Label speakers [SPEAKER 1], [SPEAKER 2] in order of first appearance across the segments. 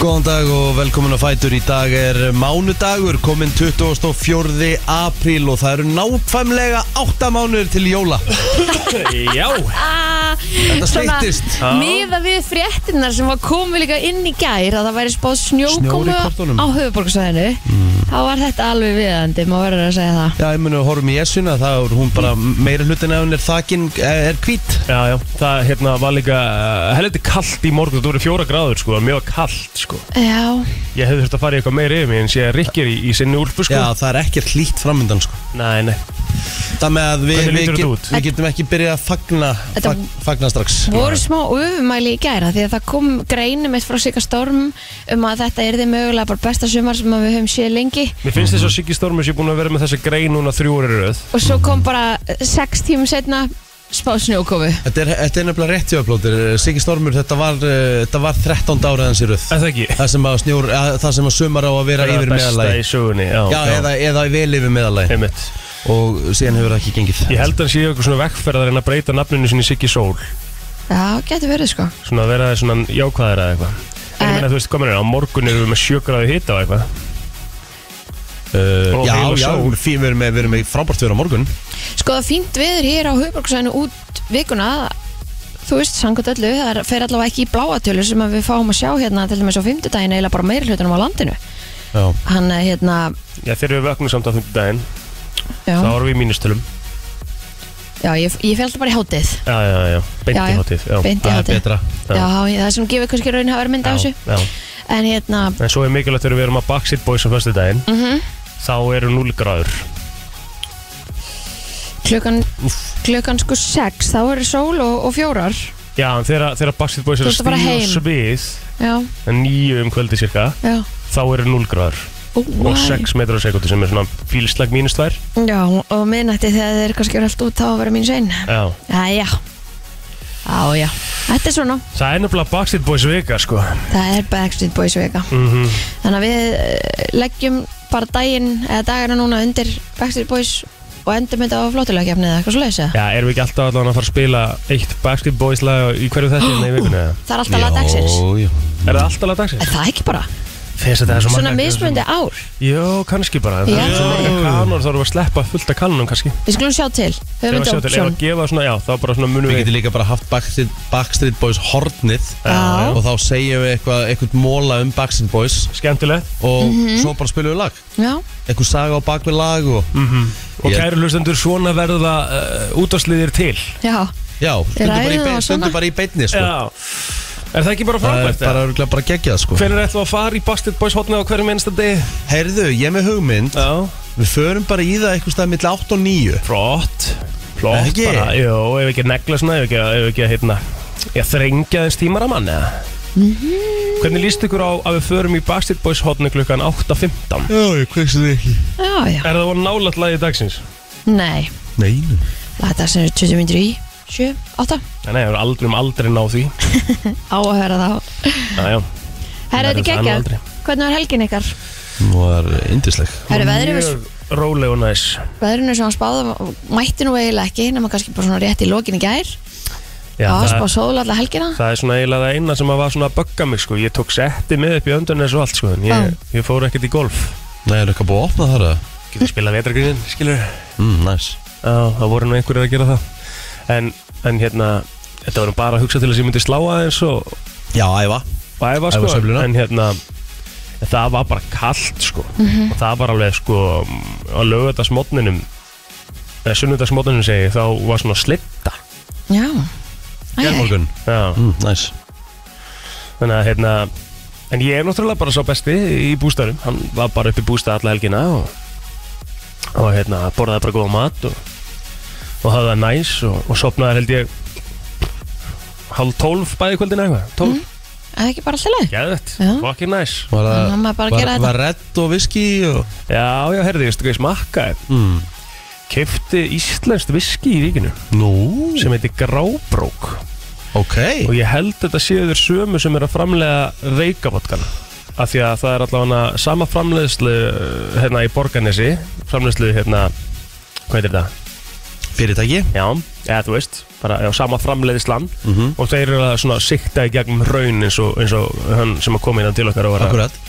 [SPEAKER 1] Góðan dag og velkomin að Fætur Í dag er mánudagur, kominn 24. apríl og það eru nákvæmlega 8 mánuður til jóla
[SPEAKER 2] Já,
[SPEAKER 1] Þetta styttist.
[SPEAKER 2] Já.
[SPEAKER 3] Miða við fréttinnar sem var komið líka inn í gær að það væri spáð
[SPEAKER 1] Snjór
[SPEAKER 3] snjókomu
[SPEAKER 1] í kortunum. Mm.
[SPEAKER 3] á höfuborgsvæðinu þá var þetta alveg viðandi, maður verður að segja það
[SPEAKER 1] Já, ég muni að horfum í Essuna, það er hún bara meira hlutin ef hún er þakin, eh, er hvít
[SPEAKER 2] já, já, það hérna var líka uh, helviti kallt í morgun, það voru fjóra gráður sko, mjög kallt sko
[SPEAKER 3] Já,
[SPEAKER 2] Ég hefði þurft að fara í eitthvað meira yfir mig en sé að rikkir í, í sinni úlfu sko
[SPEAKER 1] Já, það er ekkert hlýtt framundan sko
[SPEAKER 2] Nei, nei,
[SPEAKER 1] Það með að við,
[SPEAKER 2] Hvernig
[SPEAKER 1] við,
[SPEAKER 2] lítur þetta
[SPEAKER 1] get,
[SPEAKER 2] út?
[SPEAKER 1] við getum ekki byrjað að fagna,
[SPEAKER 3] Þetta-
[SPEAKER 1] fag, fagna strax
[SPEAKER 3] voru smá öfumæli í gæra því að það kom greinum eitt frá Sigga Storm um að þetta er þið mögulega bara besta sumar sem að við höfum séð lengi
[SPEAKER 2] mér finnst þess að Siggi Stormus ég búin að vera með þessa grein núna þrjú orði röð
[SPEAKER 3] og svo kom bara eh, sex tímum setna spáð snjókomu
[SPEAKER 1] Þetta er, þetta er nefnilega rétt jöfnblótir Siggi Stormur, þetta var, eh, þetta var 13 ára hans í röð
[SPEAKER 2] Er það ekki?
[SPEAKER 1] Það sem að, snjór, að, það sem að sumar á að vera
[SPEAKER 2] Það
[SPEAKER 1] yfir
[SPEAKER 2] besta
[SPEAKER 1] meðalagi
[SPEAKER 2] í sögunni, já,
[SPEAKER 1] Já, eða, eða vel yfir meðalagi
[SPEAKER 2] Einmitt.
[SPEAKER 1] Og síðan hefur það ekki gengið
[SPEAKER 2] Ég held að hann sé eitthvað svona vekkferðar en að breyta nafninu sinni í Siggi Sól
[SPEAKER 3] Já, getur verið sko
[SPEAKER 2] Svona að vera svona jákvæðar eða eitthvað En ég
[SPEAKER 3] Eh.
[SPEAKER 2] meina, þú veist, hvað meina, á morgun erum við með sjögraði hita og eitthvað
[SPEAKER 1] uh,
[SPEAKER 2] Og
[SPEAKER 1] Eh, Já,
[SPEAKER 2] heil og
[SPEAKER 1] já,
[SPEAKER 2] sól.
[SPEAKER 1] fín, við erum með, við erum með frábært fyrir á morgun
[SPEAKER 3] Sko það er fínt viður hér á Hauðborgsvæðinu út vikuna Þú veist, sangkvæmt öllu, það er- fer allavega ekki í bláatölu sem að við fáum að sjá hérna til dæmis á fimmtudaginn eiginlega bara meiri hlutunum á landinu
[SPEAKER 1] Já,
[SPEAKER 3] Hann er hérna,
[SPEAKER 2] Já, þegar við vöknum samt á fimmtudaginn, þá
[SPEAKER 3] já,
[SPEAKER 2] erum við í mínustölum
[SPEAKER 3] já ég, ég fer alltaf bara í hátið
[SPEAKER 2] Já, já, já, beint
[SPEAKER 3] Já,
[SPEAKER 2] í
[SPEAKER 3] já.
[SPEAKER 2] hátíð já.
[SPEAKER 3] Beint í
[SPEAKER 1] það er
[SPEAKER 3] hátið
[SPEAKER 1] betra
[SPEAKER 2] Já.
[SPEAKER 3] Já, ég- það sem gefur kannski raun hafa mynd af þessu
[SPEAKER 2] já, já.
[SPEAKER 3] En hérna,
[SPEAKER 2] En svo er mikilvægt þegar við erum að Backstreet Boys á fyrstu daginn
[SPEAKER 3] Mhm.
[SPEAKER 2] Þá eru 0 gráður
[SPEAKER 3] klukkan, klukkan sko sex, þá eru sól og, og fjórar
[SPEAKER 2] Já, en þegar, þegar Backstreet Boys eru
[SPEAKER 3] Þú ert að fara
[SPEAKER 2] stíð og
[SPEAKER 3] heim.
[SPEAKER 2] svið
[SPEAKER 3] Já,
[SPEAKER 2] En nýju um kvöldi cirka
[SPEAKER 3] já
[SPEAKER 2] Þá eru 0 gráður
[SPEAKER 3] Ó,
[SPEAKER 2] Og
[SPEAKER 3] vá.
[SPEAKER 2] 6 metrar á sekundu sem er svona fílslag mínus 2
[SPEAKER 3] Já, og miðnætti þegar þeir kannski eru allt út þá verður mín svein
[SPEAKER 2] Já
[SPEAKER 3] Jæja Já, já, þetta er svona
[SPEAKER 2] Það er nefnilega Backstreet Boys vika, sko
[SPEAKER 3] Það er Backstreet Boys vika
[SPEAKER 2] mm
[SPEAKER 3] Þannig að við eh, leggjum bara daginn eða dagana núna undir Backstreet Boys og endum þetta á flottulegkefni eða eitthvað svo leiðis
[SPEAKER 2] Já, erum við ekki alltaf allan að fara að spila eitt Backstreet Boys lag í hverju þessu í vikunni? eða?
[SPEAKER 3] Það er alltaf lag dagsins
[SPEAKER 1] Já, já
[SPEAKER 2] Er það alltaf lag
[SPEAKER 3] Er
[SPEAKER 2] dagsins?
[SPEAKER 3] það ekki bara?
[SPEAKER 2] Fyrst að það er svo
[SPEAKER 3] Svona
[SPEAKER 2] margar-
[SPEAKER 3] mismunandi ár
[SPEAKER 2] Jó, kannski bara en Það
[SPEAKER 3] Já.
[SPEAKER 2] er svo marga kanor, þá erum við að sleppa fullt af kanunum kannski
[SPEAKER 3] Við skulum sjá til
[SPEAKER 2] Þegar
[SPEAKER 3] Höfum
[SPEAKER 2] við sjá til, ef
[SPEAKER 3] Dópsson
[SPEAKER 2] að gefa svona, já, þá bara svona munum
[SPEAKER 1] Við
[SPEAKER 2] við
[SPEAKER 1] getum líka bara haft Backstreet, Backstreet Boys hornið
[SPEAKER 3] Já.
[SPEAKER 1] Og þá segjum við eitthvað, eitthvað móla um Backstreet Boys
[SPEAKER 2] Skemmtilegt
[SPEAKER 1] Og
[SPEAKER 3] Mhm.
[SPEAKER 1] svo bara spilum við lag
[SPEAKER 3] Já,
[SPEAKER 1] Eitthvað saga á bakvið lag og,
[SPEAKER 2] Og
[SPEAKER 1] Ég-
[SPEAKER 2] kæru hlustendur, svona verða uh, útásliðir til
[SPEAKER 3] já
[SPEAKER 1] Já, stundum bara, í
[SPEAKER 3] ræðum
[SPEAKER 1] bein-
[SPEAKER 3] það
[SPEAKER 1] stundum
[SPEAKER 3] svona.
[SPEAKER 1] bara í beinni sko.
[SPEAKER 2] Er það ekki bara
[SPEAKER 1] Það er
[SPEAKER 2] frábært?
[SPEAKER 1] bara,
[SPEAKER 2] Bara...
[SPEAKER 1] örugglega bara geggjað sko
[SPEAKER 2] Hvernig ætlum við að fara í Bastard Boys hotnið á hverjum einsta degi?
[SPEAKER 1] Heyrðu, ég er með hugmynd
[SPEAKER 2] Já
[SPEAKER 1] Við förum bara í það eitthvað stað millir 8 og 9
[SPEAKER 2] Flott
[SPEAKER 1] Er
[SPEAKER 2] Flott
[SPEAKER 1] ekki?
[SPEAKER 2] bara, jú, ef ekki að negla svona, ef ekki að, ef ekki að heitna Ég þrengja þess tímaramann eða
[SPEAKER 3] Mhm.
[SPEAKER 2] Hvernig líst ykkur á að við förum í Bastard Boys hotnið klukkan 8.15?
[SPEAKER 1] Já, ég kveikstu þig ekki
[SPEAKER 3] Já, já
[SPEAKER 2] Er það voru nálægt lagið dagsins?
[SPEAKER 3] Nei,
[SPEAKER 1] Nei, nei.
[SPEAKER 3] þetta sem er 20 myndir í 7, 8
[SPEAKER 2] Nei, nei, við erum aldrei um aldrei ná því
[SPEAKER 3] Á að höra þá
[SPEAKER 2] Já, já
[SPEAKER 3] Herra, þetta
[SPEAKER 2] Verður það
[SPEAKER 3] er
[SPEAKER 2] nú
[SPEAKER 3] geggjað
[SPEAKER 2] aldrei.
[SPEAKER 3] Hvernig var helgin ykkar?
[SPEAKER 1] nú er indisleg
[SPEAKER 3] Herra, veðrið var
[SPEAKER 2] Mjög Róleg og næs
[SPEAKER 3] veðrinu sem hann spáði mætti nú eiginlega ekki nema kannski bara svona rétt í lokin í gær
[SPEAKER 2] Já,
[SPEAKER 3] það var
[SPEAKER 2] það-
[SPEAKER 3] spáð sól alla helgina
[SPEAKER 2] Það er svona eiginlega það eina sem að var svona að bögga mig sko. Ég tók setti með upp í öndunnes og allt sko. en
[SPEAKER 3] Já.
[SPEAKER 2] ég, ég fór ekkert í golf
[SPEAKER 1] Nei, er eitthvað búið að opna þar að
[SPEAKER 2] Getur spilað vetragriðin, skilur
[SPEAKER 1] Mm, næs
[SPEAKER 2] Já, það voru nú einhverjir að gera það En, en hérna, þetta voru bara að hugsa til þess að ég myndi slá aðeins og,
[SPEAKER 1] Já, æfa
[SPEAKER 2] og æfa
[SPEAKER 1] Æfa
[SPEAKER 2] sko
[SPEAKER 1] sveifluna.
[SPEAKER 2] En hérna, það var bara kallt sko Og það var alveg sko á lögutasmotninum eða sunnudagsmotninum segi ég, þá var svona slitta
[SPEAKER 3] já Æ,
[SPEAKER 1] Gjermorgun
[SPEAKER 2] Já,
[SPEAKER 1] mm, Næs
[SPEAKER 2] þannig að hérna en ég er náttúrulega bara sá besti í bústarum hann var bara upp í bústa alla helgina og, og hérna borðaði bara góða mat og, og hafði það næs og, og sopnaði held ég hálf tólf bæði kvöldin eitthvað tólf, mm.
[SPEAKER 3] það er ekki bara alltaf leið
[SPEAKER 2] geðvett,
[SPEAKER 3] Já.
[SPEAKER 2] fucking næs
[SPEAKER 1] Var
[SPEAKER 3] Þannig að maður bara
[SPEAKER 1] var,
[SPEAKER 3] gera þetta.
[SPEAKER 1] var redd og viski og
[SPEAKER 2] já, já, herði, ég veistu hvað ég smakkaði
[SPEAKER 1] mm.
[SPEAKER 2] kefti íslenskt viski í ríkinu
[SPEAKER 1] Nú
[SPEAKER 2] sem heitir Grábrók
[SPEAKER 1] Ok
[SPEAKER 2] og ég held þetta séu þér sömu sem er að framlega reykavotkan af því að það er allavega sama framleiðslu uh, hérna í Borgarnesi framleiðslu hérna, hvað heitir þetta?
[SPEAKER 1] Fyrirtæki
[SPEAKER 2] Já, eða þú veist, bara á sama framleiðislan
[SPEAKER 1] Mhm.
[SPEAKER 2] og þeir eru að svona sikta í gegnum raun eins og, eins og hann sem að koma innan til okkar og var að
[SPEAKER 1] Akkurat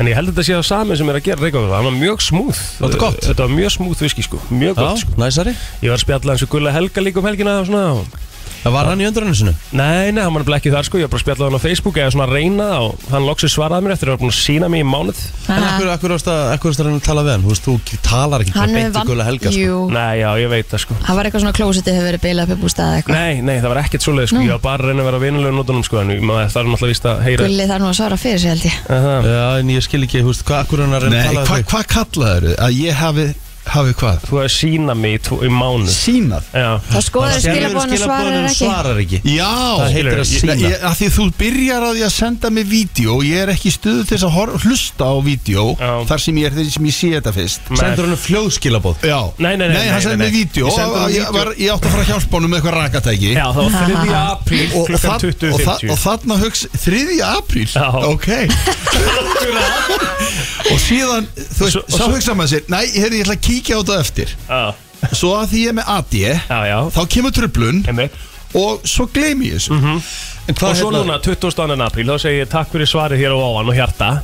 [SPEAKER 2] En ég held að þetta sé á sami sem er að gera Reykjavík Það var mjög smúð
[SPEAKER 1] Þetta er gott.
[SPEAKER 2] Þetta var mjög smúð viski sko Mjög
[SPEAKER 1] Já,
[SPEAKER 2] gott sko
[SPEAKER 1] næsari
[SPEAKER 2] Ég var að spjalla eins og Gulla Helga líka um helgina og svona og...
[SPEAKER 1] Það var hann í öndrunusinu
[SPEAKER 2] Nei, nei, hann var nefnilega ekki þar sko Ég var bara að spjalla hann á Facebook eða svona að reyna það og hann loksi svaraði mér eftir að vera búin að sína mig í mánuð
[SPEAKER 1] En akkur, akkur ást að, akkur ást að reyna að tala við hann Þú veist, þú talar ekki
[SPEAKER 3] Hann
[SPEAKER 1] bara
[SPEAKER 3] hefur
[SPEAKER 1] beint í gula
[SPEAKER 3] vant,
[SPEAKER 1] helga sko.
[SPEAKER 3] jú,
[SPEAKER 2] Nei, já, ég veit það sko
[SPEAKER 3] það var eitthvað svona klósitið hefur verið beilað upp í bústað eitthvað
[SPEAKER 2] Nei, nei, það var ekkert svoleið sko
[SPEAKER 3] Nú.
[SPEAKER 2] Ég var bara að reyna að vera vinulega nótunum sko En maður þarf náttúrulega víst að heyra
[SPEAKER 3] Gulli þarf nú að svara fyrir sig held ég
[SPEAKER 2] Aha.
[SPEAKER 1] Já, en ég skil ekki, þú veist, hvað akkur hann að reyna
[SPEAKER 4] Nei,
[SPEAKER 1] að tala
[SPEAKER 4] hvað
[SPEAKER 1] við þig?
[SPEAKER 4] hva kallaður þau? Að ég hafi, hafi hvað?
[SPEAKER 2] Þú hefur sína mig í, tvo- í mánuð
[SPEAKER 4] Sýnað
[SPEAKER 2] Já,
[SPEAKER 3] Þá skoður skilabóðan og svarar
[SPEAKER 1] Skilaboðunum
[SPEAKER 3] ekki
[SPEAKER 1] svarar ekki
[SPEAKER 4] Já,
[SPEAKER 1] Það heitir að
[SPEAKER 4] Ég-
[SPEAKER 1] sýna.
[SPEAKER 4] ég- Af því þú byrjar á því að senda mig vídeo og ég er ekki í stöðu til þess að hor- hlusta á vídeo
[SPEAKER 2] Já.
[SPEAKER 4] þar sem ég er þeir sem ég sé þetta fyrst
[SPEAKER 2] Nei.
[SPEAKER 1] Sendur hann fljóðskilabóð
[SPEAKER 4] Já,
[SPEAKER 2] Nei, nei, nei, nei,
[SPEAKER 4] hann sendi
[SPEAKER 2] nei,
[SPEAKER 4] mig
[SPEAKER 2] nei.
[SPEAKER 4] vídeo
[SPEAKER 2] Ég sendi
[SPEAKER 4] og
[SPEAKER 2] honum
[SPEAKER 4] ég,
[SPEAKER 2] vídeó.
[SPEAKER 4] var, ég átti að fara að hjálpa honum með eitthvað rakatæki
[SPEAKER 2] já það var 3. apríl
[SPEAKER 4] og, og,
[SPEAKER 2] klukkan
[SPEAKER 4] það, og, það,
[SPEAKER 2] 20.50
[SPEAKER 4] og þarna hugsa 3. apríl
[SPEAKER 2] Já.
[SPEAKER 4] ok og síðan þú veist,
[SPEAKER 2] Svo- og
[SPEAKER 4] svo
[SPEAKER 2] svo-
[SPEAKER 4] hugsa maður sér, næ, heyrðu, ég ætla að kíkja á þetta eftir
[SPEAKER 2] Já,
[SPEAKER 4] svo að því ég er með AD
[SPEAKER 2] já, já
[SPEAKER 4] þá kemur tröflun
[SPEAKER 2] Einmitt.
[SPEAKER 4] og svo gleymi ég þessu en
[SPEAKER 2] Mhm. og
[SPEAKER 4] hvað hérna-
[SPEAKER 2] svo núna 22. apríl þá segi ég takk fyrir svarið hér á áan og hjarta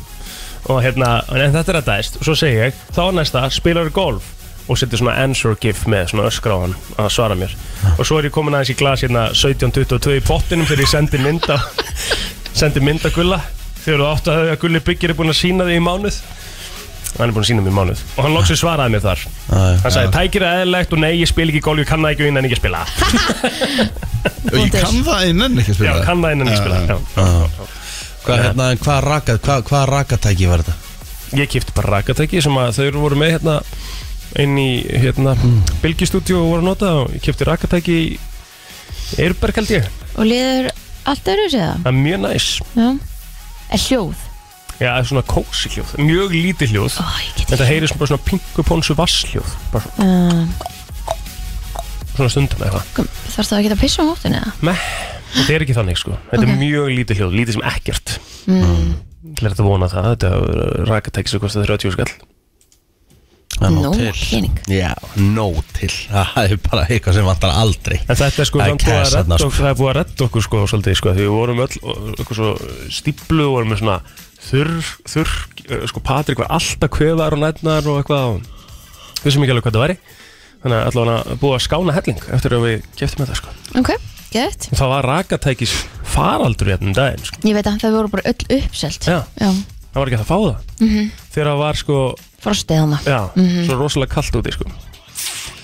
[SPEAKER 2] og hérna, en þetta er að dæst og svo segi ég, þá næsta spilar golf og setur svona answer gif með svona öskra á hann að svara mér og svo er ég komin aðeins í glas hérna 17.22 í pottinum þegar ég sendi mynda sendi mynda gulla þegar þú átt að höfðu að gulli byggir er búin að sína þig í mánuð hann er búin að sína mér í mánuð og hann loksir svaraði mér þar hann sagði tækir er eðlilegt og nei ég spil ekki golf ég kann það ekki og innan ekki að spila það."
[SPEAKER 4] og ég kann það Ah. innan ekki að
[SPEAKER 2] já,
[SPEAKER 4] spila
[SPEAKER 2] kann það innan ekki að spila það, já.
[SPEAKER 1] Hvað hérna, en hvað raka, hvað, hvað rakatæki var þetta?
[SPEAKER 2] ég kipti bara rakatæki sem að þau voru með hérna inn í hérna mm. og voru að nota og ég kipti rakatæki í Eirberg held ég
[SPEAKER 3] Og liður allt öðru sér það
[SPEAKER 2] það er mjög næs
[SPEAKER 3] Já Er hljóð
[SPEAKER 2] já, það er svona kósi hljóð, mjög lítið hljóð
[SPEAKER 3] Ó, ég get
[SPEAKER 2] en það heyrir svona, bara svona pingu ponsu vasshljóð bara svona-
[SPEAKER 3] Uh,
[SPEAKER 2] svona stundum eða eitthvað
[SPEAKER 3] Þarf það að geta að pissa á mótin eða?
[SPEAKER 2] Meh, þetta er ekki þannig sko þetta
[SPEAKER 3] Ok.
[SPEAKER 2] er mjög lítið hljóð, lítið sem ekkert mm. lærði að vona það þetta er rakatæki sem kostið 30 skall
[SPEAKER 3] Nóg pening.
[SPEAKER 1] Já, nóg til Það er bara eitthvað sem vantar aldrei
[SPEAKER 2] En þetta er sko
[SPEAKER 1] Það er
[SPEAKER 2] samt búið að
[SPEAKER 1] cash þarna,
[SPEAKER 2] redda
[SPEAKER 1] sko.
[SPEAKER 2] okkur, það er búið að redda okkur sko svolítið sko því við vorum öll ö- okkur svo stíplu og vorum með svona þurr, þurr, ö, sko Patrik var alltaf kveðar og nætnar og eitthvað og við sem ekki alveg hvað það væri þannig að allavega búið að skána helling eftir að við keftum þetta sko
[SPEAKER 3] Ok, gett
[SPEAKER 2] og það var rakatækis faraldur hérna um daginn sko
[SPEAKER 3] Ég veit að það voru bara öll uppselt
[SPEAKER 2] Já. það var ekki hægt að fá það -hmm. þegar það var sko,
[SPEAKER 3] Frostið hana
[SPEAKER 2] já, svo rosalega kallt úti sko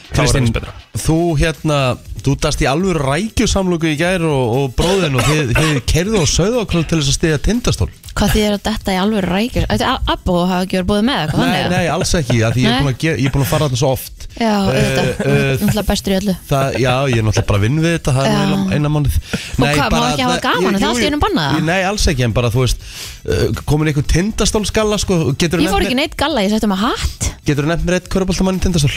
[SPEAKER 2] Það var
[SPEAKER 1] Kristinn,
[SPEAKER 2] aðeins betra.
[SPEAKER 1] þú hérna, þú dast í alveg rækjusamlugu í gær og, og bróðin og þið, þið kerðu á söðoklöld til þess að stiðja tindastól
[SPEAKER 3] Hvað þið er að detta í alveg rækjur Þetta er abbo og hafa ekki verið búið með eitthvað
[SPEAKER 1] Nei,
[SPEAKER 3] þannig,
[SPEAKER 1] nei, alls ekki, af því ég er
[SPEAKER 3] Nei.
[SPEAKER 1] búin að, gera, ég er búin að fara þarna svo oft
[SPEAKER 3] eða? Já, auðvitað
[SPEAKER 1] Eh,
[SPEAKER 3] Þú
[SPEAKER 1] eh,
[SPEAKER 3] ert náttúrulega bestur í öllu
[SPEAKER 1] Það, já, ég er náttúrulega bara að vinna við þetta Það er
[SPEAKER 3] Já.
[SPEAKER 1] nú eina, eina mánuð
[SPEAKER 3] hvað, má ekki hafa gaman? Er það allt í einu bannað?
[SPEAKER 1] það? Nei, alls ekki, en bara, þú veist uh, Komin einhver tindastólskalla, sko Getur
[SPEAKER 3] Ég fór ekki neitt galla, ég settum að hatt
[SPEAKER 1] Getur þú nefnt mér eitt köruboltamann í tindastól?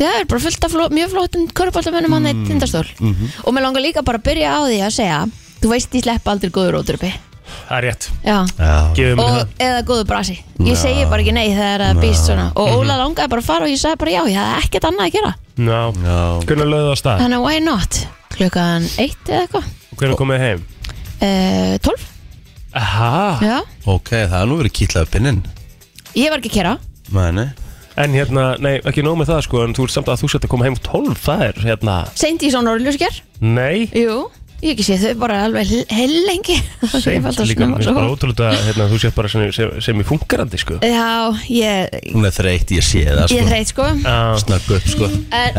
[SPEAKER 3] Það er bara fullt af fló, mjög flottum köruboltamönnum hann mm. eitt tindastól
[SPEAKER 2] mhm.
[SPEAKER 3] Og mér langar líka bara að byrja á því að segja Þú veist ég slepp aldrei góður ótruppi
[SPEAKER 2] Það er rétt,
[SPEAKER 3] Já
[SPEAKER 1] Já,
[SPEAKER 2] gefum við það
[SPEAKER 3] og, eða góðu brasi ég segi bara ekki nei þegar það býst svona
[SPEAKER 2] Mhm.
[SPEAKER 3] og Óla langaði bara að fara og ég sagði bara já ég hafði ekkert annað að gera
[SPEAKER 2] Ná,
[SPEAKER 1] Já.
[SPEAKER 2] hvernig lögðu það á stað?
[SPEAKER 3] þannig að why not klukkan 1 eða eitthvað
[SPEAKER 2] Hvernig komið þið heim?
[SPEAKER 3] uh, 12
[SPEAKER 2] Aha.
[SPEAKER 3] já
[SPEAKER 1] ok, það er nú verið kýtlaðu pinnin
[SPEAKER 3] ég var ekki að kera
[SPEAKER 1] Mæni
[SPEAKER 2] En hérna, nei, ekki nóg með það sko En þú ert samt að þú sett að koma heim 12 Það er hérna,
[SPEAKER 3] seint í svona orðljóskjær
[SPEAKER 2] nei
[SPEAKER 3] jú ég ekki sé þau bara alveg he- heil lengi Ég var
[SPEAKER 2] Seint
[SPEAKER 3] alltaf
[SPEAKER 2] líka, mér
[SPEAKER 3] snemma
[SPEAKER 2] finnst
[SPEAKER 3] svo.
[SPEAKER 2] bara ótrúlega hérna, Þú sett bara sem, sem, sem í fungarandi sko
[SPEAKER 3] já ég
[SPEAKER 1] Hún er þreytt, ég sé það,
[SPEAKER 3] ég er Eh,
[SPEAKER 1] sko
[SPEAKER 3] þreyt sko
[SPEAKER 2] Já,
[SPEAKER 1] Snögg upp, sko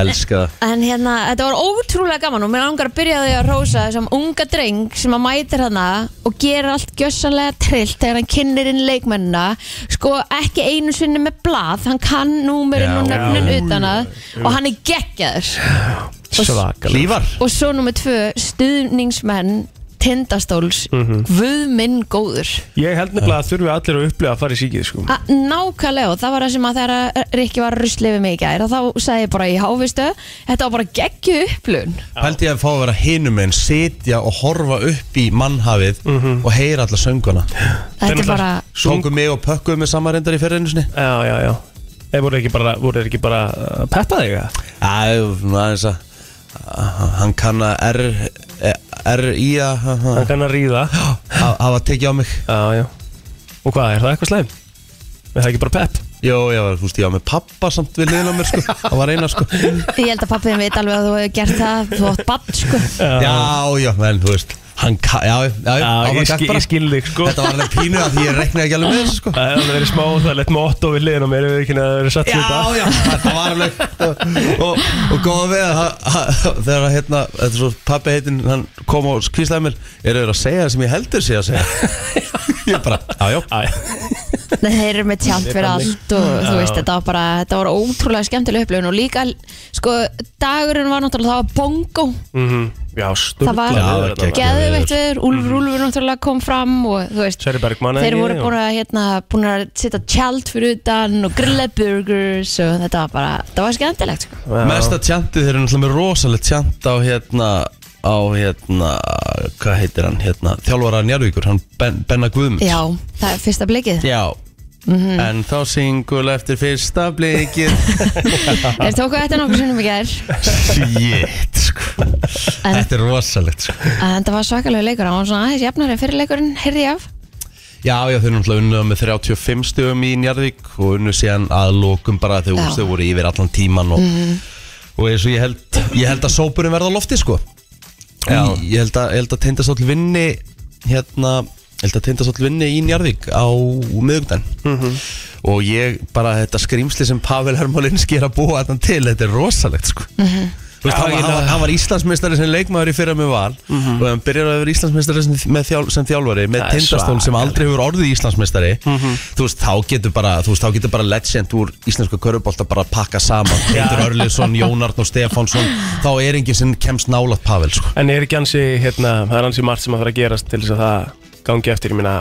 [SPEAKER 1] Elska það
[SPEAKER 3] En hérna, þetta var ótrúlega gaman og mér langar að byrja á því að rósa þessum unga dreng sem að mætir hana og gerir allt gjössanlega trillt þegar hann kynir inn leikmennina sko ekki einu sinni með blað hann kann númerinn
[SPEAKER 1] Já,
[SPEAKER 3] og nöfnin
[SPEAKER 2] já,
[SPEAKER 3] utan að og hann er geggjaður
[SPEAKER 2] svakalega
[SPEAKER 1] Hlífar
[SPEAKER 3] og svo nummer tvö, stuðningsmenn tindastóls,
[SPEAKER 1] Mhm.
[SPEAKER 3] guð minn góður
[SPEAKER 2] Ég held nefnilega að þurfi allir að upplifa að fara í síkið sko
[SPEAKER 3] Að nákvæmlega og það var það sem að þegar Rikki var ruslið við mig í gær og þá sagði ég bara í hávistu þetta var bara geggju upplun
[SPEAKER 1] Pældi ég að fá að vera hinum en sitja og horfa upp í mannhafið og heyra alla sönguna
[SPEAKER 3] þetta
[SPEAKER 2] Þannig
[SPEAKER 3] er
[SPEAKER 2] að-
[SPEAKER 3] bara
[SPEAKER 2] Sung-
[SPEAKER 1] Tóku mig og pökkuðu mig saman reyndar í ferðinni
[SPEAKER 2] Já, já, já Eða voru þeir ekki bara, voru þeir ekki bara uh, peppa þig að?
[SPEAKER 1] Já, aðeins að Hann kann að R e, R-I-A
[SPEAKER 2] Hann
[SPEAKER 1] hafa
[SPEAKER 2] kann að ríða
[SPEAKER 1] tekið á mig
[SPEAKER 2] Já, já Og hvað, er það eitthvað slæm? Er það ekki bara pepp?
[SPEAKER 1] Jó, ég var, þú veist, ég var með pappa samt við liðin á mér, sko Það var eina, sko
[SPEAKER 3] Ég held að pappiðin veit alveg að þú hefur gert það Þú átt bann, sko
[SPEAKER 1] Já, já, en þú veist Hann, ka- já, já, já,
[SPEAKER 2] Já,
[SPEAKER 1] áfram
[SPEAKER 2] ég,
[SPEAKER 1] gakk
[SPEAKER 2] skil,
[SPEAKER 1] bara.
[SPEAKER 2] ég skil þig, sko
[SPEAKER 1] Þetta var alveg pínu að því ég reknaði ekki alveg með þessu, sko
[SPEAKER 2] Það er alveg verið smá Það er lett motto við liðin og mér hefur ekki að það verið satt
[SPEAKER 1] Já,
[SPEAKER 2] þetta
[SPEAKER 1] já, þetta var alveg Og, og góða við að ha- ha- Þegar að, hérna, þetta er svo pappi heitinn Hann kom og skvíslaði mér Eru þeir að segja það sem ég heldur sé að segja Ég bara, já, já
[SPEAKER 2] Æ,
[SPEAKER 3] Nei, þeir eru með tjald fyrir allt og þú veist, þetta var bara, þetta var ótrúlega skemmtileg upplifun og líka, sko, dagurinn var náttúrulega, það var bongo
[SPEAKER 2] mhm, Já,
[SPEAKER 3] það
[SPEAKER 2] sturla
[SPEAKER 3] var
[SPEAKER 1] Já, það var geggjað.
[SPEAKER 3] geðveitt viður, Úlfur Úlfur náttúrulega kom fram og þú veist,
[SPEAKER 2] Sverri Bergmann
[SPEAKER 3] þeir voru búin að, hérna, búin að setja tjald fyrir utan og grilla burgers og þetta var bara, þetta var skemmtilegt, sko.
[SPEAKER 1] Mesta tjantið þeir eru náttúrulega með rosalegt tjant á hérna á hérna, hvað heitir hann hérna, þjálfara Njarvíkur, hann ben, Benna Guðmunds
[SPEAKER 3] Já, Mhm. það er fyrsta blikið.
[SPEAKER 1] Já. En þá singul eftir fyrsta blikið
[SPEAKER 3] Þeir tóku þetta nokkur sinnum í gær,
[SPEAKER 1] Shit sko.
[SPEAKER 3] en,
[SPEAKER 1] Þetta er rosalegt sko.
[SPEAKER 3] en það var svakalega leikur, það var svona aðeins jafnari fyrir leikurinn, heyrði ég af.
[SPEAKER 1] Já, já, þeir eru náttúrulega unnuða með 35 stöðum í Njarvík og unnu síðan að lokum bara þegar
[SPEAKER 3] Já.
[SPEAKER 1] úrstu voru yfir allan tíman og, og eins og ég held, ég held að sópurinn verða á lofti sko
[SPEAKER 2] Já.
[SPEAKER 1] Ég held að, ég held að tindastóll vinni hérna, ég held að tindastóll vinni í Njarvík á miðugdan og ég bara þetta skrýmsli sem Pavel Hermolinski er að búa þetta til, þetta er rosalegt sko Þú veist,
[SPEAKER 2] Já,
[SPEAKER 1] hann,
[SPEAKER 2] ég
[SPEAKER 1] hann,
[SPEAKER 2] held
[SPEAKER 1] var-
[SPEAKER 2] að-
[SPEAKER 1] hann var Íslandsmeistari sem leikmaður í fyrra með val og hann byrjar að vera Íslandsmeistari sem, með þjál, sem þjálfari með
[SPEAKER 2] Það er
[SPEAKER 1] tindastól sem aldrei hefur orðið Íslandsmeistari þú veist, þá getur bara þú veist, þá getur bara legend úr íslensku körubólta bara að pakka saman, Petur Örlisson, Jón Arn og Stefánsson, þá er enginn sem kemst nálat Pavel, sko
[SPEAKER 2] En er ekki ansi, hérna, það er ansi margt sem að fara að gerast til þess að það gangi eftir, ég minna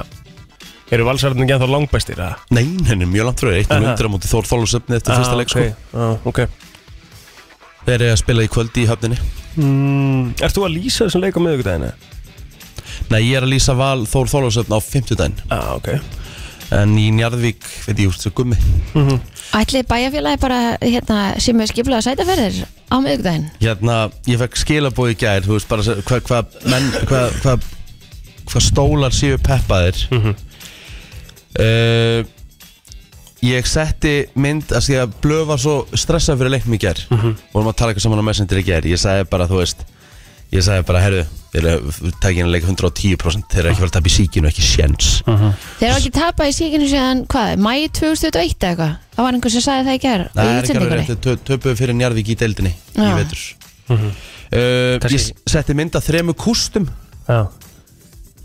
[SPEAKER 2] Eru valsarðin ekki ennþá langbæstir, eða?
[SPEAKER 1] Nei, henni, mjög langt frá, 1-0 undir á móti Þór Þólusöfni eftir fyrsta leik, sko
[SPEAKER 2] ah, ok.
[SPEAKER 1] Þeir eru að spila í kvöldi í höfninni Hmm,
[SPEAKER 2] mm, Ert þú að lýsa þessum leik á miðvikudaginu?
[SPEAKER 1] Nei, ég er að lýsa val Þór Þólusöfni á 50 daginn
[SPEAKER 2] Já, ah, ok
[SPEAKER 1] en í Njarðvík, veit ég, úst, svo gummi
[SPEAKER 3] Ætli bæjarfélagi bara, hérna, sem er skiplega sætaferðir á miðugdægin?
[SPEAKER 1] hérna, ég fekk skilabóð í gær þú veist bara se- hvað hva, hva, hva, hva stólar séu peppaðir uh, ég setti mynd að því að blöð var svo stressað fyrir leiknum í gær vorum að tala eitthvað saman á messenger í gær ég sagði bara, þú veist ég hérna sagði bara, herru, þeir eru takin að leika 110% þeir eru ekki verið að tapa í síkinu, ekki sjens
[SPEAKER 3] Þeir hafa ekki tapað í síkinu síðan, hvað, mæi 2021 eða eitthvað? Það var einhver sem sagði það í gerð
[SPEAKER 1] Það er
[SPEAKER 3] í
[SPEAKER 1] ekki alveg
[SPEAKER 3] útsendingunni.
[SPEAKER 1] rétt, þau töpuðu fyrir Njarðvík í deildinni í
[SPEAKER 3] Já.
[SPEAKER 1] vetur uh, Ég
[SPEAKER 2] Kannski-
[SPEAKER 1] setti mynd að þremu kústum
[SPEAKER 2] Já,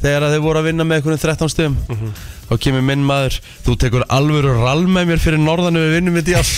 [SPEAKER 1] þegar að þeir voru að vinna með einhvern 13 stöðum þá kemur minn maður þú tekur alvöru rall með mér fyrir norðan ef við vinnum við djál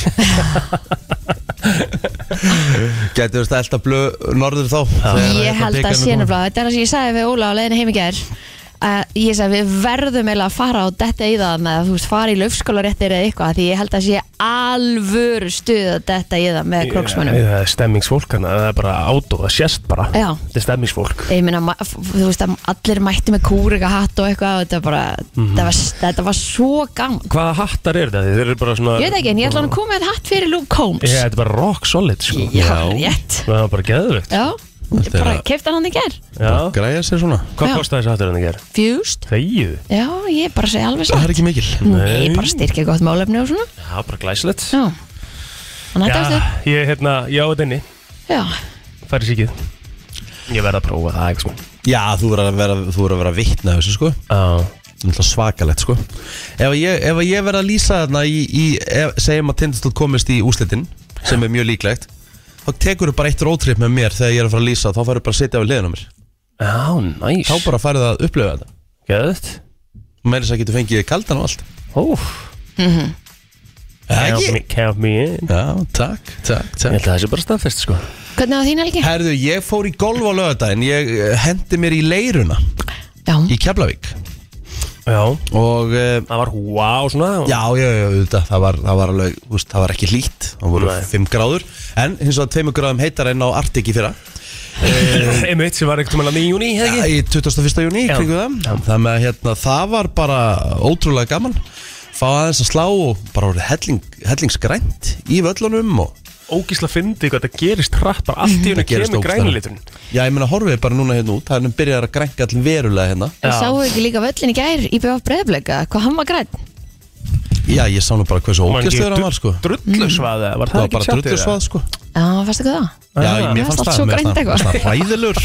[SPEAKER 1] getur þú stælt að blöð norður þá þegar
[SPEAKER 3] Ég
[SPEAKER 1] hérna
[SPEAKER 3] held að
[SPEAKER 1] bikarnir
[SPEAKER 3] sé
[SPEAKER 1] koma?
[SPEAKER 3] nefnilega, þetta er það sem ég sagði við Óla á leiðinu heim í gerð, að ég sagði við verðum eiginlega að fara og detta í það með að þú veist fara í löfskólaréttir eða eitthvað, því ég held að sé alvöru stuð að detta í það með kroksmönnum.
[SPEAKER 2] Það er stemmingsfólk hana, það er bara átó, það sést bara
[SPEAKER 3] Já.
[SPEAKER 2] Þetta er stemmingsfólk
[SPEAKER 3] Ég meina, ma- f- þú veist að allir mætti með kúrika hatt og eitthvað, þetta, bara, þetta, var, þetta var svo gaman.
[SPEAKER 2] Hvaða hattar eru þetta? Þeir eru bara svona
[SPEAKER 3] Ég veit ekki, en ég ætla hann að koma með hatt fyrir Luke Combs
[SPEAKER 2] Ég, þetta er bara rock solid sko
[SPEAKER 3] Já, rétt
[SPEAKER 2] Það var bara geðvögt
[SPEAKER 3] Já, ég
[SPEAKER 1] Þetta er
[SPEAKER 3] bara
[SPEAKER 1] að-
[SPEAKER 3] kefti hann hann í ger
[SPEAKER 1] Bara
[SPEAKER 2] Já,
[SPEAKER 1] græja sér svona
[SPEAKER 2] hvað
[SPEAKER 3] Já.
[SPEAKER 2] kostaði hérna, þessi hattur en það ger?
[SPEAKER 3] Fjúst
[SPEAKER 2] Þegju
[SPEAKER 3] Já, ég bara segi alveg
[SPEAKER 1] það
[SPEAKER 3] satt
[SPEAKER 1] er ekki mikil
[SPEAKER 2] Nei.
[SPEAKER 3] Nei, bara styrkja gott málefni og svona
[SPEAKER 2] Já, bara glæsilegt
[SPEAKER 3] Já Þannig að þetta er
[SPEAKER 2] ég hérna, já, þetta inni
[SPEAKER 3] Já,
[SPEAKER 2] Færi síkið Ég verð að prófa það eitthvað sko.
[SPEAKER 1] já þú verður að vera, þú verður að vera vitna þessu sko
[SPEAKER 2] Já,
[SPEAKER 1] Náttúrulega svakalegt sko Ef að ég, ef að ég verð að lýsa þarna í, í ef, segjum að Tindastól komist í úslitin sem er mjög líklegt þá tekur þú bara eitt rótrip með mér þegar ég er að fara að lýsa þá færðu bara að sitja við liðin á mér
[SPEAKER 2] já, næs
[SPEAKER 1] þá bara færðu að upplifa þetta
[SPEAKER 2] Geðvögt
[SPEAKER 1] Meira þess að getur fengið kaldan og allt
[SPEAKER 2] Ó, count me, count me in
[SPEAKER 1] Já, takk, takk, takk
[SPEAKER 2] Ég held að það sé bara staðfest sko
[SPEAKER 3] hvernig var þín helgi?
[SPEAKER 1] Herðu, ég fór í golf á lögadaginn Ég eh, hendi mér í leiruna
[SPEAKER 3] Já,
[SPEAKER 1] Í Keflavík
[SPEAKER 2] Já,
[SPEAKER 1] Og eh,
[SPEAKER 2] það var wow svona
[SPEAKER 1] já, já, já, auðvitað Það var, það var alveg, úst, það var ekki hlýtt Það voru
[SPEAKER 2] Nei.
[SPEAKER 1] 5 gráður En hins vegar 2 gráðum heitar en á Arctic í fyrra
[SPEAKER 2] Einmitt sem var einhvern veginn að nýjum júni, hefði
[SPEAKER 1] Já, í
[SPEAKER 2] ekki?
[SPEAKER 1] 21. júni,
[SPEAKER 2] Já.
[SPEAKER 1] kringu það
[SPEAKER 2] Já.
[SPEAKER 1] Þannig að hérna, það var bara ótrúlega gaman Fá aðeins að slá og bara voru helling, hellingsgrænt í völlunum og
[SPEAKER 2] ógísla fyndið hvað þetta gerist hratt bara allt í hennu
[SPEAKER 1] Það gerist
[SPEAKER 2] kemur
[SPEAKER 1] ógeðslega.
[SPEAKER 2] græniliturinn
[SPEAKER 1] Já, ég meina horfið bara núna hérna út Það er byrjar að grænka allir verulega hérna
[SPEAKER 3] En
[SPEAKER 2] Já.
[SPEAKER 3] sáu ekki líka völlin í gær í BF Breiðbleika, hvað hann var græn?
[SPEAKER 1] Já, ég sá nú bara hversu ógæstlegur hann var sko
[SPEAKER 2] Drullusvaða, var
[SPEAKER 1] Það
[SPEAKER 2] það
[SPEAKER 1] var
[SPEAKER 2] ekki
[SPEAKER 1] bara
[SPEAKER 2] tjattið?
[SPEAKER 1] drullusvað sko
[SPEAKER 3] Já, fannst ekki það?
[SPEAKER 1] Já,
[SPEAKER 3] Mér
[SPEAKER 1] mér
[SPEAKER 3] fannst
[SPEAKER 1] fannst
[SPEAKER 3] allt svo
[SPEAKER 1] það mér
[SPEAKER 3] grænt
[SPEAKER 1] fannst
[SPEAKER 3] eitthvað.
[SPEAKER 1] það- fannst það hræðilur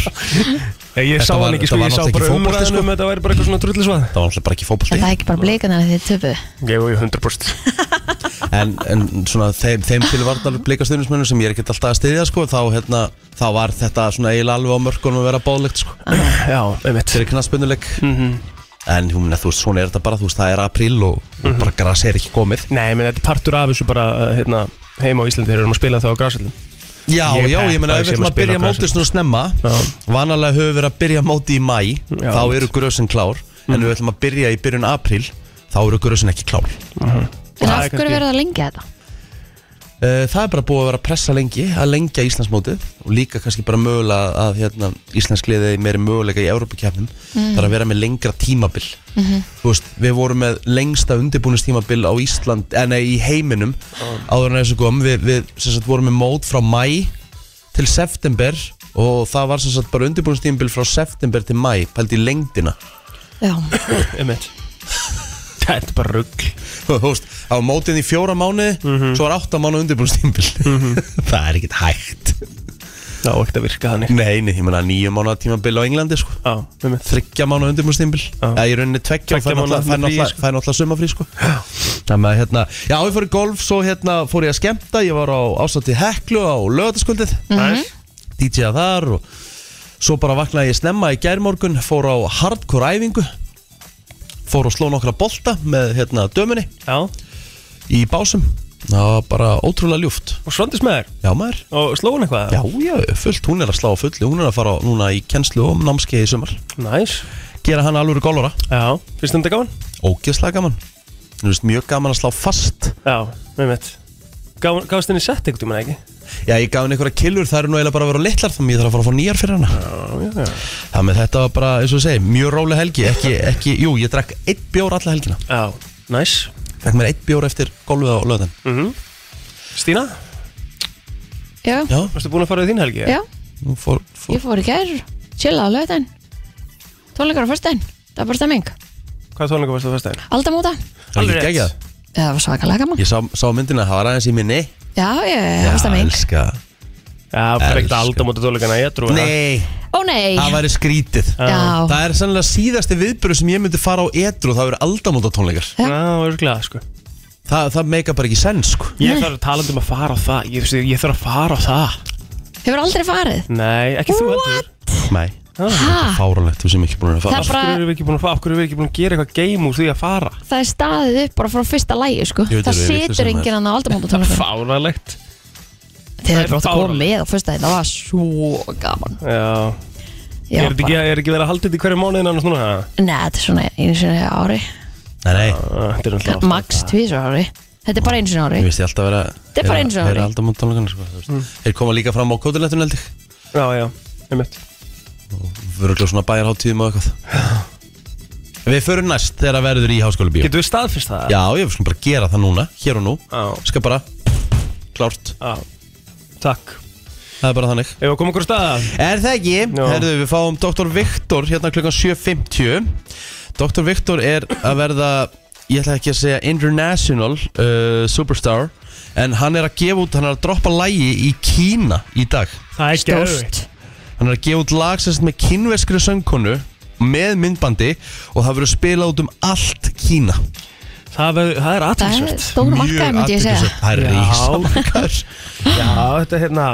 [SPEAKER 2] Ég, ég
[SPEAKER 1] Þetta
[SPEAKER 2] sá
[SPEAKER 1] var-
[SPEAKER 2] hann ekki
[SPEAKER 1] þetta
[SPEAKER 2] sko,
[SPEAKER 1] var
[SPEAKER 2] ég sá
[SPEAKER 1] náttúrulega
[SPEAKER 2] bara
[SPEAKER 1] ekki fótbolti,
[SPEAKER 2] umræðinu
[SPEAKER 1] sko.
[SPEAKER 2] um þetta væri bara eitthvað svona drullusvað
[SPEAKER 1] Það var alltaf bara ekki
[SPEAKER 3] En
[SPEAKER 1] fótbolti
[SPEAKER 3] það er ekki bara bleikarnar að þið töpu
[SPEAKER 2] Ég var 100%
[SPEAKER 1] en, en svona þeim, þeim til vartar blikastunismennum sem ég er ekkert alltaf að styðja sko, þá, hérna, þá var þetta svona eiginlega alveg á mörkunum að vera báðlegt sko,
[SPEAKER 3] Ah.
[SPEAKER 2] Já, einmitt
[SPEAKER 1] fyrir knastbunduleik en hún, þú veist, svona er þetta bara þú veist, það er apríl og, og bara gras er ekki komið
[SPEAKER 2] Nei, menn þetta er partur af þessu bara uh, hérna, heima á Íslandi þegar við erum að spila það á grásallin
[SPEAKER 1] já,
[SPEAKER 2] Ég
[SPEAKER 1] já,
[SPEAKER 2] peppaði
[SPEAKER 1] ég meina, ef við
[SPEAKER 2] sem
[SPEAKER 1] ætlum
[SPEAKER 2] að
[SPEAKER 1] að
[SPEAKER 2] spila
[SPEAKER 1] byrja
[SPEAKER 2] á grasi.
[SPEAKER 1] mótið svona snemma
[SPEAKER 2] Já.
[SPEAKER 1] vanalega höfum við verið að byrja mótið í mæ
[SPEAKER 2] Já,
[SPEAKER 1] þá
[SPEAKER 2] mitt.
[SPEAKER 1] eru grösin klár en við ætlum að byrja í byrjun apríl þá eru grösin ekki klár
[SPEAKER 3] En
[SPEAKER 2] Það
[SPEAKER 3] af
[SPEAKER 2] er
[SPEAKER 3] hverju
[SPEAKER 2] kannski-
[SPEAKER 3] verða það lengi þetta?
[SPEAKER 1] Eh, Það er bara búið að vera að pressa lengi að lengja Íslandsmótið og líka kannski bara mögulega að hérna, Íslensk liðið meiri möguleika í Európa-kjafnum mm. þar að vera með lengra tímabil Þú veist, við vorum með lengsta undirbúinistímabil á Ísland, eh, nei, í heiminum áður en þessu kom, við, við sem sagt, vorum með mót frá mæ til september og það var sem sagt bara undirbúinistímabil frá september til mæ pælt í lengdina
[SPEAKER 3] Já,
[SPEAKER 2] Einmitt Þetta er bara rugg
[SPEAKER 1] Þú veist, á mótið í fjóra mánuði svo var átta mánuð undirbúinistímabil það er ekkert hægt
[SPEAKER 2] Já, ekkert að virka þannig
[SPEAKER 1] Nei, nei, ég meina nýju mánuða tímabil á Englandi sko.
[SPEAKER 2] Já, einmitt
[SPEAKER 1] Þryggja mánuða undirmúrstímabil
[SPEAKER 2] Já.
[SPEAKER 1] Það er í rauninni tveggja og
[SPEAKER 2] Tveggja
[SPEAKER 1] fær náttúrulega- fær
[SPEAKER 2] mánaða frí,
[SPEAKER 1] náttúrulega
[SPEAKER 2] sko.
[SPEAKER 1] fær náttúrulega sumafrí sko. Þannig að hérna Já, ég fór í golf, svo hérna fór ég að skemmta Ég var á ásatíð Heklu á lögataskvöldið
[SPEAKER 2] Næs.
[SPEAKER 1] DJ-að þar og Svo bara vaknaði ég snemma í gærmorgun Fór á hardcore æfingu Fór og sló nokkra bolta með hérna dömunni
[SPEAKER 2] Já,
[SPEAKER 1] í básum Það var bara ótrúlega ljúft
[SPEAKER 2] og svandis með þér
[SPEAKER 1] Já maður
[SPEAKER 2] Og sló hún eitthvað?
[SPEAKER 1] Já, já, fullt, hún er að slá á fulli Hún er að fara á- núna í kennslu og námskeið í sumar
[SPEAKER 2] Næs
[SPEAKER 1] gera hann alveg gólvara
[SPEAKER 2] Já, finnst þetta gaman?
[SPEAKER 1] ógeðslega gaman Þú veist, mjög gaman að slá fast
[SPEAKER 2] Já, einmitt Gaf- Gafst henni sett einhvern tímann ekki?
[SPEAKER 1] já, ég gaf henni einhverja killur, það eru nú eiginlega bara að vera litlar þannig ég þarf að fara að fá nýjar fyrir hana
[SPEAKER 2] Já, já
[SPEAKER 1] það með þetta var bara, eins og ég segi, mjög róleg helgi ekki, ekki, jú, ég drakk eitt bjór alla helgina
[SPEAKER 2] Já, næs
[SPEAKER 1] drakk mér eitt bjór eftir gólfið á löðan
[SPEAKER 2] Mhm. Stína,
[SPEAKER 3] já,
[SPEAKER 1] já,
[SPEAKER 2] varstu búin að fara í þín helgi?
[SPEAKER 3] já,
[SPEAKER 1] nú fór,
[SPEAKER 3] ég
[SPEAKER 1] fór
[SPEAKER 3] fór í gær Chilla á lögðin Tónleikar á fyrstæn, það var bara stemming
[SPEAKER 2] Hvað tónleika varstu að fyrsta þér?
[SPEAKER 3] Aldamóta,
[SPEAKER 1] það var
[SPEAKER 2] alveg
[SPEAKER 1] ekki
[SPEAKER 2] rétt.
[SPEAKER 1] geggjað.
[SPEAKER 3] það var svakalega gaman
[SPEAKER 1] ég sá, sá myndina, það var aðeins í minni
[SPEAKER 3] Já, ég, það var stemming
[SPEAKER 1] elska
[SPEAKER 2] Já, fyrir ekkert
[SPEAKER 1] Elska.
[SPEAKER 2] aldamóta tónleikana, ég trú
[SPEAKER 1] nei,
[SPEAKER 3] Ó nei,
[SPEAKER 1] það væri skrítið
[SPEAKER 3] já,
[SPEAKER 1] það er sannlega síðasti viðbyrðu sem ég myndi fara á edru það verið aldamóta tónleikar
[SPEAKER 3] Já.
[SPEAKER 2] Já, örglega, sko
[SPEAKER 1] það, það meika bara ekki sens sko
[SPEAKER 2] Ég þarf að tala um að fara á það Ég, ég, ég þarf að fara á það
[SPEAKER 3] hefur aldrei farið
[SPEAKER 2] Nei, ekki þú heldur
[SPEAKER 1] nei,
[SPEAKER 2] Ah.
[SPEAKER 3] Ha,
[SPEAKER 1] fáralegt, þú sem ekki búin að fara
[SPEAKER 3] Það
[SPEAKER 2] Af
[SPEAKER 3] bara-
[SPEAKER 2] hverju erum við ekki búin að fara Af hverju erum við ekki búin að gera eitthvað game úr því að fara
[SPEAKER 3] það er staðið upp bara frá fyrsta lægi sko.
[SPEAKER 1] Ég veit
[SPEAKER 3] Það
[SPEAKER 1] alveg, ég veit
[SPEAKER 3] situr
[SPEAKER 1] þessi
[SPEAKER 3] enginn hann á aldamóta tónleikum
[SPEAKER 2] Fáralegt
[SPEAKER 3] Þeir
[SPEAKER 2] það
[SPEAKER 3] eru
[SPEAKER 2] er
[SPEAKER 3] bara að koma
[SPEAKER 2] fáránlegt.
[SPEAKER 3] með á fyrstæn, það var svo gaman
[SPEAKER 2] Já,
[SPEAKER 3] Já,
[SPEAKER 2] er, þetta ekki,
[SPEAKER 3] bara-
[SPEAKER 2] er ekki verið að halda þetta í hverju mánuðin annars núna?
[SPEAKER 3] Nei, þetta er svona einu sinni á ári
[SPEAKER 1] Nei, nei,
[SPEAKER 2] Ah, Þetta er náttúrulega oft
[SPEAKER 3] Max tvísar ári Þetta er bara einu sinni á
[SPEAKER 1] ég
[SPEAKER 3] ári
[SPEAKER 1] veist ég alltaf vera
[SPEAKER 3] Þetta er bara eins og
[SPEAKER 1] Þeir
[SPEAKER 3] ári.
[SPEAKER 1] alltaf múnt tónleikana sko, þú veist. Þeir koma líka fram á kótilettun held ég
[SPEAKER 2] Já, já, einmitt
[SPEAKER 1] Vöruglega svona bæjarháttíðum og eitthvað Við förum næst þegar það verður í háskóli bíó
[SPEAKER 2] Getur við staðfyrst það?
[SPEAKER 1] Já, ég skal bara gera það núna, hér og nú
[SPEAKER 2] Já,
[SPEAKER 1] Skal bara, klárt,
[SPEAKER 2] já Takk
[SPEAKER 1] það er bara þannig
[SPEAKER 2] Ef við komum okkur á staða
[SPEAKER 1] Er það ekki?
[SPEAKER 2] Já.
[SPEAKER 1] Herðu, við fáum Dr. Viktor hérna klukkan 7.50 Dr. Viktor er að verða ég ætla ekki að segja international uh, superstar en hann er að gefa út, hann er að droppa lægi í Kína í dag
[SPEAKER 2] Það er
[SPEAKER 3] Stórt
[SPEAKER 1] Hann er að gefa út lag sem sagt með kynveskri söngkonu með myndbandi og það verður spilað út um allt Kína
[SPEAKER 2] Það, ver- það er
[SPEAKER 3] Það er
[SPEAKER 2] aðtilsvært
[SPEAKER 3] stór markaði, myndi ég segja
[SPEAKER 1] athyglisvert. Það er
[SPEAKER 2] Já.
[SPEAKER 1] rísamarkaður
[SPEAKER 2] Já, þetta er hérna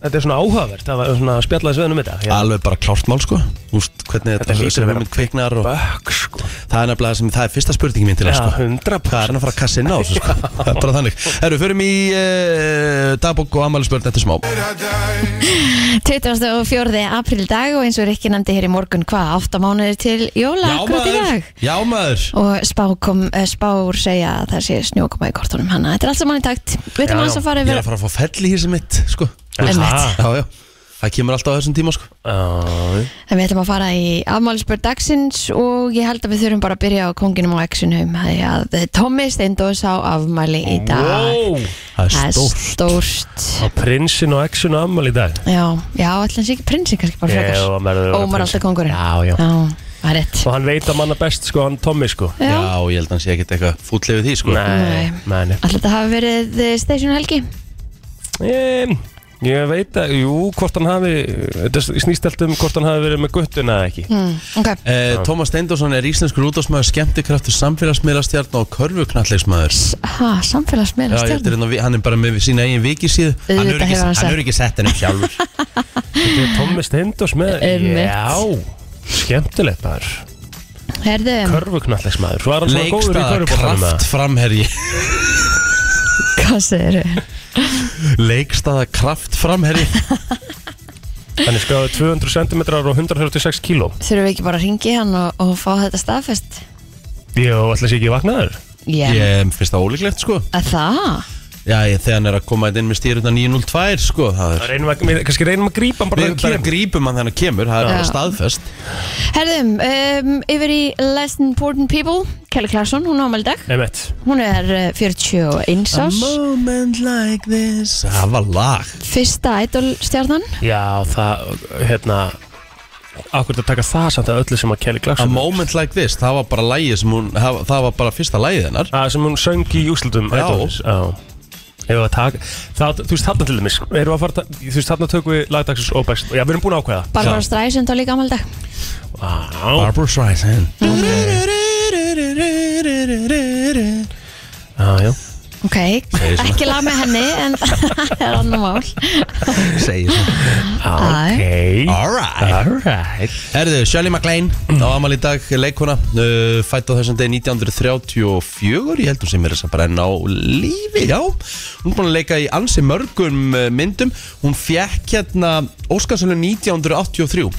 [SPEAKER 2] Þetta er svona áhugavert Það var svona spjallaðis við hann um þetta Hérna.
[SPEAKER 1] Alveg bara klárt mál sko Úst, Hvernig þetta,
[SPEAKER 2] Þetta hlýtur
[SPEAKER 1] þessi
[SPEAKER 2] að vera
[SPEAKER 1] hugmynd kveiknar og
[SPEAKER 2] Bökk, sko
[SPEAKER 1] það er nefnilega sem, það er fyrsta spurningin mín til
[SPEAKER 2] Já,
[SPEAKER 1] það sko
[SPEAKER 2] hundra
[SPEAKER 1] Hvað er hann að fara að kassa inn á þessu sko? Það er bara þannig Herru, förum í uh, dagbók og ammælisbörn eftir smá
[SPEAKER 3] 24. april dag og eins og Rikki nefndi hér í morgun hvað, 8 mánuðir til jóla akkurat í dag
[SPEAKER 1] Já maður
[SPEAKER 3] og spá kom, eh, spár segja að það sé snjókoma í kortunum hana þetta er allt saman í takt
[SPEAKER 2] Já,
[SPEAKER 3] við þurfum
[SPEAKER 2] já.
[SPEAKER 3] aðeins að fara
[SPEAKER 1] Ég er að
[SPEAKER 3] yfir
[SPEAKER 1] fara að fá fell í hísi mitt sko
[SPEAKER 3] Einmitt.
[SPEAKER 1] Já, já Það kemur alltaf á þessum tíma sko
[SPEAKER 2] Já,
[SPEAKER 3] En við ætlum að fara í afmálisbörn dagsins og ég held að við þurfum bara að byrja á konginum og exinum því að Tommy Steindós á afmæli í dag
[SPEAKER 2] Wow,
[SPEAKER 1] Það
[SPEAKER 3] Það
[SPEAKER 1] er
[SPEAKER 3] er
[SPEAKER 1] stórt
[SPEAKER 3] stórt
[SPEAKER 2] á prinsin og exun og ammal í dag
[SPEAKER 3] Já, já, ætlum sé ekki prinsinn kannski bara
[SPEAKER 2] Ég
[SPEAKER 3] frekar
[SPEAKER 2] var verður að vera
[SPEAKER 3] Ómar
[SPEAKER 2] prins.
[SPEAKER 3] alltaf kongurinn
[SPEAKER 2] Já, já
[SPEAKER 3] það er rétt
[SPEAKER 2] Og hann veit að manna best sko, hann Tommy sko
[SPEAKER 1] Já,
[SPEAKER 3] Já,
[SPEAKER 1] ég held að hann sé ekkert eitthvað fúll yfir því sko
[SPEAKER 2] Nei, nei, nei
[SPEAKER 3] alltaf þetta hafi verið eh, Station Helgi
[SPEAKER 2] Ég, ég veit að, jú, hvort hann hafi Þetta snýst allt um hvort hann hafi verið með guttuna eða ekki
[SPEAKER 3] mm, Ok,
[SPEAKER 1] Eh, Tómas Steindorsson er íslenskur útásmaður, skemmtikraftur, samfélagsmiðlastjarn og körfuknallegsmaður.
[SPEAKER 3] ha,
[SPEAKER 1] Já, ég
[SPEAKER 3] samfélagsmiðlastjörn
[SPEAKER 1] heldur hérna, hann er bara með sína eigin vikisíð. Hann
[SPEAKER 3] Auðvitað
[SPEAKER 1] hefur ekki,
[SPEAKER 3] hefur hann
[SPEAKER 1] hann
[SPEAKER 3] sett.
[SPEAKER 1] hefur ekki sett henni upp sjálfur.
[SPEAKER 2] Þetta er Tommy Steindors með
[SPEAKER 3] Einmitt.
[SPEAKER 2] Já, skemmtilegt maður
[SPEAKER 3] Herðu,
[SPEAKER 2] Körfuknallegs maður Var hann svona góður í
[SPEAKER 1] Leikstaða
[SPEAKER 2] körfuboltanum
[SPEAKER 1] kraftframherji.
[SPEAKER 2] eða?
[SPEAKER 3] hvað segir
[SPEAKER 1] Leikstaða kraftframherji.
[SPEAKER 2] Hann er skráðið 200 cm og 136 kg
[SPEAKER 3] Þurfum við ekki bara að ringi hann og, og fá þetta staðfest?
[SPEAKER 2] Jó, ætla sé ekki vaknaður
[SPEAKER 3] Já, yeah.
[SPEAKER 1] Ég finnst það ólíklegt sko.
[SPEAKER 3] það?
[SPEAKER 1] Já, ég, þegar hann er að koma inn með stýruna 902 sko. Það
[SPEAKER 2] Það
[SPEAKER 1] er,
[SPEAKER 2] reynum að, við- kannski reynum að grípa hann bara
[SPEAKER 1] við bara grípum hann þegar hann kemur, það er
[SPEAKER 3] Já.
[SPEAKER 1] bara staðfest.
[SPEAKER 3] Herðum, um, yfir í Less Important People, Kelly Clarkson, hún á ámaldag.
[SPEAKER 2] Emmett
[SPEAKER 3] Hún er eh, 41
[SPEAKER 1] A
[SPEAKER 3] árs,
[SPEAKER 1] moment like this. Það var lag.
[SPEAKER 3] fyrsta idolstjarnan.
[SPEAKER 2] Já, það, hérna Akkur að taka það samt að öllu sem að Kelly
[SPEAKER 1] A
[SPEAKER 2] Clarkson
[SPEAKER 1] moment like this, það var bara lægi sem hún, það það var bara fyrsta lægið hennar
[SPEAKER 2] að, sem hún söng í úslutum
[SPEAKER 1] Já.
[SPEAKER 2] Já Ef við að taka, það, þú veist þarna til dæmis erum við að fara, að- þú veist þarna tökum við lagdagsins og best, já við erum búin að ákveða
[SPEAKER 3] Barbara Streisand á líka ámaldag.
[SPEAKER 2] Vá,
[SPEAKER 1] Barbra Streisand
[SPEAKER 2] já, já
[SPEAKER 3] Ok,
[SPEAKER 1] Segir svona.
[SPEAKER 3] ekki lag með henni, en það er annar mál.
[SPEAKER 1] Segir það
[SPEAKER 2] Ok,
[SPEAKER 1] Alright
[SPEAKER 2] alright
[SPEAKER 1] Herðu, Shirley MacLaine á amal í dag leikona uh, fætt á þessum degi 1934 ég heldur sem er þess að bara enn á lífi já, hún er búin að leika í ansi mörgum uh, myndum hún fjekk hérna Óskarsölu 1983 uh,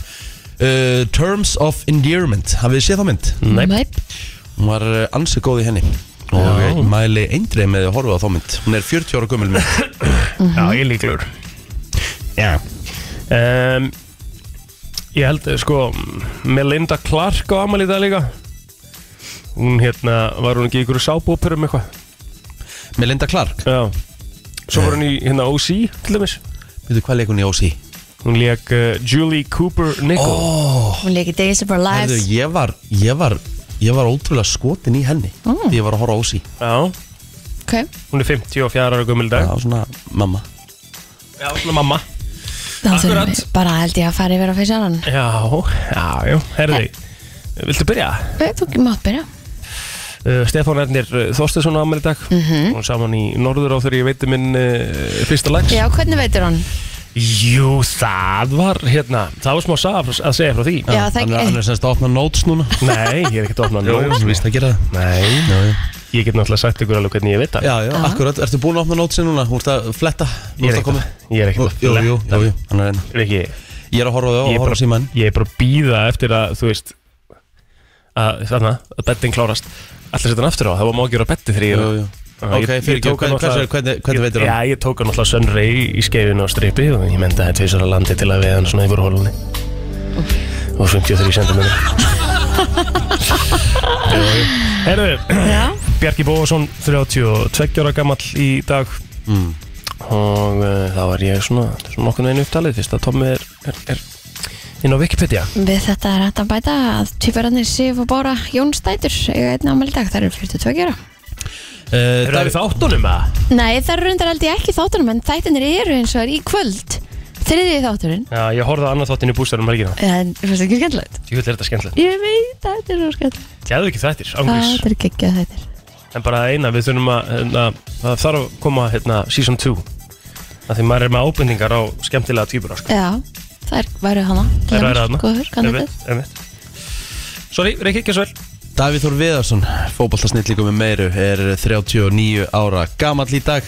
[SPEAKER 1] Terms of Endearment hafið þið séð þá mynd?
[SPEAKER 2] Nei.
[SPEAKER 3] Næp.
[SPEAKER 1] hún var eh, ansi góð í henni og
[SPEAKER 2] Já.
[SPEAKER 1] ég mæli eindrið með að horfa á þá mynd hún er 40 ára gömul mynd
[SPEAKER 2] Já, ég er líklegur
[SPEAKER 1] já.
[SPEAKER 2] um, Ég held, sko, Melinda Clark á amal í dag líka Hún hérna, var hún ekki í ykkur sábóperum eitthvað
[SPEAKER 1] Melinda Clark,
[SPEAKER 2] Já Svo var hún í hérna OC til dæmis
[SPEAKER 1] veitu hvað leik hún í OC?
[SPEAKER 2] Hún leik uh, Julie Cooper Nicol
[SPEAKER 3] Hún leikir Days of Our
[SPEAKER 1] Herðu,
[SPEAKER 3] Lives.
[SPEAKER 1] ég var ég var, ég var ótrúlega skotin í henni
[SPEAKER 3] Mm.
[SPEAKER 1] því ég var að horfa á OC
[SPEAKER 2] Já,
[SPEAKER 3] Ok,
[SPEAKER 2] hún er 54 ára gömul í dag
[SPEAKER 1] það var svona mamma
[SPEAKER 2] Já, svona mamma
[SPEAKER 3] þá þurfum
[SPEAKER 2] Akkurat.
[SPEAKER 3] við bara held ég að fara yfir á fyrst annan.
[SPEAKER 2] Já, já, já, herði Viltu byrja?
[SPEAKER 3] Þú mátt byrja.
[SPEAKER 2] Uh, Stefán Ernir Þorstesson á ammæli í dag mm
[SPEAKER 3] Mhm.
[SPEAKER 2] -hmm. Hún saman í Norður á þegar ég veiti minn uh, fyrsta lags
[SPEAKER 3] Já, hvernig veitur hann?
[SPEAKER 2] Jú, það var hérna Það var smá saga frá- að segja frá því
[SPEAKER 3] Já, það
[SPEAKER 1] hann er, hann er semst að opna notes núna
[SPEAKER 2] Nei, ég er ekkert opnað
[SPEAKER 1] Jú,
[SPEAKER 2] nóg
[SPEAKER 1] þú víst að gera það
[SPEAKER 2] Nei,
[SPEAKER 1] já, já.
[SPEAKER 2] ég get náttúrulega sagt ykkur alveg hvernig ég veit það
[SPEAKER 1] já, já, akkurat, ertu búin að opna notesi núna? Þú ert að fletta, þú
[SPEAKER 2] Ég er
[SPEAKER 1] ert að koma
[SPEAKER 2] ekkert- ég er
[SPEAKER 1] Jú,
[SPEAKER 2] ekkert að
[SPEAKER 1] jú,
[SPEAKER 2] fletta.
[SPEAKER 1] jú, jú, hann er enn
[SPEAKER 2] Riki,
[SPEAKER 1] Ég er að horfa á
[SPEAKER 2] Ég
[SPEAKER 1] það
[SPEAKER 2] er
[SPEAKER 1] og horfa
[SPEAKER 2] bara-
[SPEAKER 1] á símann
[SPEAKER 2] ég er bara að býða eftir að þú veist að þarna, að betting klárast Alltaf setja hann aftur á, það var má ekki vera betti þegar ég
[SPEAKER 1] Jú, jú.
[SPEAKER 2] Já, ég-
[SPEAKER 1] Ok,
[SPEAKER 2] ég-
[SPEAKER 1] fyrir
[SPEAKER 2] ég-
[SPEAKER 1] tók hann, hversu- hvernig hvernig
[SPEAKER 2] ég-
[SPEAKER 1] veitir hann?
[SPEAKER 2] Já, ég tók hann alltaf sönri í, í skeifinu á stripi og ég menda þetta tvisar að landi til að við hann svona yfir hólunni og 53 cm Herru,
[SPEAKER 3] Já,
[SPEAKER 2] Bjarki Bóðarsson 32 ára gamall í dag
[SPEAKER 1] Mm.
[SPEAKER 2] og uh, þá er ég svona, svona nokkurnu einu upptalið fyrst að Tommi er, er, er inn á Wikipedia
[SPEAKER 3] við þetta er hægt að bæta að tvíberarnir Sif og Bára Jónsdætur eiga einn ámæli dag, það eru 42 ára.
[SPEAKER 1] Eh,
[SPEAKER 2] Er það
[SPEAKER 1] Davíð-
[SPEAKER 2] við þáttunum að?
[SPEAKER 3] Nei, það eru reyndar aldrei ekki í þáttunum en þættinir eru eins og er í kvöld þriðið þátturinn
[SPEAKER 2] Já, ég horfði á annað þáttin í bústæðum helgina
[SPEAKER 3] en þú veist ekki skemmtilegt
[SPEAKER 2] Ég vil þetta skemmtilegt
[SPEAKER 3] ég veit, þetta er svo skemmtilegt
[SPEAKER 2] Gæðu ekki þættir,
[SPEAKER 3] það
[SPEAKER 2] ángurís
[SPEAKER 3] er geggjað þættir
[SPEAKER 2] En bara eina, við þurfum að, hérna, það þarf að koma hérna season 2 Það því maður er með ábendingar á skemmtilega týpur sko.
[SPEAKER 3] já, það er, væru hana
[SPEAKER 2] Það er ræðið þarna
[SPEAKER 3] góður, kandidat
[SPEAKER 2] Einmitt, einmitt. Sorry, Rikki, ekki svo vel
[SPEAKER 1] Davíð Þór Viðarsson, fótballtasnillíku með meiru, er 39 ára gamall í dag.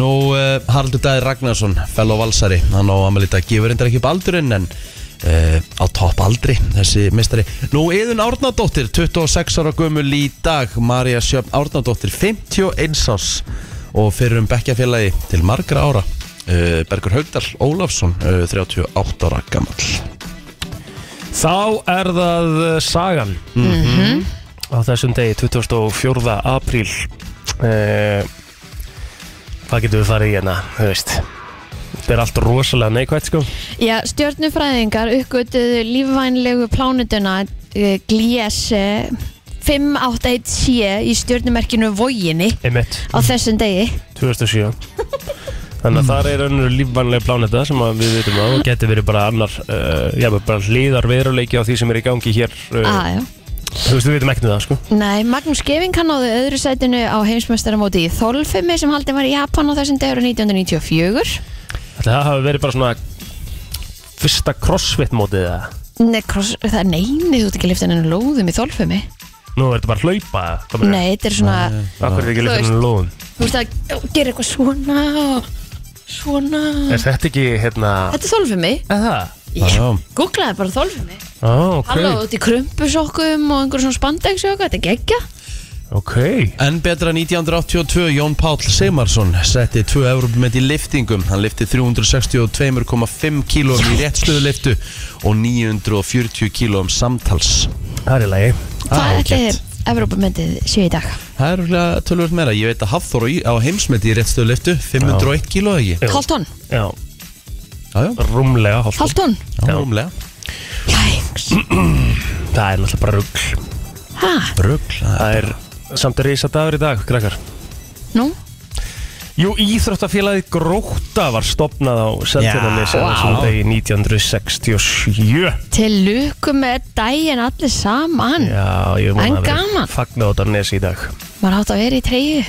[SPEAKER 1] Nú, uh, Haraldur Dæði Ragnarsson, fellow valsari, hann á amal í dag, gefur reyndar ekki upp aldurinn, en uh, á topp aldri, þessi mistari. Nú, Eðun Árnadóttir, 26 ára gömul í dag, Marja Sjöfn Árnadóttir, 51 árs og fyrir um bekkjafélagi til margra ára. uh, Bergur Haugdal Ólafsson uh, 38 ára gammal
[SPEAKER 2] Þá er það uh, sagan á þessum degi 24. apríl uh, Hvað getum við farið í hérna, þú veist Þetta er allt rosalega neikvægt sko
[SPEAKER 3] Já, stjörnufræðingar uppgötuðu lífvænlegu plánutuna eh, Gliese 581C í stjörnumerkinu Voginni
[SPEAKER 2] Einmitt,
[SPEAKER 3] á þessum degi
[SPEAKER 2] 2007 Þannig að þar er önnur lífvænlega pláneta sem að við veitum á og getur verið bara annar uh, já, bara hliðar veruleiki á því sem er í gangi hér uh,
[SPEAKER 3] ah, já.
[SPEAKER 2] Þú veist, við veitum ekkert um það sko
[SPEAKER 3] Nei, Magnús Geving kannáðu öðru sætinu á heimsmeistaramóti í Þolfimi sem haldið var í Japan á þessum degur 1994
[SPEAKER 2] Ætli Það hafi verið bara svona fyrsta crossfit mótið eða
[SPEAKER 3] Nei, kross, það er neini, þú ert ekki liftan enn lóðum í Þolfimi
[SPEAKER 2] Nú er þetta bara að hlaupa hvað meinar?
[SPEAKER 3] Nei, þetta er svona,
[SPEAKER 2] Akkur er ekki
[SPEAKER 3] Þú
[SPEAKER 2] liftan
[SPEAKER 3] veist. Mm.
[SPEAKER 2] en lóðum
[SPEAKER 3] þú veist að gera eitthvað svona og svona
[SPEAKER 2] Er þetta ekki hérna
[SPEAKER 3] Þetta er Þolfimi
[SPEAKER 2] Er það?
[SPEAKER 1] Já.
[SPEAKER 3] Googlaði bara Þolfimi
[SPEAKER 2] Á, ok
[SPEAKER 3] Halló, þú ert í krumpusokkum og einhver svona spandegsjóka, þetta er geggja
[SPEAKER 2] Ok
[SPEAKER 1] En betra 1982, Jón Páll Seymarsson setti 2 európumett í liftingum. Hann lifti 362,5 kílóum í réttstöðu liftu og 940 kílóum samtals.
[SPEAKER 2] Það er í lagi
[SPEAKER 3] Hvað
[SPEAKER 1] Ah,
[SPEAKER 3] þetta er
[SPEAKER 1] ágætt.
[SPEAKER 3] Evrópamöndið sé í dag?
[SPEAKER 1] Það er rúglega tölvöld meira. Ég veit að Hafþór á- á heimsmeti í réttstöðu liftu, 501 kíló ekki.
[SPEAKER 2] Jú.
[SPEAKER 3] Hálftón,
[SPEAKER 2] Já
[SPEAKER 1] Já, já,
[SPEAKER 2] Rúmlega hálft
[SPEAKER 3] hálftón
[SPEAKER 1] já, rúmlega.
[SPEAKER 3] Jæks
[SPEAKER 2] Það er náttúrulega bara rugg
[SPEAKER 3] Hæ,
[SPEAKER 1] Rugl.
[SPEAKER 2] Það er samt að reysa dagur í dag, krakkar
[SPEAKER 3] nú?
[SPEAKER 2] Jú, Íþróttafélagið Gróta var stopnað á Seltjarnanis
[SPEAKER 1] Já,
[SPEAKER 2] wow.
[SPEAKER 1] vá.
[SPEAKER 2] þessum degi 1967
[SPEAKER 3] Til luku með daginn allir saman
[SPEAKER 2] Já, ég
[SPEAKER 3] En
[SPEAKER 2] vona að
[SPEAKER 3] gaman.
[SPEAKER 2] fagna út af nesi í dag
[SPEAKER 3] Maður hátt að vera í treyju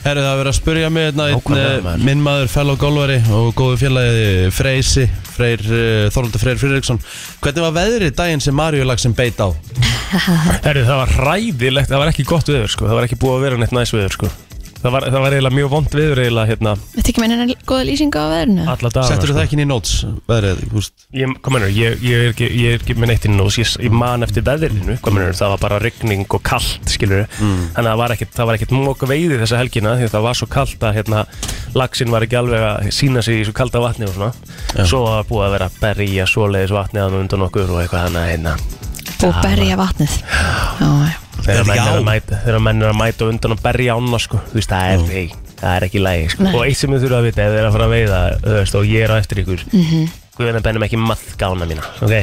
[SPEAKER 1] Herru, það er verið að spurja mig hérna, einn,
[SPEAKER 2] Nákvæmlega,
[SPEAKER 1] eh,
[SPEAKER 2] maður.
[SPEAKER 1] minn maður fellow golfari og góðu félagi Freysi, Freyr, uh, Þorvaldur Freyr Friðriksson. Hvernig var veðrið daginn sem Maríu lagsin beit á?
[SPEAKER 2] Herru, það var ræðilegt, það var ekki gott viður sko. Það var ekki búið að vera neitt næs viður sko. það, var, það var eiginlega mjög vond viður eiginlega hérna
[SPEAKER 3] Þetta ekki meina hennar góða lýsingu á veðrinu?
[SPEAKER 2] alla sko. dagar
[SPEAKER 1] Settur Ah, það sko- ekki inn í notes, veðrið, þú veist?
[SPEAKER 2] Ég, hvað mennur, ég, ég, er ekki, ég er ekki með neitt inn og ég, ég man eftir veðrinu, hvað mennur, það var bara rigning og kallt, skilur þannig að það var ekkert, það var ekkert móka veiði þessa helgina því að það var svo kallt að hérna laxinn var ekki alveg að sína sig í svo kalda vatni og svona, svo var búið að vera að berja svoleiðis vatni að undan okkur og eitthvað þannig að hérna
[SPEAKER 3] Og berja vatnið Já, já
[SPEAKER 1] Er
[SPEAKER 2] þegar
[SPEAKER 1] þetta
[SPEAKER 2] menn
[SPEAKER 1] ekki
[SPEAKER 2] er
[SPEAKER 1] á?
[SPEAKER 2] að mæta, þegar menn er að mæta á undan og berja ána, sko, þú veist, það er, ei, það er ekki lægi, sko,
[SPEAKER 3] Nei.
[SPEAKER 2] og eitt sem við þurfum að vita ef þið er að fara að veiða, þú veist, og ég er á eftir ykkur mm
[SPEAKER 3] Mhm.
[SPEAKER 2] -hmm. guðan að bennum ekki maðgána mína, ok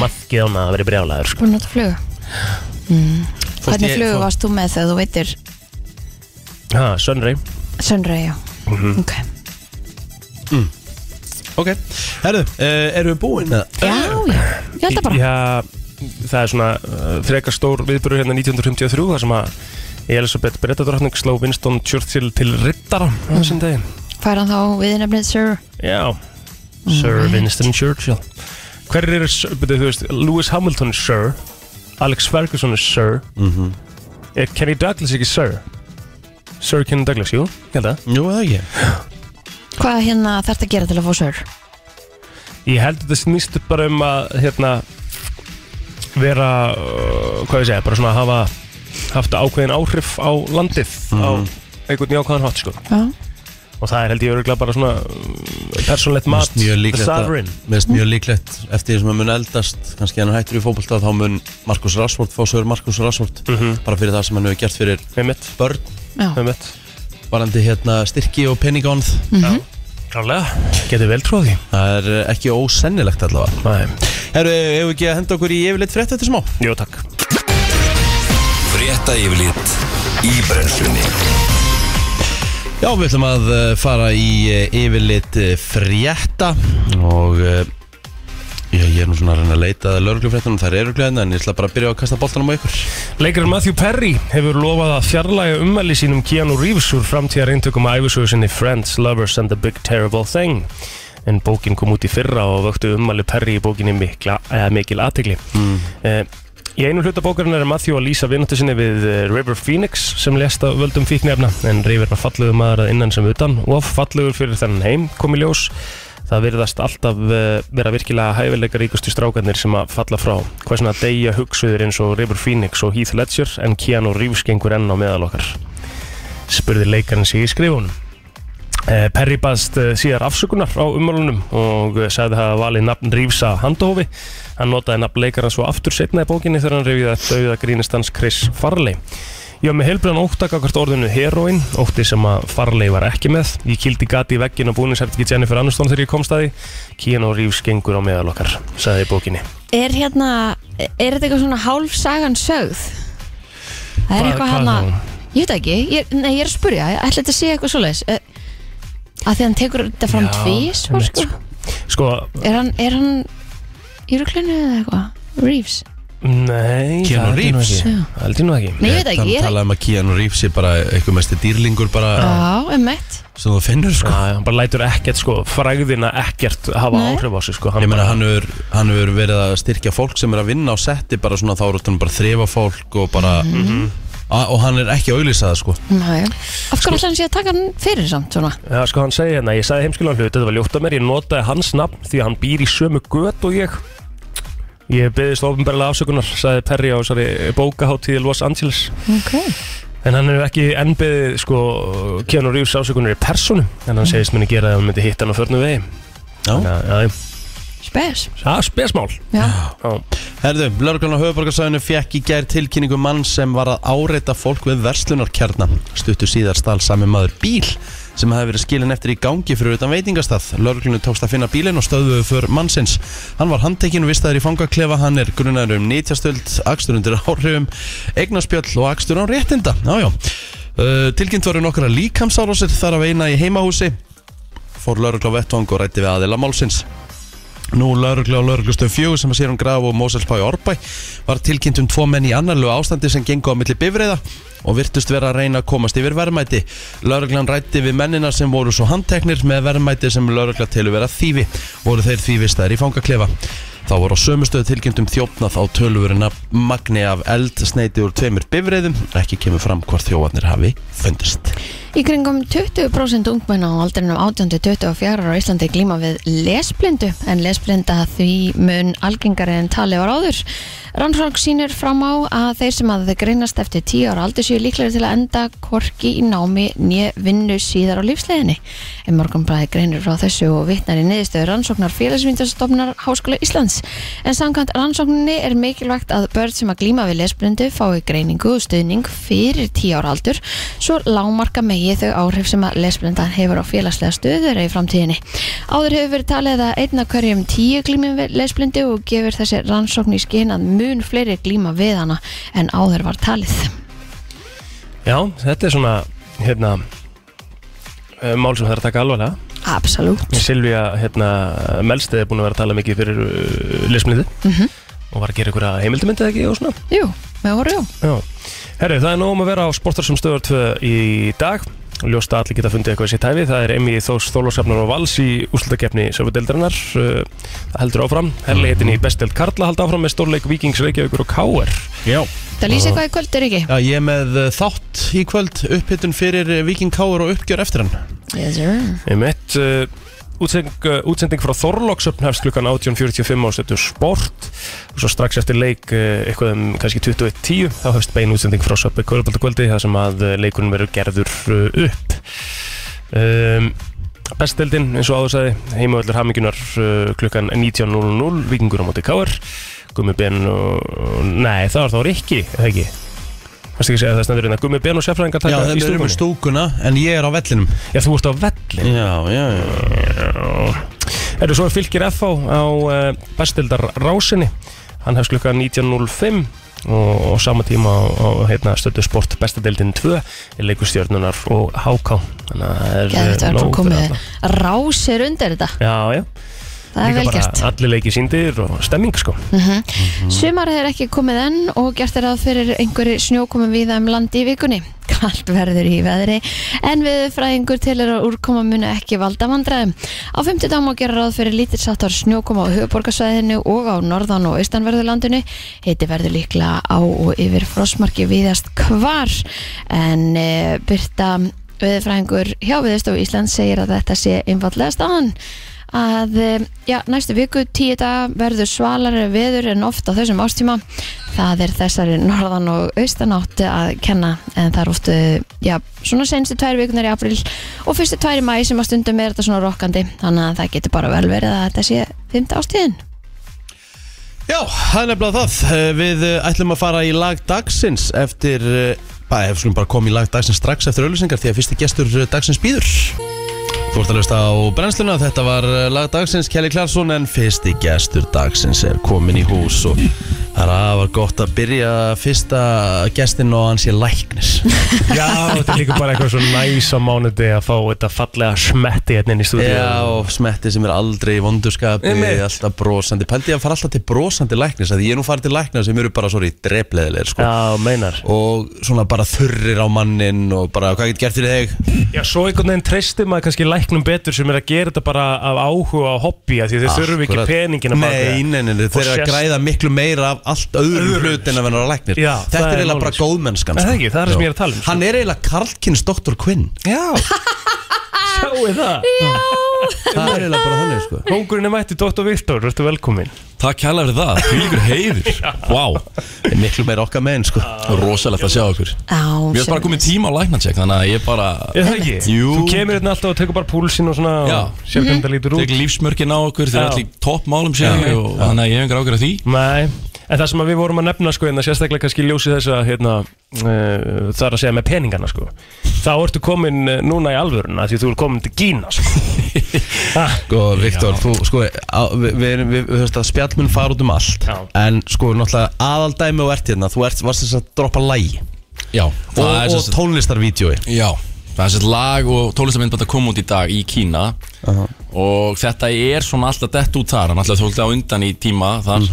[SPEAKER 2] maðgið ána að vera brjálaður, sko
[SPEAKER 3] Búin að nota flugu Hvernig
[SPEAKER 1] ég-
[SPEAKER 3] flugu
[SPEAKER 1] fórst-
[SPEAKER 3] varst þú með þegar þú veitir
[SPEAKER 2] ha, sönri,
[SPEAKER 3] sönrei, já
[SPEAKER 2] Mhm.
[SPEAKER 3] Ok
[SPEAKER 1] Ok, herru, uh, erum við búin með
[SPEAKER 3] Já, já, ég held að bara
[SPEAKER 2] já, það er svona uh, frekar stór viðbyrður hérna 1953 þar sem að Elisabeth Brettadrottning sló Winston Churchill til rittara á þessum degi
[SPEAKER 3] Hvað er hann þá við nefnið Sir?
[SPEAKER 2] Já, Sir Winston Churchill Hver er, betur þú veist, Lewis Hamilton er Sir Alex Ferguson er Sir
[SPEAKER 1] Mhm.
[SPEAKER 2] Er Kenny Douglas ekki Sir? Sir Kenny Douglas, jú, ég held að
[SPEAKER 1] Jú, það ekki
[SPEAKER 3] Hvað hérna þarf að gera til að fá Sir?
[SPEAKER 2] Ég held að þetta snýst bara um að, hérna vera, uh, hvað ég segja, bara svona hafa haft ákveðin áhrif á landið á
[SPEAKER 1] Mhm.
[SPEAKER 2] einhvern jákvæðan hátt, sko
[SPEAKER 3] Já,
[SPEAKER 2] og það er held ég örgulega bara svona persónlegt mat,
[SPEAKER 1] Mest mjög
[SPEAKER 2] the
[SPEAKER 1] líklegt
[SPEAKER 2] sovereign
[SPEAKER 1] að- Mest mjög líklegt Eftir því sem að mun eldast kannski hann er hættur í fótbolta Þá mun Markus Rásvort fá sögur Markus Rásvort
[SPEAKER 2] Mhm.
[SPEAKER 1] Bara fyrir það sem hann hefur gert fyrir
[SPEAKER 2] með mitt,
[SPEAKER 1] börn
[SPEAKER 3] já,
[SPEAKER 2] með mitt
[SPEAKER 1] Varandi hérna styrki og peningónð
[SPEAKER 3] Mm.
[SPEAKER 2] Klálega, getur vel tróð því
[SPEAKER 1] Það er eh, ekki ósennilegt allavega
[SPEAKER 2] Nei.
[SPEAKER 1] Herru, hefur ekki að henda okkur í yfirleitt frétt eftir smá?
[SPEAKER 2] Jú, takk
[SPEAKER 5] Frétta yfirlit í brennslunni
[SPEAKER 1] Já, við ætlum að eh, fara í eh, yfirlit eh, frétta og eh, ég, ég er nú svona að reyna að leita að lauruglufréttunum, það eru glæðina en ég ætla bara að byrja á að kasta boltanum á ykkur
[SPEAKER 2] Leikarinn Matthew Perry hefur lofað að fjarlæga ummæli sínum Keanu Reeves úr framtíðar eintökum að æfisögu sinni Friends, Lovers and the Big Terrible Thing en bókin kom út í fyrra og vöktu ummæli Perry í bókinni mikla, eh, mikil aðtegli mm. Í einu hluta bókarinn er Matthew að lýsa vináttu sinni við eh, River Phoenix sem lést á völdum fíknefna en River var fallegur maður að innan sem utan og fallegur fyrir þennan heim kom í ljós það virðast alltaf eh, vera virkilega hæfilega ríkustu strákarnir sem að falla frá hvað svona deyja hugsuður eins og River Phoenix og Heath Ledger en Keanu Reeves gengur enn á meðal okkar spurði leikarinn sig í skrifunum Eh, Perry baðst eh, síðar afsökunar á umálunum og eh, sagði það að valið nafn Rífs að handahófi. Hann notaði nafn leikarans svo aftur setna í bókinni þegar hann reyfið að dauða grínist hans Chris Farley. Ég var með heilbrenn óttak akkvart orðinu heroin, ótti sem að Farley var ekki með. Ég kildi gati í veggin og búinishertiki Jennifer Aniston þegar ég komst að því. Keanu Reeves gengur á meðal okkar, sagði í bókinni.
[SPEAKER 3] Er hérna, er þetta eitthvað svona hálfsagan sögð? Það
[SPEAKER 2] Hvað-
[SPEAKER 3] er eitthvað
[SPEAKER 2] hvað
[SPEAKER 3] hérna
[SPEAKER 2] þá?
[SPEAKER 3] Ég veit það ekki, ég, nei ég er að spurja Ætli þetta sé eitthvað svoleiðis Eh, Af því hann tekur þetta fram
[SPEAKER 2] Já,
[SPEAKER 3] tvís sko.
[SPEAKER 2] einmitt, Sko,
[SPEAKER 3] Er hann, er hann Í ruglunni eða eitthvað Reeves
[SPEAKER 2] nei,
[SPEAKER 1] Keanu
[SPEAKER 2] það held ég nú
[SPEAKER 1] Reeves?
[SPEAKER 2] ekki.
[SPEAKER 3] Já.
[SPEAKER 2] Það held ég nú ekki.
[SPEAKER 3] Nei, ég veit það ekki, ég er
[SPEAKER 1] talaði um að Keanu Reeves er bara eitthvað mest dýrlingur bara
[SPEAKER 2] um
[SPEAKER 3] Já, emmett
[SPEAKER 1] sem þú finnur sko
[SPEAKER 2] Já, já, hann bara lætur ekkert sko, fræðina ekkert hafa
[SPEAKER 3] Nei.
[SPEAKER 2] áhrif á sig sko
[SPEAKER 1] Ég meina
[SPEAKER 2] bara-
[SPEAKER 1] hann hefur, hann hefur verið að styrkja fólk sem er að vinna á setti bara svona þá eru þannig bara að þrefa fólk og bara
[SPEAKER 3] Mhm.
[SPEAKER 1] A- og hann er ekki að auðlýsa það sko
[SPEAKER 3] Af
[SPEAKER 2] Sko-
[SPEAKER 3] hverju ætla hann sé að taka hann fyrir samt svona
[SPEAKER 2] Já, sko hann segi hérna, ég sagði heimskilvæðan hlut, þetta var ljótt af mér, ég notaði hans nafn því að hann býr í sömu gött og ég. Ég byggðist ofinbarlega afsökunar, sagði Perry á þessari bókaháttíði Los Angeles.
[SPEAKER 3] Ok
[SPEAKER 2] En hann hefur ekki enn beðið, sko, Keanu Reeves afsökunar í personu, en hann segist minni gera það að hann myndi hitta hann á förnum vegi.
[SPEAKER 1] Já.
[SPEAKER 2] Já, já,
[SPEAKER 3] Spes
[SPEAKER 2] það er spesmál.
[SPEAKER 3] Já,
[SPEAKER 2] Já.
[SPEAKER 1] Herðu, lauruglan á höfuborgarsæðinu fekk í gær tilkynningu um mann sem var að áreita fólk við verslunarkjarnan. Stuttu síðar stál sami maður bíl sem hafði verið skilin eftir í gangi fyrir utan veitingastað. Lauruglunum tókst að finna bílinn og stöðuðu för mannsins. Hann var handtekinn og vistaður í fangaklefa, hann er grunnaður um nýtjastöld, akstur undir áhrifum, eignaspjöll og akstur á réttinda. Já, já. Uh, tilkynnt voru nokkra líkamsárásir þar af eina í heimahúsi. Fór laurugla á vettvang og rætti við aðila málsins. Nú lauruglu á lauruglustöð fjögur sem að sér um graf og Móselsbæ og Orbæ var tilkynnt um tvo menn í annarlegu ástandi sem gengu á milli bifreiða og virtust vera að reyna að komast yfir verðmæti. Lauruglan rætti við mennina sem voru svo handteknir með verðmæti sem laurugla telur vera þýfi voru þeir þývistaðir í fangaklefa. Þá voru á sömustöðu tilkynnt um þjófnað á tölvurina magni af eld sneiti úr tveimur bifreiðum ekki kemur fram hvar þjófarnir hafi fundist.
[SPEAKER 3] Í kringum 20% ungmenna á aldrinum 18-24 ára á Íslandi glíma við lesblindu en lesblinda því mun algengari en tali var áður. Rannsók sýnir fram á að þeir sem að þau greinast eftir 10 ára aldur séu líklegri til að enda korki í námi nýja vinnu síðar á lífsleginni. En morgunbræði greinir frá þessu og vitnar í niðurstöðu rannsóknar félagsvindastofnar Háskóla Íslands. En samkvæmt rannsókninni er mikilvægt að börn sem að glíma við lesblindu fái greiningu og stuðning fyrir 10 ára aldur svo lágmarka megi þau áhrif sem að lesblindan hefur á félagslega stöður í framtíðinni. Áður hefur verið talið að einna hverjum tíu glímum við lesblindi og gefur þessi rannsókn í skinn að mun fleiri glíma við hana en áður var talið.
[SPEAKER 2] Já, þetta er svona, hérna, eh, mál sem það er að taka alvarlega.
[SPEAKER 3] Absolutt.
[SPEAKER 2] Silvía hérna, Melsteð er búin að vera að tala mikið fyrir uh, lesmlindi og var að gera einhverja heimildamyndið ekki og svona
[SPEAKER 3] Jú, með voru jú.
[SPEAKER 2] Já. Herri, það er nóg um að vera á sportar sem stöður 2 í dag Ljóst að allir geta fundið eitthvað í sér tæfi Það er Emi Þós Þólasafnar og Vals í úslutakefni Söfudeldarinnar uh, Það heldur áfram Herliðin í bestdelt Karla halda áfram með stórleik Víkings Reykjavíkur og K.R.
[SPEAKER 1] Já.
[SPEAKER 3] Það lýsi eitthvað í kvöld er ekki.
[SPEAKER 1] Já, ég er með eh, þátt í kvöld upphittun fyrir eh, Víking Káur og uppgjör eftir hann.
[SPEAKER 3] Yes sir.
[SPEAKER 2] Einmitt, uh, útsending, uh, útsending frá Þorlóksöfn hefst klukkan 18.45 á stötu Sport og svo strax eftir leik uh, eitthvað um kannski 21.10 þá hefst bein útsending frá Söpbi Kvöldbaldakvöldi þar sem að uh, leikunum verður gerður uh, upp um, Besteldin eins og áður sagði heimavöldur hamingunar uh, klukkan 19.00 vikingur á móti Káar Gummi Ben og... Nei, það var þá Rikki, eða ekki? Varstu ekki að segja að það stendur hérna Gummi Ben og sérfræðingar
[SPEAKER 1] Já, um
[SPEAKER 2] taka
[SPEAKER 1] þeir
[SPEAKER 2] í
[SPEAKER 1] eru með
[SPEAKER 2] stúkunni?
[SPEAKER 1] stúkuna en ég er á vellinum.
[SPEAKER 2] Já, þú ert á vellin
[SPEAKER 1] Já, já, já.
[SPEAKER 2] Erðu svo er fylgir FH á uh, bestildar Rásinni Hann hefst klukka 19.05 og, og sama tíma á, á hérna, stöðu sport bestadildin 2 er leikustjörnunar og HK Þannig að það er
[SPEAKER 3] Geðvægt
[SPEAKER 2] eh,
[SPEAKER 3] að
[SPEAKER 2] nóg
[SPEAKER 3] vera
[SPEAKER 2] fyrir
[SPEAKER 3] komið
[SPEAKER 2] alla.
[SPEAKER 3] rásir undir þetta.
[SPEAKER 2] Já, já,
[SPEAKER 3] Það er vel gert.
[SPEAKER 2] allir leiki síndir og stemming sko
[SPEAKER 3] Sumarið er Mhm. ekki komið enn og gert er að fyrir einhverju snjókomum viða um landi í vikunni. Kallt verður í veðri en við fræðingur til er að úrkoma muni ekki valda vandræðum. Á 50 dag má gera ráð fyrir lítill sáttar snjókoma á höfuborgarsvæðinu og á norðan og austanverðurlandinu. Heiti verður líklega á og yfir frostmarki viðast hvar en e, byrta viðfræðingur hjá viðstofu Íslands segir að þetta sé einfallega staðan að eh, já, næstu viku tíu dag verður svalari veður en oft á þessum ástíma það er þessari norðan og austanátt að kenna en það er oft eh, já, svona senstu tvær vikunar í april og fyrstu tvær í mæ sem að stundum er þetta svona rokkandi þannig að það getur bara vel verið að þetta sé fymta ástíðin
[SPEAKER 1] Já, það er nefnilega það Eh, Við eh, ætlum að fara í lag dagsins eftir eh, Bara, ef við skulum bara koma í lag dagsins strax eftir auðlýsingar Því að fyrsti gestur eh, dagsins býður Þú ert að hlusta á brennsluna Þetta var eh, lag dagsins, Kelly Clarkson En fyrsti gestur dagsins er komin í hús Og það er afar gott að byrja fyrsta gestin og hann sé læknis
[SPEAKER 2] Já, þetta er líka bara eitthvað svo næs á mánuði að fá þetta fallega smetti hérna inn í stúdíu
[SPEAKER 1] Já, og smetti sem er aldrei í vondurskapi
[SPEAKER 2] Einmitt.
[SPEAKER 1] Alltaf brosandi, pældi ég að fara alltaf til brosandi læknis af Því ég er nú farið til lækna sem eru bara, sorry, drefleðilegir sko.
[SPEAKER 2] Já, meinar
[SPEAKER 1] og svona bara þurrir á mannin og bara hvað getur gert fyrir þig
[SPEAKER 2] Já, svo einhvern veginn treystir maður kannski læknum betur sem er að gera þetta bara af áhuga og hobby að því þeir þurfum ekki
[SPEAKER 1] Akkurat.
[SPEAKER 2] peningina á bak
[SPEAKER 1] Nei,
[SPEAKER 2] við það.
[SPEAKER 1] nei, nei, nei,
[SPEAKER 2] Og
[SPEAKER 1] þeir eru að
[SPEAKER 2] sérst-
[SPEAKER 1] græða miklu meira af allt öðrum hlut en að vera læknir
[SPEAKER 2] Já,
[SPEAKER 1] Þetta er
[SPEAKER 2] það er
[SPEAKER 1] eiginlega bara
[SPEAKER 2] málið, sko.
[SPEAKER 1] góðmennskan
[SPEAKER 2] Nei,
[SPEAKER 1] sko.
[SPEAKER 2] það er ekki, það er það sem ég er að tala um, sko.
[SPEAKER 1] Hann er eiginlega Karlkins Dr. Quinn
[SPEAKER 2] Já Sjáu það
[SPEAKER 1] Það er eiginlega bara þannig sko
[SPEAKER 2] Kongurinn er mætti Dóttar Viltor, verður velkomin
[SPEAKER 5] Takk kæla fyrir það, því líkur heiður Vá,
[SPEAKER 1] Er Miklu meira okkar megin sko
[SPEAKER 5] rosalegt að sjá okkur Mér
[SPEAKER 3] á,
[SPEAKER 5] finnst bara komið tíma á læknatjekk Þannig að ég bara
[SPEAKER 2] Er það ekki?
[SPEAKER 5] Jú.
[SPEAKER 2] Þú kemur hérna alltaf og tekur bara púlsinn og svona
[SPEAKER 5] Já.
[SPEAKER 2] og Sér hvernig það lítur út
[SPEAKER 5] tek lífsmörkin á okkur Þeir
[SPEAKER 2] Já.
[SPEAKER 5] eru allir toppmálum sér og Þannig að ég hef engar ágjör af því
[SPEAKER 2] Nei, en það sem að við vorum að nefna sko hérna sérstaklega kannski ljósi þess að hérna uh, það er að segja með peningana sko þá ertu komin eh, núna í alvöruna því þú er komin til Kína sko
[SPEAKER 1] Sko, Viktor, þú, sko, á, við, við, erum- við, við höfum að spjallmenn fara út um allt
[SPEAKER 2] Já.
[SPEAKER 1] En sko, náttúrulega aðaldæmi og ert hérna Þú ert, varst þess að droppa lægi
[SPEAKER 5] Já,
[SPEAKER 1] Og,
[SPEAKER 5] það er
[SPEAKER 1] og
[SPEAKER 5] sérst
[SPEAKER 1] tónlistarvídjói
[SPEAKER 5] Já, það er sérst lag og tónlistamindband að koma út í dag í Kína Og þetta er svona alltaf dett út þar Hann alltaf tókti á undan í tíma þar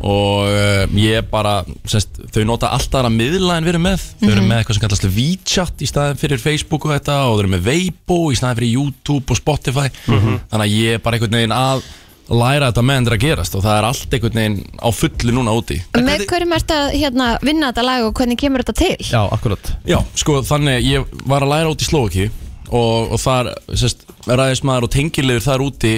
[SPEAKER 5] Og uh, ég bara, sérst, þau nota alltaf aðra miðla en við erum með Þau eru með eitthvað sem kallast WeChat í staðin fyrir Facebook og þetta Og þau eru með Weibo í staðin fyrir YouTube og Spotify Þannig að ég er bara einhvern veginn að læra þetta með endur að gerast Og það er allt einhvern veginn á fullu núna úti
[SPEAKER 3] með hverjum ert að hérna, vinna þetta lag og hvernig kemur þetta til
[SPEAKER 1] Já, akkurat
[SPEAKER 5] Já, sko þannig ég var að læra út í Slovaki og, og þar sest, ræðist maður og tengilegur þar úti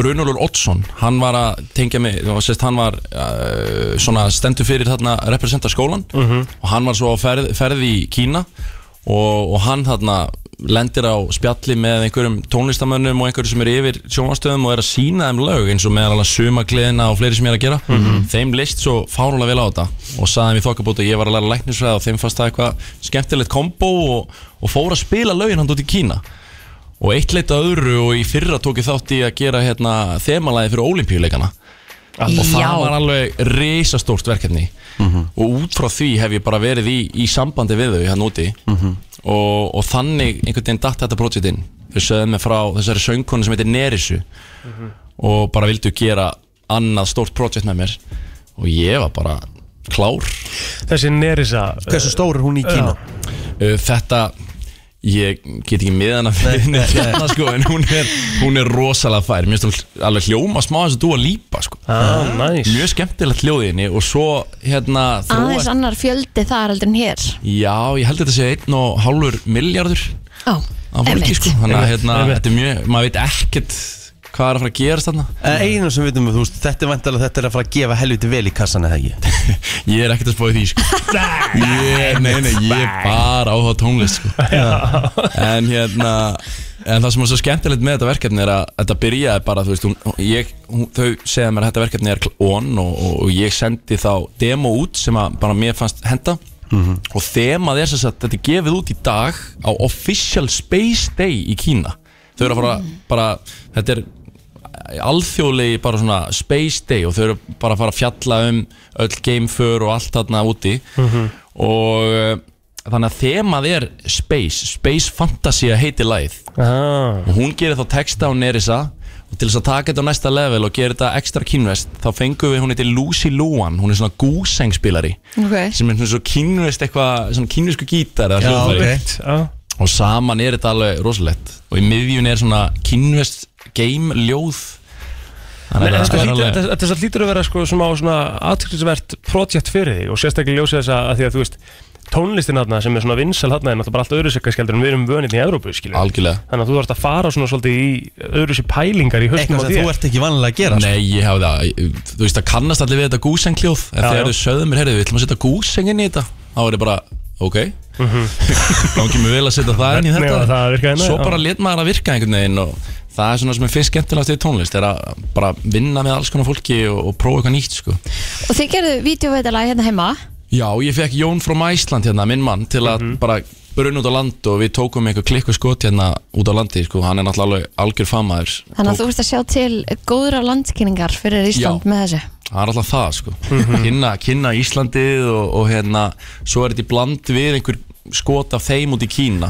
[SPEAKER 5] Runolur Oddsson, hann var að tengja mig, og, sest, hann var uh, svona stendur fyrir þarna representa skólan og hann var svo á ferð, ferð í Kína og, og hann þarna lendir á spjalli með einhverjum tónlistamönnum og einhverjum sem eru yfir sjónvastöðum og er að sína þeim lög eins og meðal alveg sumagliðina og fleiri sem ég er að gera þeim list svo fárúlega vel á þetta og saði mér þokkabót og ég var að læra læknisfræða og þeim fannst það eitthvað skemmtilegt kombo og, og fór að spila lögin hann út í Kína og eitt leita öðru og í fyrra tók ég þátt í að gera hérna, þemalæði fyrir ólimpíuleikana og það var alveg risastórt verkefni og út frá því hef ég bara verið í, í sambandi við þau hérna úti og, og þannig einhvern veginn datt þetta projektin þau sögðu mig frá þessari söngkonu sem heitir Nerisu og bara vildu gera annað stórt projekt með mér og ég var bara klár
[SPEAKER 2] þessi Nerissa
[SPEAKER 1] Hversu stór er hún í Kína?
[SPEAKER 5] Uh, þetta ég get ekki með hana fyrir neitt hérna sko en hún er, hún er rosalega fær, mér finnst hún alveg hljóma smá þess að þú að lípa sko
[SPEAKER 2] Ah, næs
[SPEAKER 5] mjög skemmtilegt hljóðinni og svo hérna
[SPEAKER 3] aðeins
[SPEAKER 5] þróast-
[SPEAKER 3] annar fjöldi þar heldur en hér
[SPEAKER 5] Já, ég held að þetta sé einn og hálfur miljardur
[SPEAKER 3] á,
[SPEAKER 5] á fólki
[SPEAKER 3] einmitt.
[SPEAKER 5] sko Þannig að
[SPEAKER 2] Einmitt,
[SPEAKER 5] hérna,
[SPEAKER 2] einmitt.
[SPEAKER 5] þetta er mjög, maður veit ekkert hvað er að fara að gerast þarna
[SPEAKER 1] En einu Eh, sem við veitum, þú veist, þetta er vantalega þetta er að fara að gefa helviti vel í kassan eða ekki
[SPEAKER 5] Ég er ekkert að spáði því sko Ég, nei, nei, ég er bara áhuga á tónlist sko En hérna, en það sem er svo skemmtilegt með þetta verkefni er að þetta byrjaði bara, þú veist, hún, ég, hún, þau segja mér að þetta verkefni er on og, og, og ég sendi þá demo út sem að bara mér fannst henda Og þemað er þess að þetta er gefið út í dag á Official Space Day í Kína Þau eru að fara, bara, þetta er alþjóðlegi bara svona space day og þau eru bara að fara að fjalla um öll gameför og allt þarna úti og uh, þannig að þemað er space space fantasy að heiti lagið
[SPEAKER 2] ah,
[SPEAKER 5] og hún gerir þá texta á Nerissa og til þess að taka þetta á næsta level og gera þetta ekstra kínvest þá fengum við, hún heitir Lucy Luan hún er svona gúsengspilari
[SPEAKER 3] ok
[SPEAKER 5] sem er svona svo kínvest eitthvað svona kínvesku gítar eða hljóðfæri
[SPEAKER 2] ah.
[SPEAKER 5] og saman er þetta alveg rosalegt og í miðjun er svona kynvest game ljóð
[SPEAKER 2] Nei,
[SPEAKER 5] þannig
[SPEAKER 2] en
[SPEAKER 5] að
[SPEAKER 2] sko,
[SPEAKER 5] það er
[SPEAKER 2] hlýtur-
[SPEAKER 5] alveg
[SPEAKER 2] Þetta þetta hlýtur að vera sko, smá svona aðtryggsvert projekt fyrir þig og sérstaklega ljósið þess að, að því að þú veist tónlistin þarna sem er svona vinsal þarna er náttúrulega bara allt öðru sér kannski en við erum vönið í Evrópu skilur
[SPEAKER 5] algjörlega
[SPEAKER 2] þannig að þú þarfst að fara svona svolítið í öðru sér pælingar í höstum
[SPEAKER 1] Eitthvað
[SPEAKER 2] á
[SPEAKER 1] sem þú
[SPEAKER 2] þér
[SPEAKER 1] ert ekki vanlega að gera sko.
[SPEAKER 5] Nei, ég hafði það, þú veist það kannast allir við þetta gúsengljóð En
[SPEAKER 2] Já,
[SPEAKER 5] þegar
[SPEAKER 2] já.
[SPEAKER 5] þau sögðu mér, heyrðu, við ætlum að setja gúsengin í þetta Þá er ég bara, ok Gangi mér vel að setja það inn í
[SPEAKER 2] Hvernig var
[SPEAKER 5] þetta
[SPEAKER 2] Mhm. það að virka hérna?
[SPEAKER 5] Svo
[SPEAKER 2] Já.
[SPEAKER 5] bara let maður að virka einhvern veginn Og það er svona sem er fyrst skemmtilegt við tónlist Er að bara vinna með alls konar fólki og, og prófa eitthvað nýtt sko
[SPEAKER 3] Og þið gerðu vídeoveitalag hérna heima
[SPEAKER 5] Já, ég fekk Jón frá Mæsland hérna, minn mann Til að bara brunna út á land Og við tókum einhver klikku skot hérna út á landi sko. Hann er náttúrulega alveg algjör famaður
[SPEAKER 3] Þannig að þú ert að sjá til góðra landkynningar fyrir Ísland
[SPEAKER 5] Já.
[SPEAKER 3] með þessu
[SPEAKER 5] Það er alltaf það sko kynna, kynna Íslandið og, og hérna Svo er þetta í bland við einhver skot af þeim út í Kína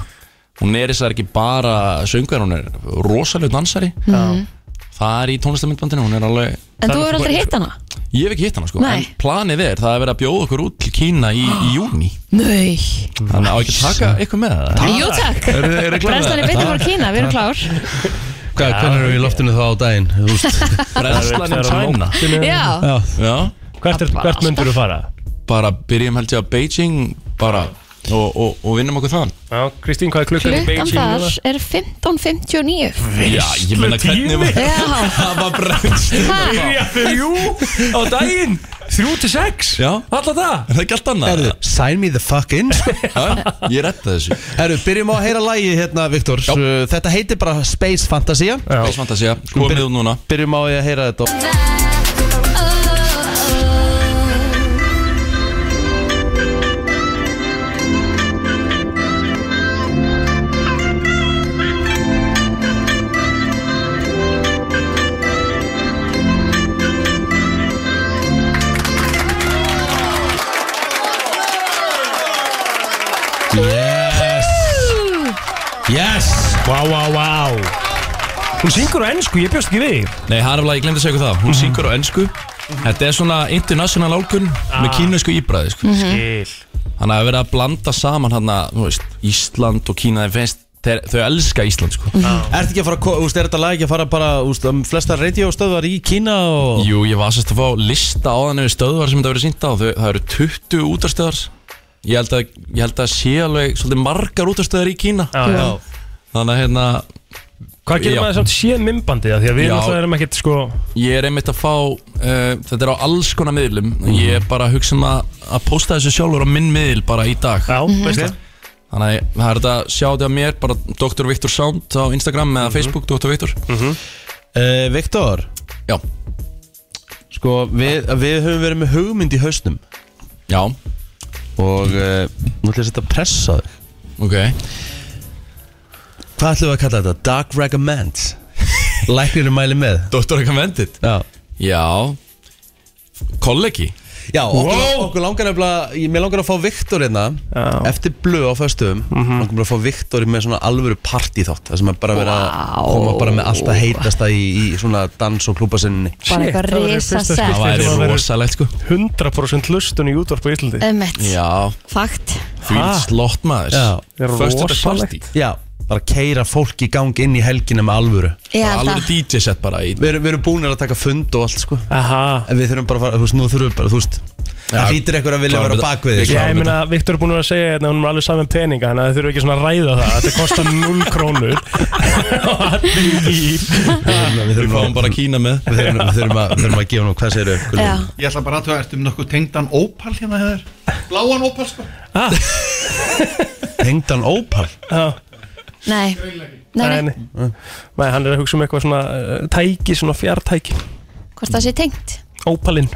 [SPEAKER 5] Hún er þess að ekki bara söngar Hún er rosalega dansari
[SPEAKER 3] Mm.
[SPEAKER 5] Það er í tónlistamindbandinu Hún er alveg
[SPEAKER 2] Þannig
[SPEAKER 3] En þú
[SPEAKER 2] að
[SPEAKER 3] hefur
[SPEAKER 2] þú
[SPEAKER 3] aldrei
[SPEAKER 2] bara-
[SPEAKER 3] hitt hana?
[SPEAKER 5] Ég hef ekki hitt hana sko
[SPEAKER 3] Nei.
[SPEAKER 5] En planið er það er verið að bjóða okkur út til Kína í, í júni
[SPEAKER 3] Nei
[SPEAKER 5] Þannig að á ekki að taka eitthvað með það
[SPEAKER 3] Jú takk
[SPEAKER 1] Eru- eru klár?
[SPEAKER 3] Brennslan er betur fyrir Kína, við erum klár
[SPEAKER 1] Hvað, hvernig erum við í loftinu þá á daginn? Þú veist,
[SPEAKER 5] Brennslan er tæna
[SPEAKER 3] Já,
[SPEAKER 1] já
[SPEAKER 5] Já,
[SPEAKER 2] Hvert, er, hvert myndur þú fara?
[SPEAKER 5] bara byrjum held ég að Beijing bara og, og, og vinnum okkur þann
[SPEAKER 2] Já, Kristín, hvað er klukkan í
[SPEAKER 3] klukkan
[SPEAKER 2] Beijing?
[SPEAKER 3] þar
[SPEAKER 2] núna?
[SPEAKER 3] er 15.59
[SPEAKER 5] Já, ég meina hvernig var-
[SPEAKER 3] Já,
[SPEAKER 5] Það var brennslan
[SPEAKER 3] hæ,
[SPEAKER 2] Já, þrjú á daginn Þrjú til sex
[SPEAKER 5] Já.
[SPEAKER 2] Alla það
[SPEAKER 5] Er það ekki allt annað?
[SPEAKER 1] Herðu, sign me the fuck in sko.
[SPEAKER 5] Ha? Ég retta þessu
[SPEAKER 1] Herðu, byrjum á að heyra lægi hérna, Viktor Uh, Þetta heitir bara Space Fantasia
[SPEAKER 5] Space Fantasia, komið út núna
[SPEAKER 1] Byrjum á að heyra þetta og- Yes Yes
[SPEAKER 2] Vá, vá, vá Hún syngur á ennsku, ég bjóst ekki við
[SPEAKER 5] Nei, hann er alveg, ég glemdi að segja ykkur það
[SPEAKER 1] Mhm.
[SPEAKER 5] Hún syngur á ennsku Þetta er svona international álgun með
[SPEAKER 1] Ah.
[SPEAKER 5] kínuðsku íbræði
[SPEAKER 2] Mhm.
[SPEAKER 5] sko.
[SPEAKER 2] Skil
[SPEAKER 5] Þannig að vera að blanda saman hann að, þú veist, Ísland og Kína þeir finnst, þeir, Þau elska Ísland sko.
[SPEAKER 1] Ertu ekki að fara, að ko- þú veist, er þetta lag ekki að fara bara, þú veist, um flesta radiostöðvar í Kína og...
[SPEAKER 5] Jú, ég var sérst að fá lista á þannig við stöðvar sem þetta verið sýnt á Þau, Það eru 20 útastöðar Ég held að, ég held að sé alveg svolítið margar útastöðar í Kína
[SPEAKER 2] Já, já.
[SPEAKER 5] Þannig að hérna,
[SPEAKER 2] Hvað getur
[SPEAKER 5] Já.
[SPEAKER 2] maður samt séð mymbandið Því að við
[SPEAKER 5] Já.
[SPEAKER 2] náttúrulega erum ekkert sko
[SPEAKER 5] Ég er einmitt að fá, uh, þetta er á alls konar miðlum Ég er bara að hugsa um að, að posta þessu sjálfur á minn miðl bara í dag
[SPEAKER 2] Já,
[SPEAKER 3] Mhm.
[SPEAKER 2] veist það
[SPEAKER 5] Þannig að það er þetta að sjá þetta að mér, bara Dr. Viktor Sound á Instagram eða Facebook, Dr. Viktor
[SPEAKER 1] Uh, Viktor,
[SPEAKER 5] Já,
[SPEAKER 1] sko, við, við höfum verið með hugmynd í hausnum
[SPEAKER 5] já,
[SPEAKER 1] og uh, nú ætlum ég að setja pressa á þig.
[SPEAKER 5] ok
[SPEAKER 1] Hvað ætlum við að kalla þetta? Dark Recommends? Læknirinn mæli með?
[SPEAKER 5] Dr. Recommended
[SPEAKER 1] Já.
[SPEAKER 5] Já, kollegi
[SPEAKER 1] Já, okkur, okkur langar nefnilega, ég- mér langar að fá Viktor hérna,
[SPEAKER 2] Já.
[SPEAKER 1] eftir blöð á föstum, langar mér að fá Viktor í með svona alvöru partíþátt, það sem er bara verið að
[SPEAKER 3] Vá.
[SPEAKER 1] koma bara með alltaf heitasta í, í svona dans og klúbasinninni.
[SPEAKER 3] bara eitthvað
[SPEAKER 2] það var í
[SPEAKER 3] risa
[SPEAKER 2] fyrsta
[SPEAKER 5] Það
[SPEAKER 2] skipti.
[SPEAKER 3] sett
[SPEAKER 5] væri
[SPEAKER 2] sem að vera-
[SPEAKER 5] rosalegt sko
[SPEAKER 2] 100% hlustun í útvarp á Íslandi
[SPEAKER 3] Ömmett,
[SPEAKER 5] Já,
[SPEAKER 3] fakt
[SPEAKER 5] því
[SPEAKER 2] Ha?
[SPEAKER 5] slott maður
[SPEAKER 1] Já.
[SPEAKER 2] Það er
[SPEAKER 5] Föstudagspartí.
[SPEAKER 2] rosalegt.
[SPEAKER 1] Já, bara keira fólk í gang inn í helgina með alvöru.
[SPEAKER 3] Ég
[SPEAKER 5] Bara
[SPEAKER 3] held
[SPEAKER 5] Alveg
[SPEAKER 3] að
[SPEAKER 5] DJ set bara í
[SPEAKER 1] Við erum, við erum búinir að taka fund og allt sko.
[SPEAKER 2] Aha
[SPEAKER 1] En við þurfum bara að fara, þú veist, nú þurfum við bara, þú veist
[SPEAKER 5] Já,
[SPEAKER 1] Það hlýtir eitthvað að vilja
[SPEAKER 5] klárum
[SPEAKER 1] vera
[SPEAKER 5] þetta.
[SPEAKER 1] bak við
[SPEAKER 5] Við klárum.
[SPEAKER 1] þig sko.
[SPEAKER 2] Já, ég meina, Viktor er búin að segja hérna, hún er alveg saman peninga, þannig að þið þurfum ekki svona að ræða það, þetta kostar 0 krónur og allir í
[SPEAKER 1] Við
[SPEAKER 5] Við
[SPEAKER 1] þurfum
[SPEAKER 5] fáum
[SPEAKER 1] að-
[SPEAKER 5] bara Kína með
[SPEAKER 1] við þurfum- við þurfum að- við þurfum að gefa nú, hvað segir
[SPEAKER 3] Já,
[SPEAKER 1] þau?
[SPEAKER 4] Ég ætla bara að þú ert um nokkuð tengdan ópal hérna hefur Bláan ópal sko
[SPEAKER 1] Tengdan ópal
[SPEAKER 2] Já,
[SPEAKER 3] nei Nei,
[SPEAKER 2] nei,
[SPEAKER 3] nei,
[SPEAKER 2] nei. nei, hann er að hugsa um eitthvað svona eh, tæki, svona fjartæki
[SPEAKER 3] hvort það sé tengt
[SPEAKER 2] ópalinn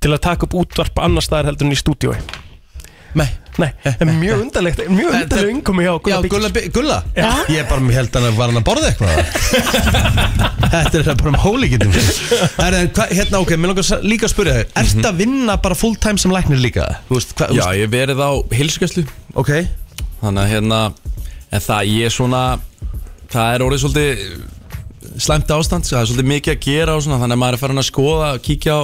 [SPEAKER 2] til að taka upp útvarp annar staðar heldur en í stúdiói
[SPEAKER 1] Nei,
[SPEAKER 2] Nei, en mjög undarlegt, mjög undarlegt umkomi hjá
[SPEAKER 1] já,
[SPEAKER 2] Gulla
[SPEAKER 1] Gulla,
[SPEAKER 2] Byggis
[SPEAKER 1] Bi- Gulla
[SPEAKER 3] Já.
[SPEAKER 1] Ég er bara með held hann að var hann að borða eitthvað Þetta er bara um hólíkindum Það er hvað, hérna, ok, mér langar sa- líka að spyrja þau Ertu að vinna bara full time sem læknir líka? Þú veist, hvað, þú
[SPEAKER 5] Já,
[SPEAKER 1] veist,
[SPEAKER 5] ég hef verið á hilsugæslu
[SPEAKER 1] ok
[SPEAKER 5] Þannig að hérna En það ég er svona Það er orðið svolítið eh, slæmt ástand sko. Það er svolítið mikið að gera og svona Þannig að maður er farin að skoða, kíkja á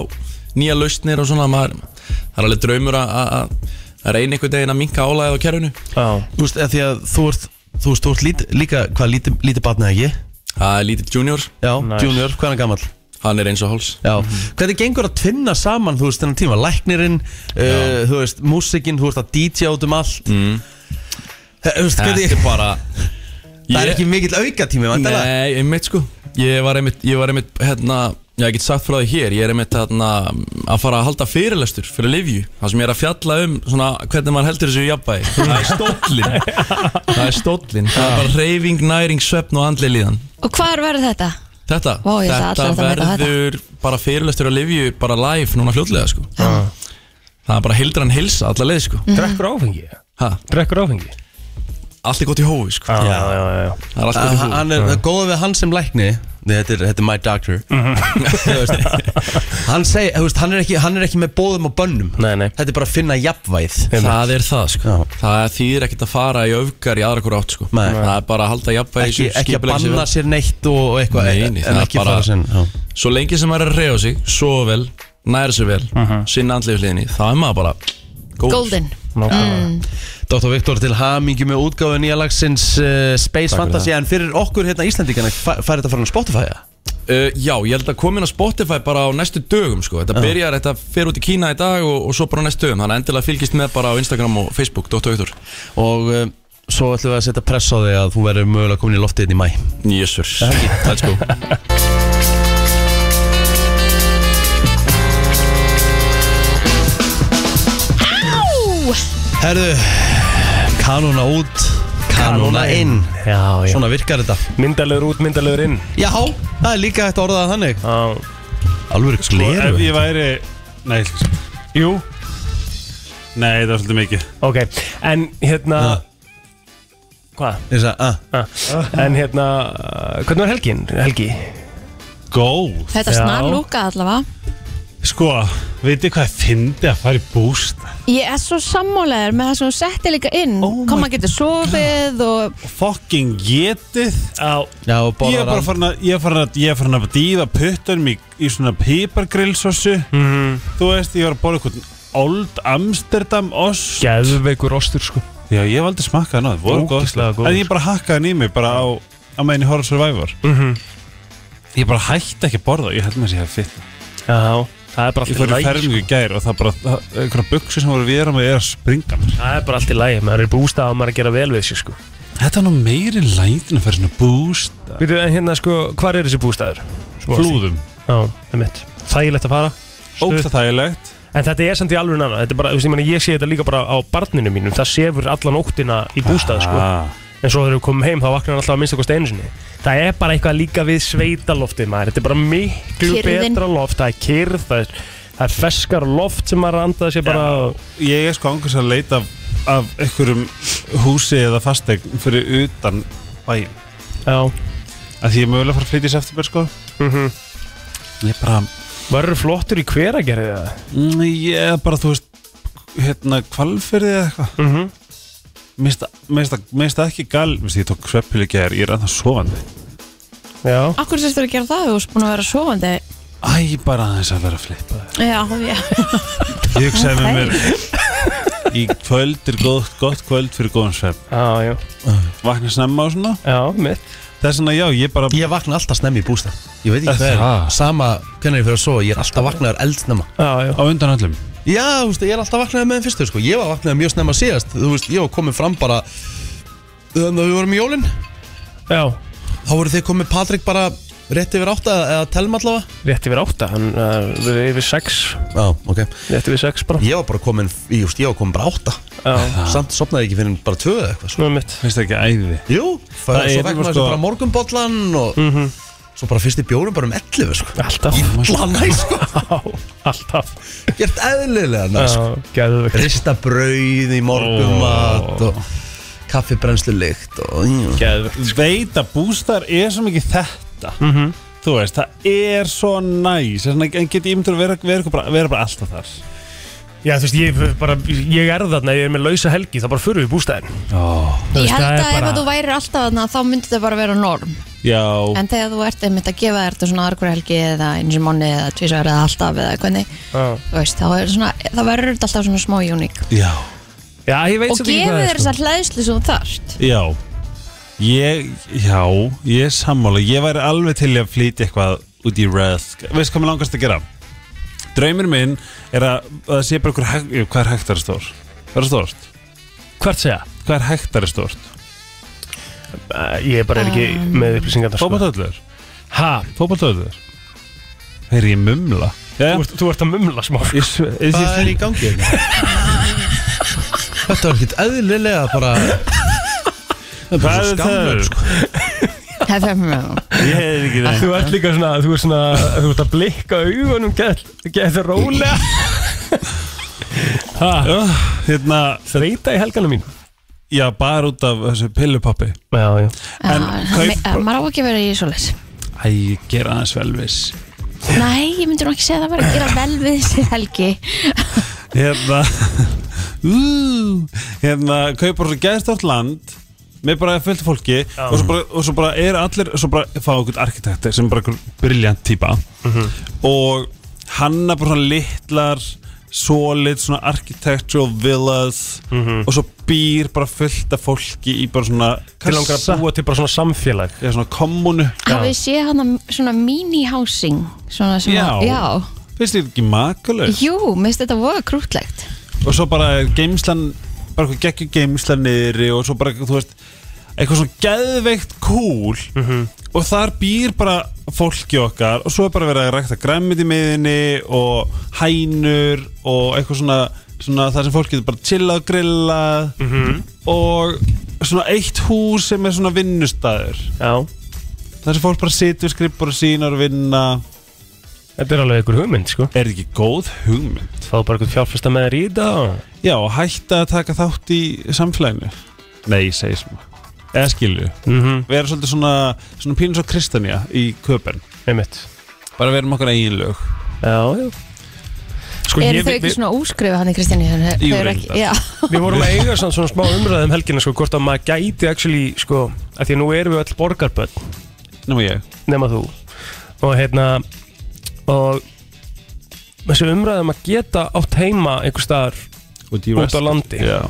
[SPEAKER 5] nýja lausnir og svona maður, Það er alveg draumur að- að að- að reyna einhvern veginn að minka álæðið á kerfinu
[SPEAKER 2] Já,
[SPEAKER 1] Þú veist, eða því að þú ert, þú veist, þú ert lít, líka, hvað, lítið, lítið batnið ekki?
[SPEAKER 5] Það er lítið junior
[SPEAKER 1] Já,
[SPEAKER 2] Nice.
[SPEAKER 1] junior, hvað er hann gamall?
[SPEAKER 5] hann er eins og háls
[SPEAKER 1] Já, hvernig gengur að tvinna saman, þú veist, þennan tíma Læknirinn, uh, þú veist, músikinn, þú veist að DJ út um allt mm.
[SPEAKER 5] Mhm.
[SPEAKER 1] Þú veist,
[SPEAKER 5] Þetta
[SPEAKER 1] hvernig,
[SPEAKER 5] er bara
[SPEAKER 1] það er
[SPEAKER 5] Ég-
[SPEAKER 1] ekki mikill aukatími, vandalega
[SPEAKER 5] Nei, einmitt sko Ég var einmitt, ég var einmitt hérna Já, ég get sagt frá því hér, ég er einmitt hérna, að fara að halda fyrirlestur fyrir Livju Það sem ég er að fjalla um svona, hvernig maður heldur þessu í jafnvægi Það er stóllin Það er stóllin Það er bara reyfing, næring, svefn og andli líðan
[SPEAKER 3] Og hvar verður þetta?
[SPEAKER 5] Þetta,
[SPEAKER 3] Vá, ég ætla
[SPEAKER 5] þetta
[SPEAKER 3] allar að mæta á
[SPEAKER 5] verður bara fyrirlestur að Livju bara live núna fljótlega sko Það er bara hildran hilsa alla leið sko
[SPEAKER 3] Mhm.
[SPEAKER 2] Drekkur áfengi
[SPEAKER 5] ha,
[SPEAKER 2] Drekkur áfengi
[SPEAKER 5] Allt er gott í hófi sko
[SPEAKER 2] Já, já, já, já.
[SPEAKER 5] Það er allt gott í
[SPEAKER 1] Hann
[SPEAKER 5] hófi
[SPEAKER 1] hann er það góða við hann sem lækni Nei, Þetta er, þetta er my doctor
[SPEAKER 5] Mm.
[SPEAKER 1] Þú veist, Hann segi, þú veist, hann er ekki, hann er ekki með bóðum og bönnum
[SPEAKER 2] Nei, nei.
[SPEAKER 1] Þetta er bara að finna jafnvæð
[SPEAKER 5] Það er það sko
[SPEAKER 1] Já.
[SPEAKER 5] Það þýðir ekkert að fara í öfgar í aðra hverju átt sko
[SPEAKER 1] Nei.
[SPEAKER 5] Það er bara að halda jafnvægi
[SPEAKER 1] ekki,
[SPEAKER 5] þessu,
[SPEAKER 1] ekki að
[SPEAKER 5] skipuleggja sig
[SPEAKER 1] banna
[SPEAKER 5] vel.
[SPEAKER 1] sér neitt og, og eitthvað
[SPEAKER 5] Nei, nei, það
[SPEAKER 1] En
[SPEAKER 5] er
[SPEAKER 1] ekki
[SPEAKER 5] bara-
[SPEAKER 1] fara sinn já.
[SPEAKER 5] Svo lengi sem maður er að reyða sig, sofa vel, næra sig vel
[SPEAKER 1] Mhm.
[SPEAKER 5] Sinna andlið hliðinni, það er maður bara góð.
[SPEAKER 3] Golden
[SPEAKER 2] Nákvæmlega.
[SPEAKER 6] Mm.
[SPEAKER 1] Dr. Viktor til hamingju með útgáfu nýja lagsins uh, Space Fantasy En fyrir okkur hérna Íslandingana fa- fær þetta fara á Spotify ja?
[SPEAKER 5] uh, Já, ég held að komin á Spotify bara á næstu dögum sko Þetta byrjar, þetta fer út í Kína í dag og, og svo bara á næstu dögum Þannig að endilega fylgist með bara á Instagram og Facebook, Dr. Viktor
[SPEAKER 1] Og uh, svo ætlum við að setja press á þig að þú verður mögulega komin í loftið inn í mæ
[SPEAKER 5] Jésur,
[SPEAKER 1] Eh,
[SPEAKER 5] let's go
[SPEAKER 1] Herðu, kanona út, kanona inn
[SPEAKER 2] Já, já.
[SPEAKER 1] Svona virkar þetta
[SPEAKER 2] Myndalegur út, myndalegur inn
[SPEAKER 1] Já, það er líka hægt að orða það þannig
[SPEAKER 2] Já.
[SPEAKER 1] Alvöru
[SPEAKER 6] Sko, Ef
[SPEAKER 1] gleru
[SPEAKER 6] ég væri Nei, ég ætla ekki að segja.
[SPEAKER 2] Jú,
[SPEAKER 6] nei það er svolítið mikið
[SPEAKER 2] ok En hérna Hvað?
[SPEAKER 1] Þess að, að,
[SPEAKER 2] Ah. En hérna, uh, hvernig var helgin, Helgi?
[SPEAKER 6] Góð
[SPEAKER 3] Þetta
[SPEAKER 2] Já.
[SPEAKER 3] snar lúka allavega
[SPEAKER 6] Sko, veitir hvað ég fyndi að fara í búst
[SPEAKER 3] Ég er svo sammálegar með það sem þú settir líka inn
[SPEAKER 6] Oh my
[SPEAKER 3] Kom að geta sofið og
[SPEAKER 6] Fucking getið
[SPEAKER 2] Á,
[SPEAKER 1] já, og
[SPEAKER 6] Ég
[SPEAKER 1] borðar
[SPEAKER 6] er bara
[SPEAKER 1] hann
[SPEAKER 6] farin að Ég er farin að, ég er farin að dýða puttunum í, í svona pipargrillsossu Þú veist, ég var að borða eitthvað Old Amsterdam ost
[SPEAKER 2] geðveikur ostur sko
[SPEAKER 6] Já, ég hef aldrei smakkað hann á það, voru
[SPEAKER 2] Ógeðslega
[SPEAKER 6] góð
[SPEAKER 2] góður.
[SPEAKER 6] En ég bara hakkaði hann í mig bara á á meðin í Horror Survivor -hmm.
[SPEAKER 2] Mhm.
[SPEAKER 6] Ég bara hætti ekki að borða Ég held með þess að ég hef fyrt
[SPEAKER 2] Já, það er bara
[SPEAKER 6] Ég
[SPEAKER 2] allt í sko.
[SPEAKER 6] fór í
[SPEAKER 2] lægi
[SPEAKER 6] fermingu í gær og það bara það- einhverja buksi sem voru vera með er að springa mér
[SPEAKER 2] Það er bara allt í lægi, maður er bústað og maður er að gera vel við sig sko
[SPEAKER 6] Þetta er nú meiri lætin að fara svona búst
[SPEAKER 2] Veitu, en hérna sko, hvar er þessi bústaður?
[SPEAKER 6] Flúðum
[SPEAKER 2] Já, það er mitt Þægilegt að fara
[SPEAKER 6] Ógsta þægilegt
[SPEAKER 2] En þetta er samt í alveg annað, þetta er bara, þú veist, ég meina, ég sé þetta líka bara á barninu mínum Það sefur alla nóttina í bústað sko
[SPEAKER 6] ah,
[SPEAKER 2] En svo þegar við komum heim þá vaknar hann alltaf að minnsta kosti einu sinni Það er bara eitthvað líka við sveitaloftið maður Þetta er bara miklu
[SPEAKER 3] Kyrrðin.
[SPEAKER 2] betra loft Það er kyrð, það er, það er feskar loft sem maður andaði sér bara
[SPEAKER 6] Ég er sko angurs að leita af, af einhverjum húsi eða fastegn fyrir utan bæin
[SPEAKER 2] Já,
[SPEAKER 6] að því ég er mögulega að fara að flytja í september sko
[SPEAKER 2] mhm
[SPEAKER 6] Ég bara
[SPEAKER 2] Varur flottur í hveragerði eða?
[SPEAKER 6] Mm, Ég er bara, þú veist, hérna, kvalfyrði eða eitthvað.
[SPEAKER 2] Mm -hmm.
[SPEAKER 6] Mér finnst það- mér finnst það ekki gal, Vist, ég tók sveppil í gær, ég er annars sofandi.
[SPEAKER 2] Já,
[SPEAKER 3] Akkur sérst verið að gera það Þú erst búin að vera sofandi
[SPEAKER 6] Æ, bara aðeins að vera að flippa þér.
[SPEAKER 3] Já, já
[SPEAKER 6] Ég hugsaði með mér, í kvöld er gott, gott kvöld fyrir góðan svepp.
[SPEAKER 2] já, já,
[SPEAKER 6] Vakna snemma og svona.
[SPEAKER 2] já, mitt
[SPEAKER 6] Þess vegna, já, ég bara,
[SPEAKER 1] Ég vakna alltaf snemmi í bústa Ég veit ekki
[SPEAKER 6] Það-
[SPEAKER 1] hvað er Sama hvernig ég fyrir að sofa Ég er alltaf vaknaður eldsnemma
[SPEAKER 2] Já, já,
[SPEAKER 6] á undan öllum.
[SPEAKER 1] Já, þú veist, ég er alltaf vaknaður með þeim fyrstu sko. Ég var vaknaður mjög snemma síðast Þú veist, ég var komin fram bara Þannig að við vorum í jólin
[SPEAKER 2] já
[SPEAKER 1] Þá voru þið komið Patrik bara rétt yfir átta eða- Eða telma allavega
[SPEAKER 2] Rétti við átta, hann uh, við yfir sex
[SPEAKER 1] Já, ok
[SPEAKER 2] Rétti við sex bara
[SPEAKER 1] Ég var bara komin, ég, veist, ég var komin bara átta
[SPEAKER 2] Já,
[SPEAKER 1] Samt sopnaði ég ekki fyrir bara tvö eða eitthvað svo.
[SPEAKER 2] nú mitt
[SPEAKER 6] Finnst það ekki æði?
[SPEAKER 1] Jú, það
[SPEAKER 6] Það
[SPEAKER 1] svo
[SPEAKER 6] er
[SPEAKER 1] vegna
[SPEAKER 6] sko-
[SPEAKER 1] þessu bara morgunbollan og svo bara fyrst í bjórum bara um 11 sko.
[SPEAKER 2] Alltaf
[SPEAKER 1] Ítla næ sko,
[SPEAKER 2] Já, alltaf
[SPEAKER 1] gert eðlilega næ sko.
[SPEAKER 2] Já, gæðu við
[SPEAKER 1] Rista brauð í morgunmat og kaffibrennslu lykt og
[SPEAKER 2] Gæðu
[SPEAKER 6] Veit að bústar er svo mikið þetta. Þú veist, það er svo næs. Þess vegna get ég ímyndur að vera, vera, eitthvað bara, vera bara alltaf þar.
[SPEAKER 2] Já, þú veist, ég, bara, ég er þarna, ég er með lausa helgi þá bara förum við í bústæðin Þú
[SPEAKER 3] Ég
[SPEAKER 2] veist, það
[SPEAKER 3] held
[SPEAKER 2] er
[SPEAKER 3] að ef
[SPEAKER 2] bara-
[SPEAKER 3] að þú værir alltaf þarna þá myndi þetta bara vera norm
[SPEAKER 6] Já.
[SPEAKER 3] En þegar þú ert einmitt að gefa þér þetta svona argur helgi eða eins og manni eða tvísar eða alltaf eða hvernig
[SPEAKER 2] Já,
[SPEAKER 3] þú veist, þá, er svona, þá verður þetta alltaf svona smá uník
[SPEAKER 6] Já.
[SPEAKER 2] já ég veit
[SPEAKER 3] Og
[SPEAKER 2] samt ekki
[SPEAKER 3] gefið
[SPEAKER 2] hvað það
[SPEAKER 3] þér
[SPEAKER 2] er, sko.
[SPEAKER 3] þessa hlæðslu sem þú þarft
[SPEAKER 6] Já Ég, já, ég er sammála Ég væri alveg til í að flytja eitthvað út í rask Veist hvað mér langast að gera? Draumur minn er að, að það sé bara einhver hek- jú, hvað er hektari stór? Hvað er stórt?
[SPEAKER 2] Hvert segja?
[SPEAKER 6] Hvað er hektari stórt?
[SPEAKER 2] Uh, ég bara er ekki
[SPEAKER 3] Ah.
[SPEAKER 2] með upplýsingarnar sko.
[SPEAKER 6] Fótballtöðlur?
[SPEAKER 2] Ha,
[SPEAKER 6] Fótballtöðlur? Heyri ég mumla?
[SPEAKER 2] þú
[SPEAKER 6] Jæja,
[SPEAKER 2] ert, þú ert að mumla smá sko.
[SPEAKER 6] ég sve- ég- ég-
[SPEAKER 1] Hvað er í gangi hérna? Þetta var ekkert eðlilega bara Það er bara
[SPEAKER 6] Hvað
[SPEAKER 1] svo
[SPEAKER 6] er
[SPEAKER 1] skamlöf
[SPEAKER 6] það?
[SPEAKER 1] sko.
[SPEAKER 3] Það er mjög
[SPEAKER 6] Ég hefði ekki það
[SPEAKER 2] Þú ert líka svona, þú ert svona Þú ert að blikka augunum Geð það rólega Ha,
[SPEAKER 6] Öh, Hérna,
[SPEAKER 2] þreita í helgana mín
[SPEAKER 6] já, bara út af þessu pillupappi
[SPEAKER 2] Já, já
[SPEAKER 6] En kaup-
[SPEAKER 3] Maður á ekki að vera í svo leys
[SPEAKER 6] Æ, ég ger aðeins velvis
[SPEAKER 3] Nei, ég myndi nú ekki segja það bara að gera vel við þessi helgi
[SPEAKER 6] Hérna ú, Hérna, kaupar svo gæðstort land með bara fullt af fólki og svo, bara, og svo bara er allir svo bara fá okkur arkitekti sem er bara okkur briljant típa
[SPEAKER 2] Mhm.
[SPEAKER 6] og hanna bara svona litlar solid svona architectural villas
[SPEAKER 2] Mhm.
[SPEAKER 6] og svo býr bara fullt af fólki í bara svona
[SPEAKER 2] Til langar að búa til bara svona samfélag
[SPEAKER 6] eða svona kommunu
[SPEAKER 3] Hafið sé hann svona mini-housing Svona sem
[SPEAKER 6] Já.
[SPEAKER 3] að, já
[SPEAKER 6] finnst þér ekki makalög?
[SPEAKER 3] Jú, minnst þetta voða krútlegt
[SPEAKER 6] og svo bara er geimslan bara eitthvað geggjur geimslan niðri og svo bara, þú veist eitthvað svona geðveikt cool og þar býr bara fólki okkar og svo er bara verið að rækta græmið í miðinni og hænur og eitthvað svona, svona þar sem fólk getur bara chilla og grilla
[SPEAKER 2] Mhm.
[SPEAKER 6] og svona eitt hús sem er svona vinnustæður
[SPEAKER 2] Já,
[SPEAKER 6] þar sem fólk bara situr skrippur og sínar og vinna
[SPEAKER 2] þetta er alveg einhver hugmynd sko
[SPEAKER 6] er ekki góð hugmynd
[SPEAKER 2] Fá bara einhvern fjárfesta með þér í þetta og-
[SPEAKER 6] Já, og hætta að taka þátt í samfélaginu Nei, ég segi sem Eða skilju
[SPEAKER 2] Mhm,
[SPEAKER 6] Við erum svolítið svona, svona pínus og kristanja í köpen
[SPEAKER 2] einmitt
[SPEAKER 6] Bara við erum okkar eigin lög
[SPEAKER 2] Já, já Sko,
[SPEAKER 3] Eru
[SPEAKER 2] ég-
[SPEAKER 3] þau
[SPEAKER 2] við-
[SPEAKER 3] ekki svona úskrifu hann í Kristjáni Þau eru
[SPEAKER 6] reyndar.
[SPEAKER 3] ekki, já
[SPEAKER 2] Við vorum að eiga svona, svona smá umræðum helgina sko, hvort að maður gæti actually sko, að því að nú erum við öll borgarbönn
[SPEAKER 6] Nefnum ég
[SPEAKER 2] nema þú og hérna og þessu umræðum að geta átt heima einhver staðar
[SPEAKER 6] Út, í
[SPEAKER 2] Út á
[SPEAKER 6] rest-
[SPEAKER 2] landi.
[SPEAKER 6] Já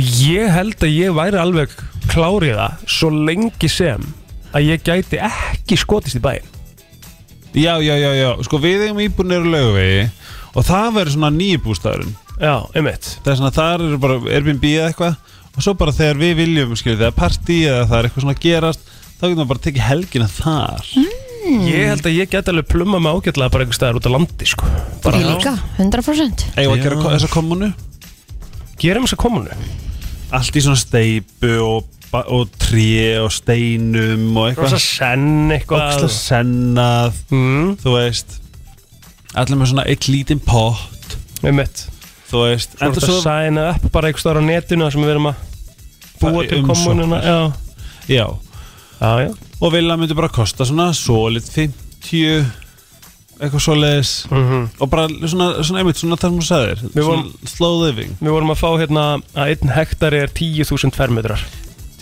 [SPEAKER 2] ég held að ég væri alveg klárið það svo lengi sem að ég gæti ekki skotist í bæinn
[SPEAKER 6] Já, já, já, já, sko við eigum íbúinir lögvegi og það verður svona nýju bústæðurinn
[SPEAKER 2] Já, einmitt
[SPEAKER 6] Það er svona þar eru bara Airbnb eða eitthvað og svo bara þegar við viljum, skilju, þegar partí eða það er eitthvað svona að gerast þá getum við bara tekið helgina þar
[SPEAKER 2] Ég held að ég gæti alveg plumma mig ágætlega bara einhver staðar út á landi sko bara,
[SPEAKER 3] Ég líka, 100%
[SPEAKER 6] Eigum við að gera ko- þessa kommunu
[SPEAKER 2] Gerum þess að komunu
[SPEAKER 6] allt í svona steipu og, ba- og tré og steinum og
[SPEAKER 2] Rosa
[SPEAKER 6] eitthvað
[SPEAKER 2] senn
[SPEAKER 6] óksla
[SPEAKER 2] eitthvað
[SPEAKER 6] sennað
[SPEAKER 2] mm,
[SPEAKER 6] þú veist allir með svona eitt lítinn pott
[SPEAKER 2] Einmitt
[SPEAKER 6] þú veist
[SPEAKER 2] Svo er
[SPEAKER 6] en
[SPEAKER 2] þetta að
[SPEAKER 6] svo,
[SPEAKER 2] sæna upp bara einhver staðar á netinu þar sem við erum að búa
[SPEAKER 6] Bara í
[SPEAKER 2] til kommununa Já,
[SPEAKER 6] já
[SPEAKER 2] já, já
[SPEAKER 6] og vilja myndi bara kosta svona solid 50 eitthvað svoleiðis
[SPEAKER 2] Mhm.
[SPEAKER 6] og bara svona, svona einmitt svona þar sem þú sagðir
[SPEAKER 2] Við
[SPEAKER 6] svona
[SPEAKER 2] vorum-
[SPEAKER 6] slow living
[SPEAKER 2] Við vorum að fá hérna að einn hektari er 10.000 fermetrar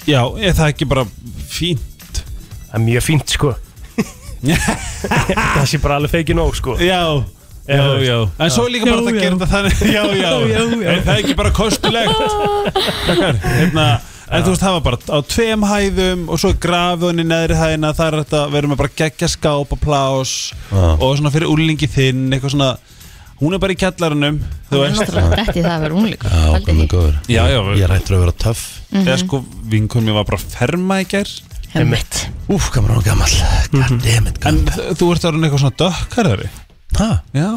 [SPEAKER 6] já, er það ekki bara fínt
[SPEAKER 2] Það er mjög fínt sko Það sé bara alveg feiki nóg sko
[SPEAKER 6] já Já, já, en svo er líka bara
[SPEAKER 2] Já, já.
[SPEAKER 6] já, að gera þetta þannig Já, já,
[SPEAKER 2] Já, já.
[SPEAKER 6] Er það ekki bara kostulegt Krakkar, hérna En þú veist, það var bara á tveim hæðum og svo er grafunni neðri hæðina þar er þetta, við erum að bara gegja skáp og plás
[SPEAKER 1] Já.
[SPEAKER 6] og svona fyrir úlingi þinn eitthvað svona, hún er bara í kjallarunum þú
[SPEAKER 3] Það er
[SPEAKER 6] veist,
[SPEAKER 3] náttúrulega dætt í það að vera unglingur
[SPEAKER 1] Já,
[SPEAKER 3] Pældi
[SPEAKER 1] komið
[SPEAKER 3] því.
[SPEAKER 1] góður
[SPEAKER 6] Já, já.
[SPEAKER 1] Ég er hættur að vera töff
[SPEAKER 6] eða sko vinkun mér var bara ferma í gær
[SPEAKER 3] Einmitt.
[SPEAKER 1] Úf, kamerón gammal Goddammit,
[SPEAKER 6] en
[SPEAKER 1] gammal
[SPEAKER 6] þú ert orðin eitthvað svona dökkarðari
[SPEAKER 1] Ha?
[SPEAKER 6] Já,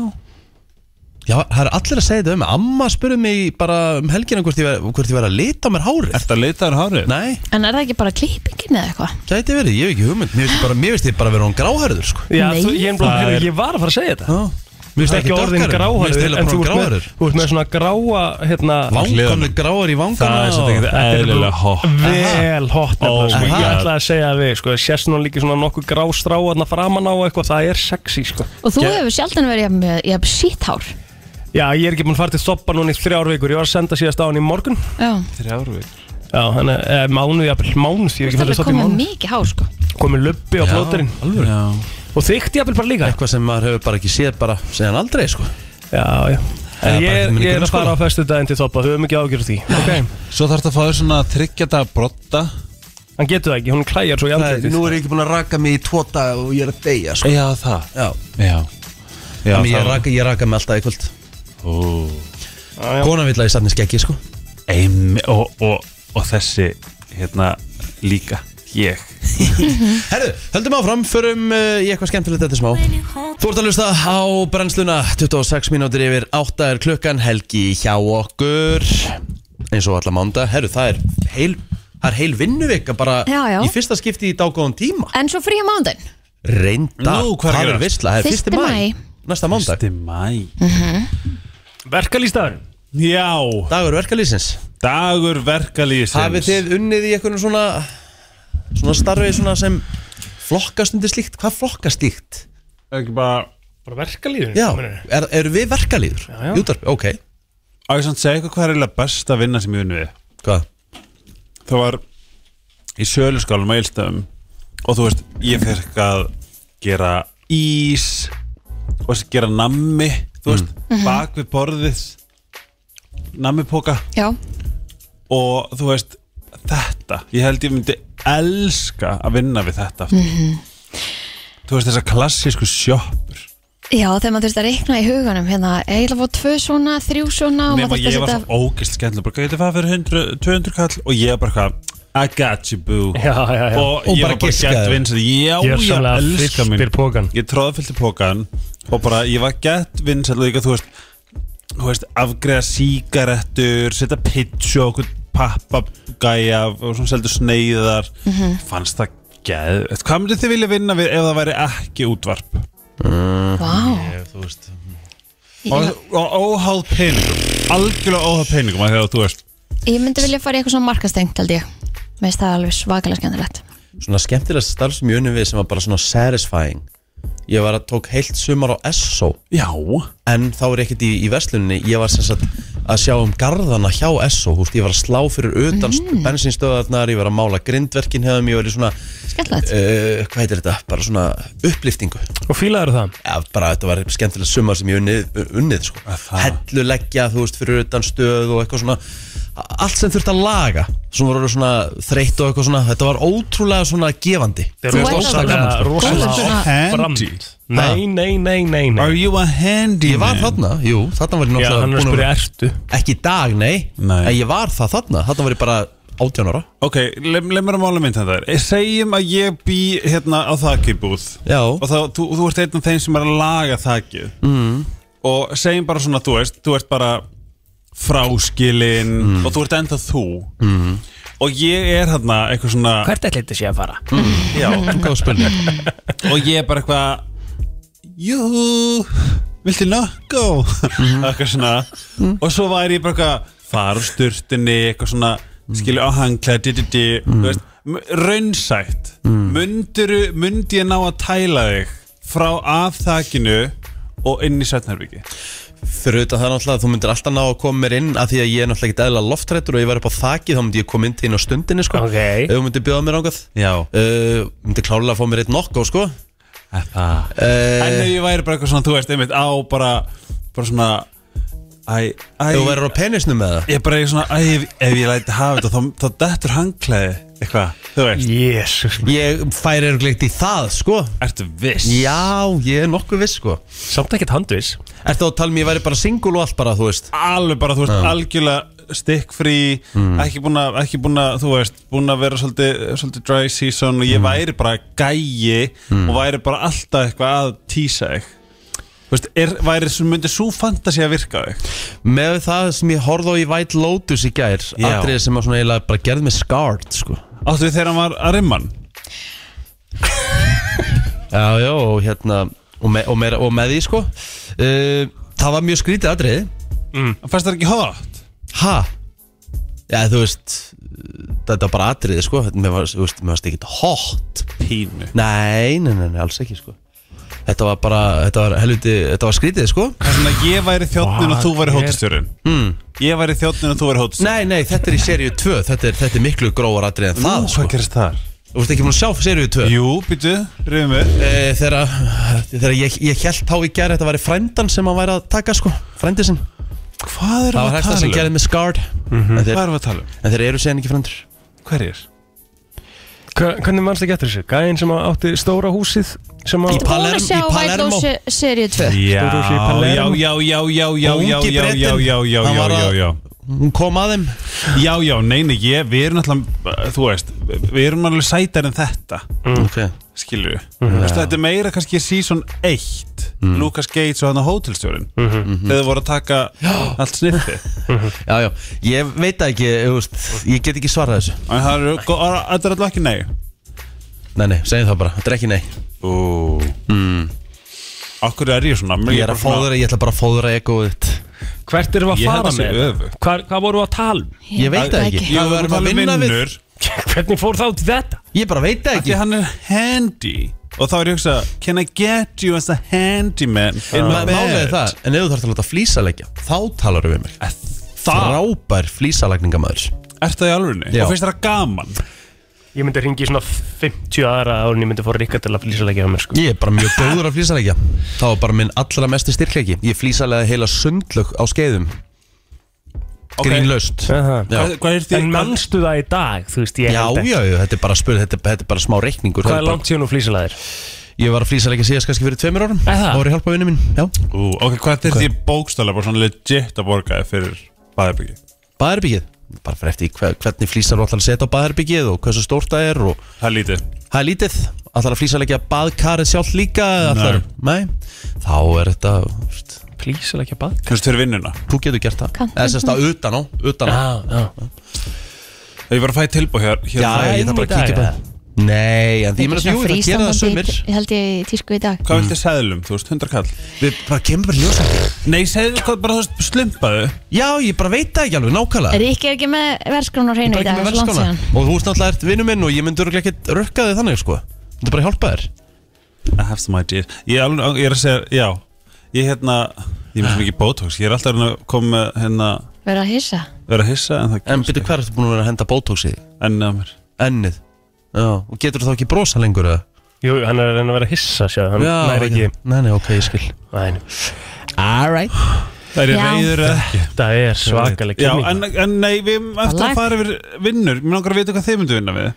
[SPEAKER 1] Já, það er allir að segja þetta um mig Amma spurði mig bara um helgina hvort ég, var- hvort ég var að lita á mér hárið
[SPEAKER 6] ertu að leita þér hárið?
[SPEAKER 1] Nei,
[SPEAKER 3] En er það ekki bara klippingin eða eitthvað?
[SPEAKER 1] gæti verið, ég hef ekki hugmynd Mér veist bara, mér veist ég bara vera hún gráhærður sko.
[SPEAKER 2] Já,
[SPEAKER 3] Nei.
[SPEAKER 2] þú, ég, er bara,
[SPEAKER 6] Það
[SPEAKER 2] heyrðu,
[SPEAKER 6] er-
[SPEAKER 2] ég var að fara að segja þetta
[SPEAKER 1] Mér
[SPEAKER 2] Það er ekki orðin
[SPEAKER 1] Mér veist
[SPEAKER 2] gráhæður
[SPEAKER 1] heila bara
[SPEAKER 2] En þú
[SPEAKER 1] hún
[SPEAKER 2] ert
[SPEAKER 1] gráhærður
[SPEAKER 2] með, þú ert með svona gráa hérna,
[SPEAKER 1] Vanganur gráar í vanganum
[SPEAKER 6] Það er svolítið ekkert eðlilega hot
[SPEAKER 2] Vel hot nefnilega,
[SPEAKER 6] Oh
[SPEAKER 1] my
[SPEAKER 2] sko. Ég
[SPEAKER 1] God.
[SPEAKER 2] ætlaði að segja við sko, Sérst nú líka svona nokkuð grá stráðna framan á og eitthvað, Það er sexy sko
[SPEAKER 3] Og þú hefur sjaldan verið jafn- með jafn sítt hár
[SPEAKER 2] Já, ég er ekki búin að fara til þoppa núna í þrjár vikur Ég var að senda síðast á hann í morgun
[SPEAKER 3] Já,
[SPEAKER 6] Þrjárvík
[SPEAKER 2] Já, hann er eh, mánuð, jafnvel mánuð Ég er ekki
[SPEAKER 3] þú ert
[SPEAKER 2] farið til
[SPEAKER 3] alveg
[SPEAKER 2] þoppa í
[SPEAKER 3] komið
[SPEAKER 2] mánuð
[SPEAKER 3] mikið hár sko
[SPEAKER 2] Komið lubbi á plóturinn
[SPEAKER 1] Alveg
[SPEAKER 6] Já
[SPEAKER 2] Og þykkt jafnvel bara líka
[SPEAKER 1] Eitthvað sem maður hefur bara ekki séð bara Segðan aldrei sko
[SPEAKER 2] Já, já
[SPEAKER 1] Eða bara
[SPEAKER 2] En ég er,
[SPEAKER 1] þegar minni
[SPEAKER 2] ég er að
[SPEAKER 1] grunnskóla.
[SPEAKER 2] fara á festu daginn til þoppa Þau hefum ekki ágjörð því sko. Ok
[SPEAKER 6] Svo þarf þetta að fá þér svona þryggjata brotta
[SPEAKER 2] Hann getur það ekki, hún klæjar svo í
[SPEAKER 1] Það,
[SPEAKER 2] andlitið
[SPEAKER 1] nú er ég ekki búin að raka mig í tvo dag og ég er að deyja sko.
[SPEAKER 6] Já, það
[SPEAKER 1] Já,
[SPEAKER 6] Já,
[SPEAKER 1] já
[SPEAKER 6] já
[SPEAKER 1] ég,
[SPEAKER 6] það
[SPEAKER 1] raka, ég raka mig alltaf í kvöld
[SPEAKER 6] Ó.
[SPEAKER 1] Konan vill að ég sann í skeggi sko
[SPEAKER 6] Eim, og, og, og þessi hérna líka ég
[SPEAKER 1] Herðu, höldum áfram, förum uh, í eitthvað skemmtilegt þetta smá Þú ert að hlusta á brennsluna 26 mínútur yfir 8 er klukkan Helgi hjá okkur Eins og alla mánda Herðu, það er heil, það er heil vinnuvika bara
[SPEAKER 3] Já, já.
[SPEAKER 1] í fyrsta skipti í dágóðan tíma
[SPEAKER 3] En svo frí á mándaginn
[SPEAKER 1] Reynda,
[SPEAKER 6] Nú, hvað er
[SPEAKER 1] það
[SPEAKER 6] að
[SPEAKER 1] er
[SPEAKER 6] gerast?
[SPEAKER 1] visla Það er
[SPEAKER 3] Fyrsti
[SPEAKER 1] fyrsti mæ
[SPEAKER 3] maí.
[SPEAKER 1] Næsta mándag
[SPEAKER 6] Fyrsti mæ
[SPEAKER 2] Verkalýstaðurinn
[SPEAKER 6] Já,
[SPEAKER 1] Dagur verkalýsins
[SPEAKER 6] dagur verkalýsins
[SPEAKER 1] Hafið þið unnið í einhvern svona Svona starfi svona sem Flokkast undir slíkt, hvað flokkast slíkt?
[SPEAKER 6] ekki bara
[SPEAKER 2] Bara verkalýðurinn
[SPEAKER 1] Já, er, eru við verkalýður?
[SPEAKER 2] já.
[SPEAKER 1] Júdarp, ok
[SPEAKER 6] Á ég samt segja eitthvað hvað er eiginlega best að vinna sem ég vinnu við
[SPEAKER 1] Hvað?
[SPEAKER 6] Það var í söluskálum á Eilstöðum og þú veist, ég fekk að gera ís og þess að gera nammi þú veist,
[SPEAKER 1] Mm.
[SPEAKER 6] bak við borðið nammipoka
[SPEAKER 3] Já,
[SPEAKER 6] og þú veist, þetta ég held ég myndi elska að vinna við þetta aftur
[SPEAKER 3] Mhm.
[SPEAKER 6] þú veist, þessa klassísku sjoppur
[SPEAKER 3] já þegar maður þurft að reikna í huganum hérna, ég ætla að fá tvö svona, þrjú svona og
[SPEAKER 6] nema
[SPEAKER 3] maður þurft
[SPEAKER 6] ég
[SPEAKER 3] að
[SPEAKER 6] var
[SPEAKER 3] setja
[SPEAKER 6] svo ógist skemmtilega bara, getur það fyrir 100, 200 kall og ég bara hvað, I got you boo
[SPEAKER 2] Já, já, já
[SPEAKER 6] og,
[SPEAKER 1] Og
[SPEAKER 6] ég
[SPEAKER 1] bara
[SPEAKER 6] var bara
[SPEAKER 1] giskaði.
[SPEAKER 6] gett vinsæl já,
[SPEAKER 2] Ég er
[SPEAKER 6] já,
[SPEAKER 2] samlega
[SPEAKER 6] elska mín
[SPEAKER 2] fylltir pókan
[SPEAKER 6] ég tróða fyllt í pókan og bara ég var gett vinsæl og líka þú veist, þú veist afgreða sígarettur, setja pitsu og okkur pappagæja og svona seldu sneiðar
[SPEAKER 1] Mhm.
[SPEAKER 6] fannst það geð hvað myndið þið vilja vinna við ef það væri ekki útvarp
[SPEAKER 3] Vá,
[SPEAKER 1] Ef þú veist
[SPEAKER 6] og,
[SPEAKER 3] ég,
[SPEAKER 6] og óháð peningum algjörlega óháð peningum af því að þú veist
[SPEAKER 3] ég myndi vilja fara í eitthvað svona markastengt held ég Mér finnst það alveg svakalega skemmtilegt
[SPEAKER 1] svona skemmtilega starf sem ég unni við sem var bara svona satisfying ég var að tók heilt sumar á SO
[SPEAKER 6] já
[SPEAKER 1] en þá er ég ekkert í, í vesluninni ég var sem sagt að sjá um garðana hjá SO húst, ég var að slá fyrir utan mm. bensinstöðarnar, ég var að mála grindverkin hefðum, ég var í svona uh,
[SPEAKER 3] Skemmtilegt
[SPEAKER 1] hvað heitir þetta, bara svona uppliftingu
[SPEAKER 2] Og fílaður það
[SPEAKER 1] ja, bara þetta var skemmtilega sumar sem ég unnið, unnið sko. helluleggja þú veist fyrir utan stöð og eitthvað svona allt sem þurfti að laga sem voru svona þreytt og eitthvað svona þetta var ótrúlega svona gefandi
[SPEAKER 2] Þetta
[SPEAKER 3] Þú ert
[SPEAKER 2] rosalega
[SPEAKER 3] náttúrulega
[SPEAKER 2] Rosalega
[SPEAKER 3] góður
[SPEAKER 6] svona-
[SPEAKER 2] oframd.
[SPEAKER 6] Handy.
[SPEAKER 2] Nei, nei, nei, nei, nei
[SPEAKER 6] Are you a handy
[SPEAKER 1] Ég var þarna, jú, þarna var ég
[SPEAKER 2] Já, hann
[SPEAKER 1] náttúrulega
[SPEAKER 2] er að
[SPEAKER 1] búin að
[SPEAKER 2] spyrja
[SPEAKER 1] vera
[SPEAKER 2] ertu
[SPEAKER 1] Ekki í dag, nei,
[SPEAKER 6] Nei.
[SPEAKER 1] En ég var það þarna, þarna var ég bara 18 ára
[SPEAKER 6] Ok, leið lef mér að mála mynd þetta þér Segjum að ég bý hérna á þakibúð
[SPEAKER 1] Já.
[SPEAKER 6] Og þá, þú, þú ert einn af þeim sem er að laga þakið mm. Og segjum bara svona, þú veist, þú ert bara fráskilin Og þú ert enda þú mm. Og ég er hérna eitthvað svona
[SPEAKER 2] Hvert ætlaði þetta sé að fara?
[SPEAKER 6] Já,
[SPEAKER 1] Góð spurning
[SPEAKER 6] og ég er bara eitthvað Jú, viltu nokko?
[SPEAKER 1] Mhm.
[SPEAKER 6] eitthvað svona Og svo væri ég bara eitthvað Fara úr sturtinni, eitthvað svona
[SPEAKER 1] Mhm.
[SPEAKER 6] Skilja á hangla, di di di mm. veist, m- Raunsætt
[SPEAKER 1] Mhm.
[SPEAKER 6] mm. Munduru, mundi ég ná að tæla þig Frá af þakinu Og inn í Svetnarviki
[SPEAKER 1] Fyrir utan það náttúrulega, þú myndir alltaf ná að koma mér inn af því að ég er náttúrulega ekki eðla loftrættur og ég var upp á þakið, þá myndi ég koma inn til inn á stundinni sko.
[SPEAKER 2] Ok.
[SPEAKER 1] Ef þú myndir bjóða mér ángað
[SPEAKER 6] Já
[SPEAKER 1] uh, Myndi klálega að fá mér eitt nokko sko.
[SPEAKER 6] Það En
[SPEAKER 1] uh,
[SPEAKER 6] ef ég væri bara eitthvað svona, þú veist, einmitt á bara Bara svona Æ, æ
[SPEAKER 1] Þú værir á penisnum með það
[SPEAKER 6] Ég er bara eitthvað svona, æ, ef, ef ég læti hafa þetta, þá, þá dettur hangklæði eitthvað, þú veist.
[SPEAKER 2] Jésus
[SPEAKER 1] Ég færi eruglegt í það, sko
[SPEAKER 6] Ertu viss?
[SPEAKER 1] Já, ég er nokkuð viss, sko
[SPEAKER 2] Samt ekkert handvis
[SPEAKER 1] Ertu að tala mér, ég væri bara single og allt bara, þú veist
[SPEAKER 6] Alveg bara, þú veist, algjörlega stikkfrí, ekki búin að, ekki búin að, þú veist, búin að vera svolítið, svolítið dry season og ég væri bara gæi og væri bara alltaf eitthvað að tísa þig. Þú veist, er, væri, svo- myndi svo fantasi að virka á þig.
[SPEAKER 1] Með það sem ég horfði á í White Lotus í gær
[SPEAKER 6] Já.
[SPEAKER 1] Atrið sem að svona eiginlega bara gerði mig scarred sko.
[SPEAKER 6] Áttu við þegar hann var að rimman?
[SPEAKER 1] Já, já, og hérna Og með, og meira, og með því, sko uh, Það var mjög skrítið atrið
[SPEAKER 6] Fannst það ekki hot?
[SPEAKER 1] Ha? Já, þú veist Þetta var bara atrið, sko Þetta- Mér var, þú veist, mér varst ekki hot
[SPEAKER 6] Pínu.
[SPEAKER 1] nei, nei, nei, nei, alls ekki, sko Þetta var bara, þetta var helviti Þetta var skrítið, sko
[SPEAKER 6] Það er svona, ég væri þjóttnin og þú
[SPEAKER 2] Fuck, ég
[SPEAKER 6] væri
[SPEAKER 2] er-
[SPEAKER 6] hóttustjórin. Mm. Ég væri þjóttnin og þú væri hóttustjórin.
[SPEAKER 1] Nei, nei, þetta er í seríu 2 Þetta er, þetta er miklu gróðar atrið en það,
[SPEAKER 6] Hvað
[SPEAKER 1] sko
[SPEAKER 6] gerist þar?
[SPEAKER 1] Þú veist ekki múin að sjá seríu 2
[SPEAKER 6] Jú, býtu, rifum við
[SPEAKER 1] Eh, Þegar þegar ég, ég held á í gerð Þetta væri frændan sem hann væri að taka sko Frændi sinn
[SPEAKER 6] Hvað
[SPEAKER 1] Það
[SPEAKER 6] erum
[SPEAKER 1] var
[SPEAKER 6] við að
[SPEAKER 1] hægt að
[SPEAKER 6] tala
[SPEAKER 1] sem
[SPEAKER 6] um?
[SPEAKER 1] gerði með Scarred en,
[SPEAKER 6] Hvað
[SPEAKER 1] þeir,
[SPEAKER 6] erum við að tala um?
[SPEAKER 1] en þeir eru séðan ekki frændur
[SPEAKER 6] Hverjir?
[SPEAKER 2] Hva- Hvernig mannst ekki eftir þessu? Gæinn sem átti stóra húsið sem á
[SPEAKER 1] Í
[SPEAKER 3] Þú búin að
[SPEAKER 1] Palerm-
[SPEAKER 3] sjá
[SPEAKER 1] í
[SPEAKER 3] White
[SPEAKER 1] Palermo.
[SPEAKER 3] Lotus serið 2
[SPEAKER 6] Já,
[SPEAKER 2] Stóru húsi í
[SPEAKER 6] já, já,
[SPEAKER 2] Palermo.
[SPEAKER 6] já, já, já, já,
[SPEAKER 1] Ungi
[SPEAKER 6] já,
[SPEAKER 1] Bretinn,
[SPEAKER 6] já, já, já,
[SPEAKER 1] hann
[SPEAKER 6] já,
[SPEAKER 1] var
[SPEAKER 6] já,
[SPEAKER 1] að-
[SPEAKER 6] já
[SPEAKER 1] Hún kom að þeim
[SPEAKER 6] Já, já, nei, nei, ég, við erum alltaf, þú veist, við erum alveg sætar en þetta,
[SPEAKER 1] Ok
[SPEAKER 6] skilur við.
[SPEAKER 1] Mhm.
[SPEAKER 6] Mm. Þetta er meira kannski season 1, Lucas Gates og hann á hótelstjórin,
[SPEAKER 1] Mhm.
[SPEAKER 6] þegar þau voru að taka allt sniffi.
[SPEAKER 1] Já, já, ég veit það ekki, þú veist, ég get ekki svarað þessu
[SPEAKER 6] En það eru, gó- þetta er alltaf ekki nei.
[SPEAKER 1] Nei, nei, segjum það bara, þetta er ekki nei
[SPEAKER 6] Ú. Akkur er ég svona?
[SPEAKER 1] Ég er að fóðra, ég ætla bara að fóðra egoið þitt
[SPEAKER 2] Hvert erum við
[SPEAKER 6] Ég
[SPEAKER 2] að
[SPEAKER 6] held
[SPEAKER 2] fara
[SPEAKER 6] að sé
[SPEAKER 2] með?
[SPEAKER 6] öfugt.
[SPEAKER 2] Hvað, hvað vorum við að tala um?
[SPEAKER 1] Ég veit það ekki,
[SPEAKER 6] Ég var að vinna
[SPEAKER 1] við
[SPEAKER 6] vinnur,
[SPEAKER 2] Hvernig fór þá til þetta?
[SPEAKER 1] Ég bara veit það
[SPEAKER 6] Því
[SPEAKER 1] ekki
[SPEAKER 6] hann er handy Og þá er ég að hugsa Can I get you as a handyman In my
[SPEAKER 1] Ma- Málið er
[SPEAKER 6] bed
[SPEAKER 1] það, en ef þú þarf að láta flísalegja Þá talar við mér
[SPEAKER 6] Það
[SPEAKER 1] Frábær flísalagningamæður
[SPEAKER 6] Er það í alvörinu
[SPEAKER 1] Já.
[SPEAKER 6] Og finnst það gaman
[SPEAKER 2] Ég myndi ringi í svona 50 aðra áður en ég myndi fór Rikka til að flýsa leikja á mér sko
[SPEAKER 1] Ég er bara mjög góður að flísalegja Það var bara minn allra mesti styrkleiki Ég flísalegði heila sundlög á skeiðum
[SPEAKER 6] Ok.
[SPEAKER 1] Grínlaust
[SPEAKER 2] Aha.
[SPEAKER 1] Já.
[SPEAKER 6] Hvað- Hvað er því
[SPEAKER 2] En mannstu það í dag, þú veist, ég
[SPEAKER 1] Já,
[SPEAKER 2] held ekki
[SPEAKER 1] já, já, þetta er bara spurð, þetta, þetta er bara smá reikningur
[SPEAKER 2] Hvað
[SPEAKER 1] Það
[SPEAKER 2] er
[SPEAKER 1] bara-
[SPEAKER 2] langt síðan úr flýsalæðir?
[SPEAKER 1] Ég var að flísalegja síðast kannski fyrir tveimur árum
[SPEAKER 2] Er það?
[SPEAKER 1] Það voru hjálpa vinnu mín, já
[SPEAKER 6] Ú, Ok, hvað er því bókstæla Bara svona legit að borga Fyrir bæðarbyggi
[SPEAKER 1] baðherbyggið bara fyrir eftir því hver, hvernig flýsar þú ætlar að setja á baðherbyggið og hversu stórt það er og
[SPEAKER 6] Það er lítið
[SPEAKER 1] það er lítið ætlar að flýsa leggja baðkarið sjálf líka eða ætlar, nei, þá er þetta þú veist,
[SPEAKER 2] Flýsalækja bad?
[SPEAKER 6] Kannski fyrir vinnuna
[SPEAKER 1] þú getur gert það
[SPEAKER 3] Kanntu.
[SPEAKER 1] eða sérst að utan á, utan á
[SPEAKER 2] Já, já
[SPEAKER 6] Ég var að fæ tilbúð hér, hér
[SPEAKER 1] já,
[SPEAKER 2] það
[SPEAKER 1] ég
[SPEAKER 2] er
[SPEAKER 1] þarf bara
[SPEAKER 2] í
[SPEAKER 1] að kíkja
[SPEAKER 2] dag,
[SPEAKER 1] bara nei, en því ég meina
[SPEAKER 3] Þetta er
[SPEAKER 1] jú,
[SPEAKER 3] svona
[SPEAKER 1] það gera það sumir
[SPEAKER 3] frístandandi, Ég held ég í tísku í dag
[SPEAKER 6] Hvað
[SPEAKER 1] Mm.
[SPEAKER 6] viltu seðlum? Þú veist, hundra kall
[SPEAKER 1] við bara kemur bara ljósa
[SPEAKER 6] Nei, seðlum hvað bara þú veist Slumpaðu
[SPEAKER 1] já, ég bara veit það ekki alveg nákvæmlega
[SPEAKER 3] Ríkki er ekki með verskrónar hreinu
[SPEAKER 1] Bara
[SPEAKER 3] í
[SPEAKER 1] ekki
[SPEAKER 3] dag,
[SPEAKER 1] með
[SPEAKER 3] svo langt
[SPEAKER 1] verðskána.
[SPEAKER 3] síðan
[SPEAKER 1] og þú ert náttúrulega ert vinnu minn og ég myndi örugglega ekkert rökka þig þannig, sko. Ég myndi bara hjálpa þér.
[SPEAKER 6] I have some ideas Ég, er alveg, ég er að segja, já Ég hérna, ég er með svo mikið botox Ég er alltaf að reyna að koma með hérna
[SPEAKER 3] Verða að hissa
[SPEAKER 6] vera að hissa En, það
[SPEAKER 1] En byrju, hvað ertu búin að vera að henda botox í þig?
[SPEAKER 6] ennið á mér
[SPEAKER 1] Ennið Já, og getur þá ekki brosa lengur eða?
[SPEAKER 2] Jú, hann er að reyna að vera hissa, sjáðu, hann
[SPEAKER 1] Já,
[SPEAKER 2] næri ekki
[SPEAKER 1] Nei, nei, ok, ég skil
[SPEAKER 2] Næ,
[SPEAKER 1] Alright
[SPEAKER 6] Það er
[SPEAKER 3] Já.
[SPEAKER 6] reyður eða ekki
[SPEAKER 2] það er svakaleg
[SPEAKER 6] Já,
[SPEAKER 2] kynning
[SPEAKER 6] en, en nei, við erum eftir
[SPEAKER 3] lag.
[SPEAKER 6] að fara yfir vinnur Mér langar að vita hvað þið myndu vinna við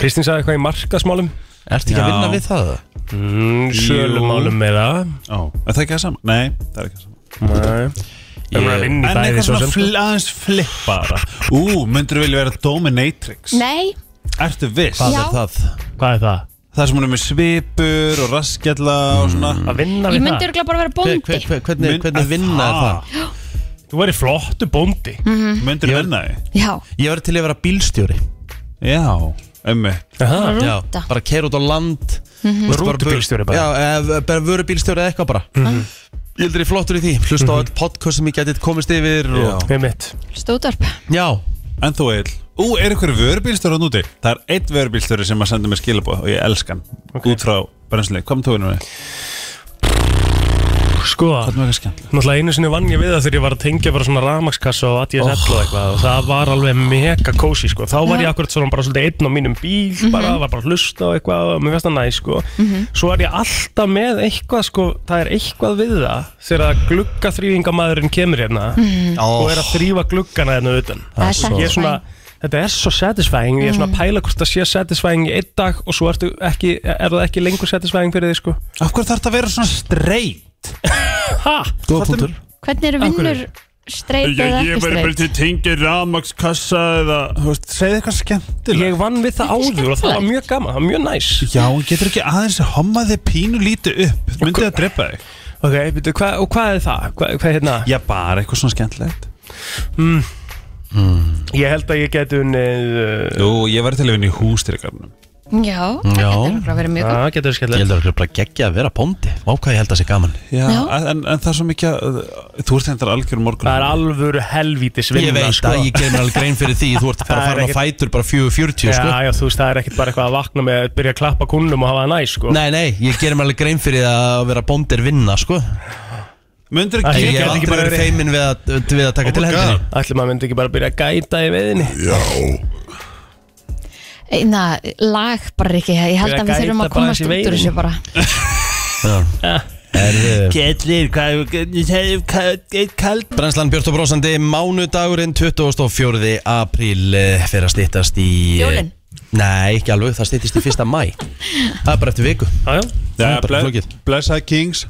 [SPEAKER 2] Kristín sagði eitthvað í markasmálum
[SPEAKER 1] Ertu ekki að
[SPEAKER 6] Já.
[SPEAKER 1] vinna við það?
[SPEAKER 2] mm, Sölumálum með það
[SPEAKER 6] Ó Er það ekki það sama? Nei, það er ekki það sama
[SPEAKER 2] Nei Það er að vinna í
[SPEAKER 6] En
[SPEAKER 2] bæði
[SPEAKER 6] eitthvað
[SPEAKER 2] svo
[SPEAKER 6] svona
[SPEAKER 2] sem sko.
[SPEAKER 6] fl aðeins flippara Ú, myndur vilja vera dominatrix?
[SPEAKER 3] Nei,
[SPEAKER 6] Ertu viss?
[SPEAKER 1] Hvað
[SPEAKER 3] Já.
[SPEAKER 1] er það?
[SPEAKER 2] Hvað er það?
[SPEAKER 6] Það sem hún er með svipur og raskjalla og svona
[SPEAKER 2] Að vinna
[SPEAKER 3] ég
[SPEAKER 2] við
[SPEAKER 3] myndi
[SPEAKER 2] það?
[SPEAKER 3] örugglega bara vera
[SPEAKER 1] Hver,
[SPEAKER 3] bóndi
[SPEAKER 1] hver, hver, hvernig,
[SPEAKER 6] Mun-
[SPEAKER 1] hvernig
[SPEAKER 6] að
[SPEAKER 1] vinna er það?
[SPEAKER 2] Þú verður flottu bóndi
[SPEAKER 6] Myndur vinna því?
[SPEAKER 3] Já,
[SPEAKER 1] Ég verður til að vera bílstjóri
[SPEAKER 6] Já, ömmi
[SPEAKER 2] Aha.
[SPEAKER 3] bara
[SPEAKER 1] Já,
[SPEAKER 3] rúta
[SPEAKER 1] bara keira út á land mm -hmm.
[SPEAKER 2] Rútubílstjóri bara.
[SPEAKER 1] Já, eða bara vöru bílstjóri eða eitthvað bara Ég heldur ég flottur í því Hlusta á all podcast sem ég getið komist yfir og...
[SPEAKER 2] Með mitt
[SPEAKER 3] Stóðarp
[SPEAKER 1] Já,
[SPEAKER 6] En þú Egil Ú, er ykkur vörubílstöru hann úti? Það er eitt vörubílstöru sem að senda mér skilabóð og ég elska hann út frá brennslunni Hvað með þú vinna við?
[SPEAKER 2] Sko,
[SPEAKER 6] Hvað með eitthvað skemmtilega?
[SPEAKER 2] náttúrulega einu sinni vann ég við það þegar ég var að tengja bara svona rafmakskassa og ADSL
[SPEAKER 3] Oh.
[SPEAKER 2] og eitthvað og það var alveg mega kósi sko þá var ég akkurat svona bara svolítið einn á mínum bíl
[SPEAKER 3] Mhm.
[SPEAKER 2] bara, var bara að hlusta og eitthvað og mér finnst það næ sko svo er ég alltaf með eitthvað sko, það er eitthvað við það þegar að gluggaþrýfingamæðurinn kemur hérna og er að þrýfa gluggana hérna utan
[SPEAKER 3] Mhm. Oh. Það
[SPEAKER 2] Ég er svona,
[SPEAKER 3] er satisfying Mhm.
[SPEAKER 2] þetta er svo satisfying ég er svona að pæla hvort það sé satisfying í einn dag og svo ertu ekki, er það ekki lengur satisfying fyrir þig sko
[SPEAKER 6] Af hverju þarf það að vera svona streit?
[SPEAKER 2] ha,
[SPEAKER 1] góða punktur
[SPEAKER 3] Hvernig eru vinnur streit eða ekki streit?
[SPEAKER 6] til tengja ramakskassa eða Þú veist, segðu eitthvað skemmtilega
[SPEAKER 2] ég vann við það áður og það var mjög gaman, það var mjög næs
[SPEAKER 6] Já, en getur ekki aðeins að homma þig pínu lítið upp Myndi það að drepa þig?
[SPEAKER 2] ok, betur, hva, og hvað er það? Hva, hvað er hérna?
[SPEAKER 6] Já, bara eitthvað svona skemmtilegt
[SPEAKER 2] ég held að ég geti unnið uh,
[SPEAKER 6] Jú, ég var til að vinna í hústyrkarnum
[SPEAKER 3] Já, það
[SPEAKER 1] Já.
[SPEAKER 3] getur örugglega verið mjög gott
[SPEAKER 2] að getur
[SPEAKER 1] Ég
[SPEAKER 2] skemmtilegt
[SPEAKER 1] heldur að bara geggja að vera bóndi Vá hvað ég held að sé gaman
[SPEAKER 6] Já,
[SPEAKER 3] Já.
[SPEAKER 6] En, en það er svo mikið að uh, Þú ert hendur algjör morgun
[SPEAKER 2] það er alvöru helvítis vinna
[SPEAKER 1] Ég veit
[SPEAKER 2] sko.
[SPEAKER 1] að ég ger mér alveg grein fyrir því Þú ert bara
[SPEAKER 2] Það er
[SPEAKER 1] farin að fætur bara 4.40 sko.
[SPEAKER 2] Já, já, þú veist, það er ekkert bara eitthvað að vakna með að byrja að klappa kunnum og hafa það næs, sko.
[SPEAKER 1] Nei, nei, ég gerir mér alveg grein fyrir að vera bóndir vinna, sko
[SPEAKER 6] Myndur
[SPEAKER 2] Æ,
[SPEAKER 6] ekki
[SPEAKER 1] Ég
[SPEAKER 2] gæti
[SPEAKER 1] hef
[SPEAKER 2] ekki
[SPEAKER 1] aldrei
[SPEAKER 2] bara
[SPEAKER 1] verið
[SPEAKER 2] verið-
[SPEAKER 1] feiminn við að, við að taka
[SPEAKER 6] Oh
[SPEAKER 1] til
[SPEAKER 6] my
[SPEAKER 1] hendinni
[SPEAKER 6] God.
[SPEAKER 2] Ætli maður myndi ekki bara byrja að gæta í veðinni.
[SPEAKER 3] Einna, lag bara ekki, ég held
[SPEAKER 2] Ég
[SPEAKER 3] að við þurfum
[SPEAKER 2] gæta
[SPEAKER 3] að
[SPEAKER 2] bara
[SPEAKER 3] komast
[SPEAKER 2] þessi
[SPEAKER 3] út úr
[SPEAKER 2] veiru.
[SPEAKER 3] þessu bara
[SPEAKER 1] Erðu
[SPEAKER 2] Gætlir, hvað, hvað, hvað, hvað,
[SPEAKER 1] Brænslan Björn og Brósandi, mánudagurinn 24. apríl eh, fer að stýttast í eh,
[SPEAKER 3] Jólin.
[SPEAKER 1] Nei, ekki alveg, það styttist í fyrsta mæ Það er bara eftir viku
[SPEAKER 2] Já, já,
[SPEAKER 1] Það
[SPEAKER 6] Já,
[SPEAKER 1] er bara
[SPEAKER 6] ble,
[SPEAKER 1] flókið.
[SPEAKER 6] blessað Kings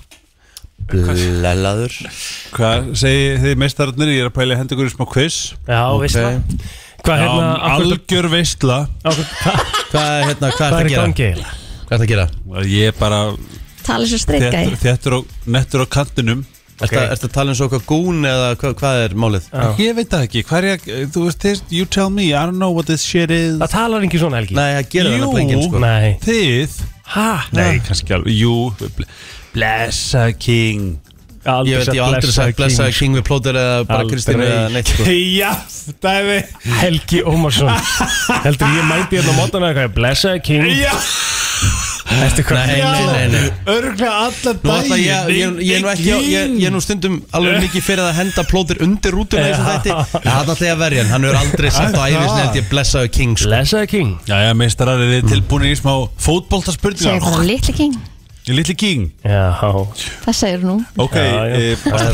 [SPEAKER 1] Blelaður
[SPEAKER 6] Hvað segir þið meistararnir? Ég er að pæla að henda ykkur í smá quiz
[SPEAKER 2] já okay. veistla Hvað
[SPEAKER 6] Já,
[SPEAKER 2] hérna, akkur,
[SPEAKER 6] Algjör veistla
[SPEAKER 2] akkur, hva,
[SPEAKER 1] Hvað er hérna, hvað er
[SPEAKER 2] hvað er
[SPEAKER 1] að
[SPEAKER 2] í
[SPEAKER 1] gera?
[SPEAKER 2] gangi?
[SPEAKER 1] Hvað er að gera?
[SPEAKER 6] Ég er bara
[SPEAKER 3] Tala svo strikka í
[SPEAKER 6] þéttur, þéttur og nettur á kantinum
[SPEAKER 1] Okay. Ertu, ertu að tala um svo eitthvað gún eða hvað, hvað er málið?
[SPEAKER 2] Já.
[SPEAKER 6] Ég veit það ekki, hvað er ég, þú veist, þið- you tell me, I don't know what this shit is
[SPEAKER 2] Það talar engin svona helgi
[SPEAKER 1] Nei, það gerir það
[SPEAKER 6] Jú.
[SPEAKER 1] nefnilega enginn sko
[SPEAKER 2] Nei.
[SPEAKER 6] Þið,
[SPEAKER 2] Ha?
[SPEAKER 6] nei, kannski alveg, jú, ble- blessa King
[SPEAKER 2] Aldrei
[SPEAKER 1] Ég veit, ég hef aldrei sagt blessaði King við plóter eða bara
[SPEAKER 2] Aldrei.
[SPEAKER 1] Kristín eða neitt sko
[SPEAKER 6] Já, dæmi
[SPEAKER 2] Helgi Ómarsson Heldur ég mæti hérna á mótan eða eitthvað Blessaði King
[SPEAKER 6] Já,
[SPEAKER 2] Eftir hvað
[SPEAKER 1] Nei, nei, nei, nei
[SPEAKER 6] örgulega alla
[SPEAKER 1] Nú ætla ég, ég, ég, ég, er nú ekki, á- ég, ég er nú stundum alveg mikið fyrir að henda plóter undir rútuna í þessum þætti En Það er alltaf að verja hann, hann er aldrei sagt á æfisni held ég blessaði King sko
[SPEAKER 2] Blessaði King
[SPEAKER 6] Jæja, meistarar, er þið tilbúinir í smá
[SPEAKER 3] Segir
[SPEAKER 6] fótboltaspurningar?
[SPEAKER 3] hún litli king
[SPEAKER 6] Lilli King
[SPEAKER 2] Já
[SPEAKER 3] Það segir hún nú
[SPEAKER 6] Ok,
[SPEAKER 2] Já, já.
[SPEAKER 6] eh,
[SPEAKER 2] Það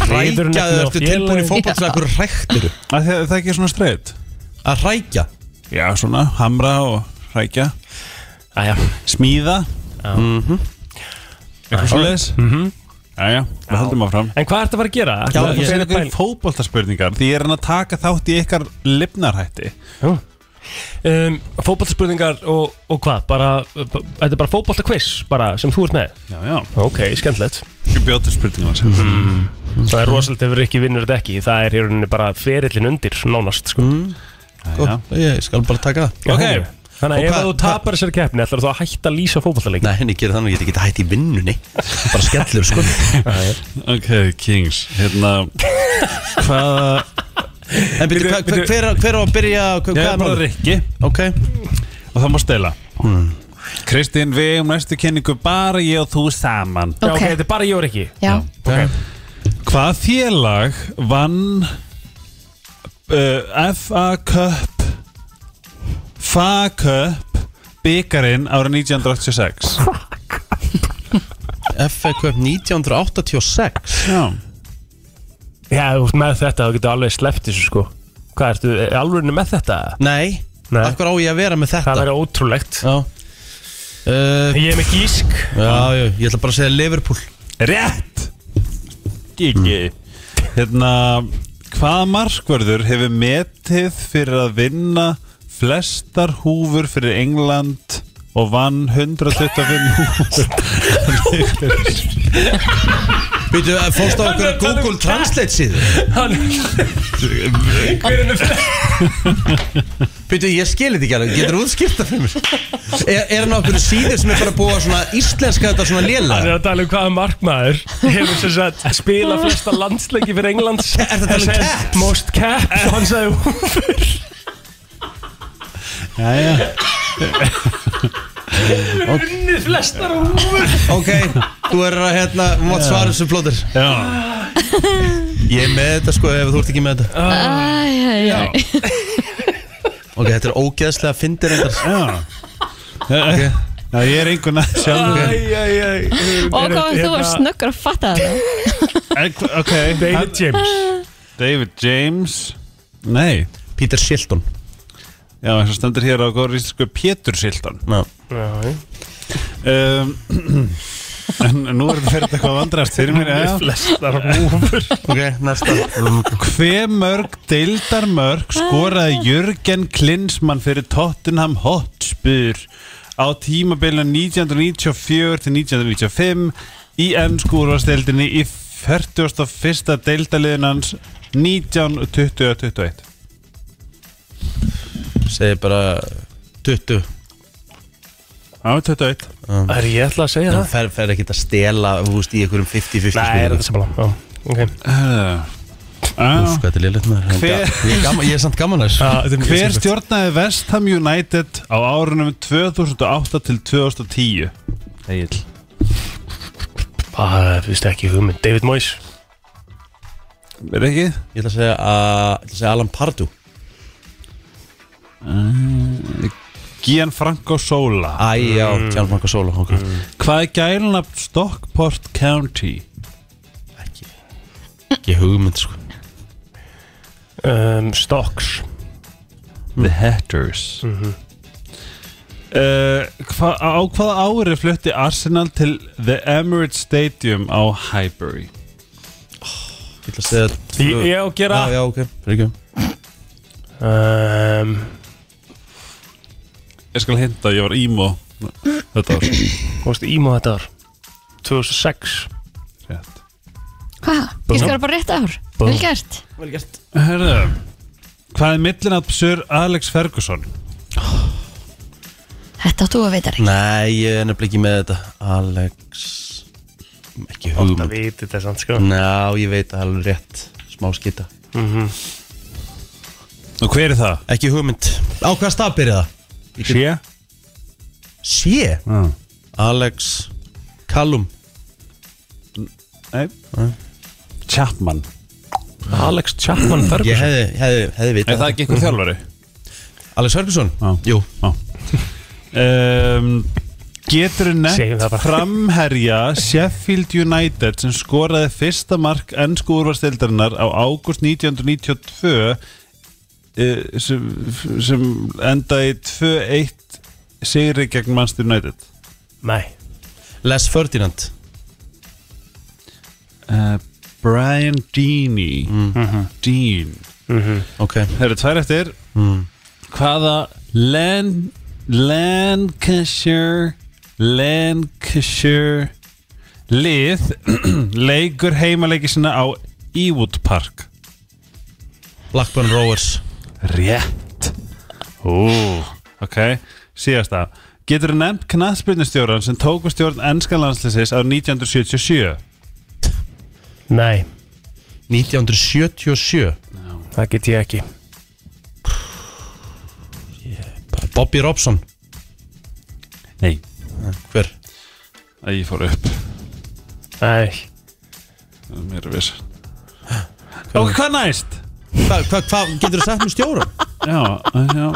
[SPEAKER 1] Rækjaðu,
[SPEAKER 2] ríður nefnilega á
[SPEAKER 1] ertu tilbúin í
[SPEAKER 2] félagið.
[SPEAKER 1] fótboll sem ekkur ræktir
[SPEAKER 6] að þið- það er ekki svona streitt
[SPEAKER 1] Að rækja
[SPEAKER 6] Já, svona, hamra og hrækja
[SPEAKER 2] Æja
[SPEAKER 6] Smíða Mhm. Eitthvað svo leiðis
[SPEAKER 1] Mhm.
[SPEAKER 6] Jæja, við höldum áfram
[SPEAKER 2] En hvað ertu að fara að gera?
[SPEAKER 6] Já,
[SPEAKER 2] Ertu að
[SPEAKER 6] ég
[SPEAKER 2] fara
[SPEAKER 6] segir
[SPEAKER 2] að
[SPEAKER 6] ykkur
[SPEAKER 2] pæla-
[SPEAKER 6] fótboltaspurningar Því ég er hann að taka þátt í ykkar lifnarhætti
[SPEAKER 2] um, Fótballspurningar og, og hvað? Bara, b- þetta er bara fótballtakviss bara, sem þú ert með
[SPEAKER 6] Já, já
[SPEAKER 2] Ok, skemmtilegt
[SPEAKER 6] Ég bjóti spurningar mm.
[SPEAKER 2] Það er rosalega ef ekki vinnur þetta ekki Það er í rauninni bara ferillin undir nánast sko.
[SPEAKER 6] Já,
[SPEAKER 1] Ég skal bara taka það
[SPEAKER 2] Já,
[SPEAKER 6] Ok.
[SPEAKER 2] þannig. Þannig
[SPEAKER 1] Og
[SPEAKER 2] að ef
[SPEAKER 1] hvað-
[SPEAKER 2] þú tapar þessari keppni ætlar þú að hætta að lýsa fótballtaleik
[SPEAKER 1] Nei, henni gerir þannig að ég get ekki hætt í vinnunni Bara skellur sko
[SPEAKER 6] ok, Kings Hérna, hvaða
[SPEAKER 1] En byrju, hva- hva- hver, hver á að byrja hva-
[SPEAKER 6] Ég
[SPEAKER 1] Hvað
[SPEAKER 6] er
[SPEAKER 1] er
[SPEAKER 6] bara
[SPEAKER 1] málið?
[SPEAKER 6] Rikki
[SPEAKER 1] Ok
[SPEAKER 6] og það má stela
[SPEAKER 1] Hmm.
[SPEAKER 6] Kristín, við um næstu kynningu bara ég og þú saman
[SPEAKER 2] Já,
[SPEAKER 3] Ok.
[SPEAKER 2] ok, þetta er bara ég og ekki
[SPEAKER 3] Já,
[SPEAKER 1] Ok
[SPEAKER 6] Hvað félag vann uh, FA Cup FA Cup byggarinn árið 1986
[SPEAKER 1] FA Cup 1986
[SPEAKER 6] Já,
[SPEAKER 2] Já, þú ert með þetta, þú getur alveg sleppt þessu sko Hvað ertu, er alveg með þetta?
[SPEAKER 1] Nei,
[SPEAKER 2] Nei.
[SPEAKER 1] af hverju á ég að vera með
[SPEAKER 2] Það
[SPEAKER 1] þetta?
[SPEAKER 2] verður ótrúlegt
[SPEAKER 1] Já uh,
[SPEAKER 2] Ég er með gísk
[SPEAKER 1] Já, já, ég ætla bara að segja Liverpool
[SPEAKER 6] rétt Gigi Hérna, hvaða markvörður hefur metið fyrir að vinna flestar húfur fyrir England og vann 125 húfur
[SPEAKER 1] Býtu, fórst á okkur að
[SPEAKER 2] um
[SPEAKER 1] Google Translate síðu
[SPEAKER 2] Hann
[SPEAKER 1] Býtu, ég skil þetta ekki alveg, getur þú skipta fyrir mér? Er, er hann á okkur síður sem er bara búið að svona íslenska þetta svona léla?
[SPEAKER 2] er að tala um hvaða markmaður Hefur sem sagt spila flesta landsleiki fyrir Englands
[SPEAKER 1] Er þetta að tala um
[SPEAKER 2] Hann sagði,
[SPEAKER 1] caps?
[SPEAKER 2] Most caps og Hann sagði
[SPEAKER 6] Jæja
[SPEAKER 2] Unnið flestar á húfur
[SPEAKER 1] Ok, þú er að hérna, mátt svara þessu plóður
[SPEAKER 6] Já,
[SPEAKER 1] Ég er með þetta sko, ef þú ert ekki með þetta
[SPEAKER 3] æj, æj, æj
[SPEAKER 1] Ok, þetta er ógeðslega fyndir endar
[SPEAKER 6] já Já, ég er einhvern að sjálf
[SPEAKER 3] Og hvað þú
[SPEAKER 2] hérna-
[SPEAKER 3] var snöggur að fatta þetta
[SPEAKER 6] Ok,
[SPEAKER 2] David James
[SPEAKER 6] David James Nei,
[SPEAKER 1] Peter Shilton
[SPEAKER 6] já, það stendur hér á góður íslensku Pétur Sildan
[SPEAKER 1] Já.
[SPEAKER 6] um, En nú er þetta fyrir þetta eitthvað vandrast fyrir mér já.
[SPEAKER 2] Flestar á húfur
[SPEAKER 1] Ok, næsta
[SPEAKER 6] Hve mörg deildar mörg skoraði Jörgen Klinsmann fyrir Tottenham Hotspur á tímabilinu 1994 til 1995 í ennskúrvasteldinni í 41. deildaliðinans 1920-21
[SPEAKER 1] Segði bara 20
[SPEAKER 6] Já, 21
[SPEAKER 2] Það er ég ætla að segja
[SPEAKER 1] Það
[SPEAKER 2] það
[SPEAKER 1] fer, fer ekki að stela, þú veist, í einhverjum 50-50
[SPEAKER 2] Nei, er þetta samanlega okay.
[SPEAKER 6] Eh, Herðu.
[SPEAKER 1] Úf,
[SPEAKER 6] Já.
[SPEAKER 1] hvað þetta er lélitt maður
[SPEAKER 6] Hver-
[SPEAKER 1] Ég er, gaman, ég er samt gaman þess
[SPEAKER 2] ah, þetta er mjög
[SPEAKER 6] Hver
[SPEAKER 2] skemmtilegt.
[SPEAKER 6] stjórnaði West Ham United á árunum 2008 til 2010? Egil
[SPEAKER 2] Bara, þú veist ekki hugmynd David Moyes
[SPEAKER 6] Er ekki?
[SPEAKER 1] Ég ætla að segja, að, ég ætla að segja Alan Pardew
[SPEAKER 6] Gianfranco Sola
[SPEAKER 1] Æ, já,
[SPEAKER 6] Mm.
[SPEAKER 1] Tjálf Marko Solo okay.
[SPEAKER 6] Hvað er gælunafn Stockport County?
[SPEAKER 1] Ekki Ekki hugmynd, sko
[SPEAKER 2] um, Stocks
[SPEAKER 6] Mm. Mhm. The Hatters Uh, hva, á hvaða ári flutti Arsenal til The Emirates Stadium á Highbury?
[SPEAKER 1] Ég ætla að segja
[SPEAKER 2] Ég,
[SPEAKER 1] tvö-
[SPEAKER 2] ég á að gera
[SPEAKER 1] Já, já, ok, frekjum
[SPEAKER 2] um,
[SPEAKER 6] Ég skal hinta, ég var ímó Þetta var
[SPEAKER 2] Mástu ímá þetta ár 2006
[SPEAKER 6] rétt
[SPEAKER 3] Hva? Ég skora bara rétt ár
[SPEAKER 2] Búmm.
[SPEAKER 3] Vel gert
[SPEAKER 6] Herðu, hvað er millinat Sir Alex Ferguson?
[SPEAKER 3] Þetta áttu að veita
[SPEAKER 1] Nei, ég er nefnilega ekki með þetta Alex Ekki
[SPEAKER 2] Það
[SPEAKER 1] hugmynd
[SPEAKER 2] viti þetta samt sko
[SPEAKER 1] Ná, ég veit að alveg rétt Smá skita
[SPEAKER 6] Og hver er það?
[SPEAKER 1] Ekki hugmynd Á hvað stað byrja það? Ég get-
[SPEAKER 6] Sjö?
[SPEAKER 1] Sé
[SPEAKER 6] Mm.
[SPEAKER 1] Alex Callum
[SPEAKER 6] Nei Chapman
[SPEAKER 2] Alex Chapman
[SPEAKER 1] Ég
[SPEAKER 2] Ferguson
[SPEAKER 1] hefði, hefði, hefði
[SPEAKER 6] Er
[SPEAKER 1] vitað
[SPEAKER 6] það ekki eitthvað þjálfari?
[SPEAKER 1] Alex Ferguson?
[SPEAKER 6] Já.
[SPEAKER 1] Jú
[SPEAKER 6] Um, getur
[SPEAKER 2] Segjum það
[SPEAKER 6] nefnt
[SPEAKER 2] bara.
[SPEAKER 6] framherja Sheffield United sem skoraði fyrsta mark ennsku úrvarsdeildarinnar á águst 1992 eh, sem, sem endaði í 2-1 sigri gegn Manchester United
[SPEAKER 2] Nei
[SPEAKER 1] Les Ferdinand
[SPEAKER 6] uh, Brian Deeney Dean
[SPEAKER 1] Ok
[SPEAKER 6] Það eru tvær eftir Hvaða Lan Lancashire Lancashire lið leikur heimaleiki sinna á Ewood Park
[SPEAKER 1] Blackburn Rovers
[SPEAKER 6] Rétt Ú, ok Síðasta Getur þú nefnt knattspyrnustjóran sem tóku stjórn ennska landslýsins á 1977?
[SPEAKER 2] Nei
[SPEAKER 1] 1977
[SPEAKER 2] Það get ég ekki
[SPEAKER 1] Bobby Robson
[SPEAKER 6] Nei
[SPEAKER 1] Hver?
[SPEAKER 6] Æ, ég fór upp
[SPEAKER 2] Nei
[SPEAKER 6] Mér er viss Og hvað næst?
[SPEAKER 1] Hvað hva, hva, getur þú sagt með stjóra?
[SPEAKER 6] Já, já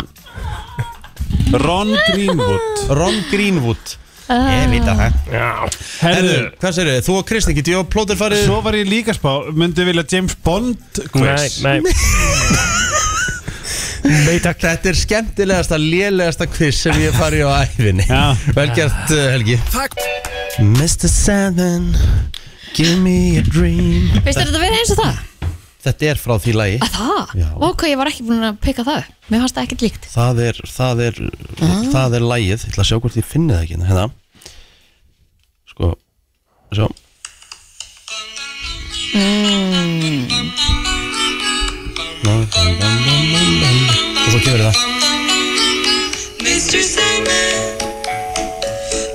[SPEAKER 6] Ron Greenwood
[SPEAKER 1] Ron Greenwood Ég veit að það
[SPEAKER 2] Já
[SPEAKER 1] Herðu,
[SPEAKER 6] Herðu,
[SPEAKER 1] hvað segir þið? Þú og Kristi, getur ég og plóður farið?
[SPEAKER 6] svo var ég líka spá Myndi vilja James Bond quiz
[SPEAKER 2] Nei, nei
[SPEAKER 1] Nei, takk. Þetta er skemmtilegasta, lélegasta quiz sem ég fari á æfinni
[SPEAKER 6] Já.
[SPEAKER 1] Velgjart uh, Helgi Takk Mr. Sandman Give me a dream
[SPEAKER 3] Finnst þér þetta vera eins og það?
[SPEAKER 1] Þetta er frá því lagi
[SPEAKER 3] Það?
[SPEAKER 1] Já.
[SPEAKER 3] Ok, ég var ekki búin að peka það upp Mér fannst það ekkert líkt
[SPEAKER 1] Það er, það er, það er lagið Ég ætla að sjá hvort ég finni það ekki hérna Sko, sjá Mm. Og svo kemur það
[SPEAKER 7] Mr. Sandman,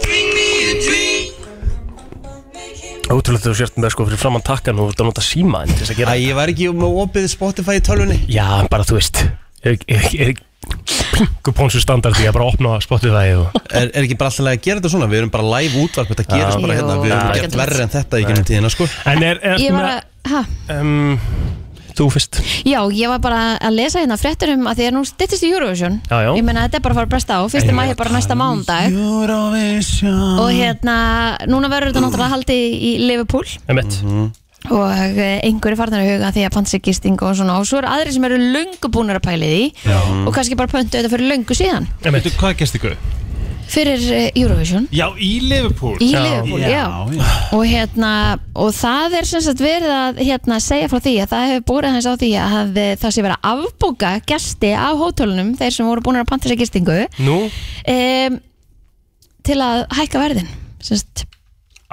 [SPEAKER 7] bring me a dream.
[SPEAKER 2] Ótrúlega þú sért með sko fyrir framann takkan og þú ert að nota síma en til þess að
[SPEAKER 1] Æ,
[SPEAKER 2] gera
[SPEAKER 1] ég var ekki með opið Spotify í tölvunni
[SPEAKER 2] Já, en bara þú veist Er ekki pingu pónsu standardi að bara opna Spotify og
[SPEAKER 1] er, er ekki bara alltaf að gera þetta svona Við erum bara live útvarp, þetta gerist bara
[SPEAKER 3] Jú,
[SPEAKER 1] hérna Við erum
[SPEAKER 3] það er
[SPEAKER 1] gert
[SPEAKER 3] ekki
[SPEAKER 1] verri en þetta í gennum tíðina sko.
[SPEAKER 2] En er, er
[SPEAKER 3] Ég var að, ha,
[SPEAKER 2] um, Þú fyrst
[SPEAKER 3] já, ég var bara að lesa hérna fréttur um að því að nú styttist í Eurovision
[SPEAKER 2] Já, já.
[SPEAKER 3] Ég meina þetta er bara að fara að bresta á Fyrsti maður bara næsta mándag
[SPEAKER 6] Eurovision
[SPEAKER 3] Og hérna, núna verður þetta náttúrulega haldið í Liverpool
[SPEAKER 2] Emmett
[SPEAKER 1] Mhm.
[SPEAKER 3] og eh, einhverju farnar að huga að því að pansigisting og svona og svo eru aðri sem eru löngu búnar að pæli því já. og kannski bara pöntu þetta fyrir löngu síðan
[SPEAKER 2] Emmett
[SPEAKER 6] Veitu hvað gæst ykkur?
[SPEAKER 3] fyrir eh, Eurovision
[SPEAKER 6] Já, í Liverpool
[SPEAKER 3] í
[SPEAKER 2] Já.
[SPEAKER 3] Liverpool, já,
[SPEAKER 6] já.
[SPEAKER 3] og hérna og það er sem sagt verið að hérna, segja frá því að það hefur borðið hans á því að eh, það sé verið að afbóka gesti á hótelunum, þeir sem voru búnar að panta sér gistingu
[SPEAKER 2] Nú
[SPEAKER 3] um, til að hækka verðin sem sagt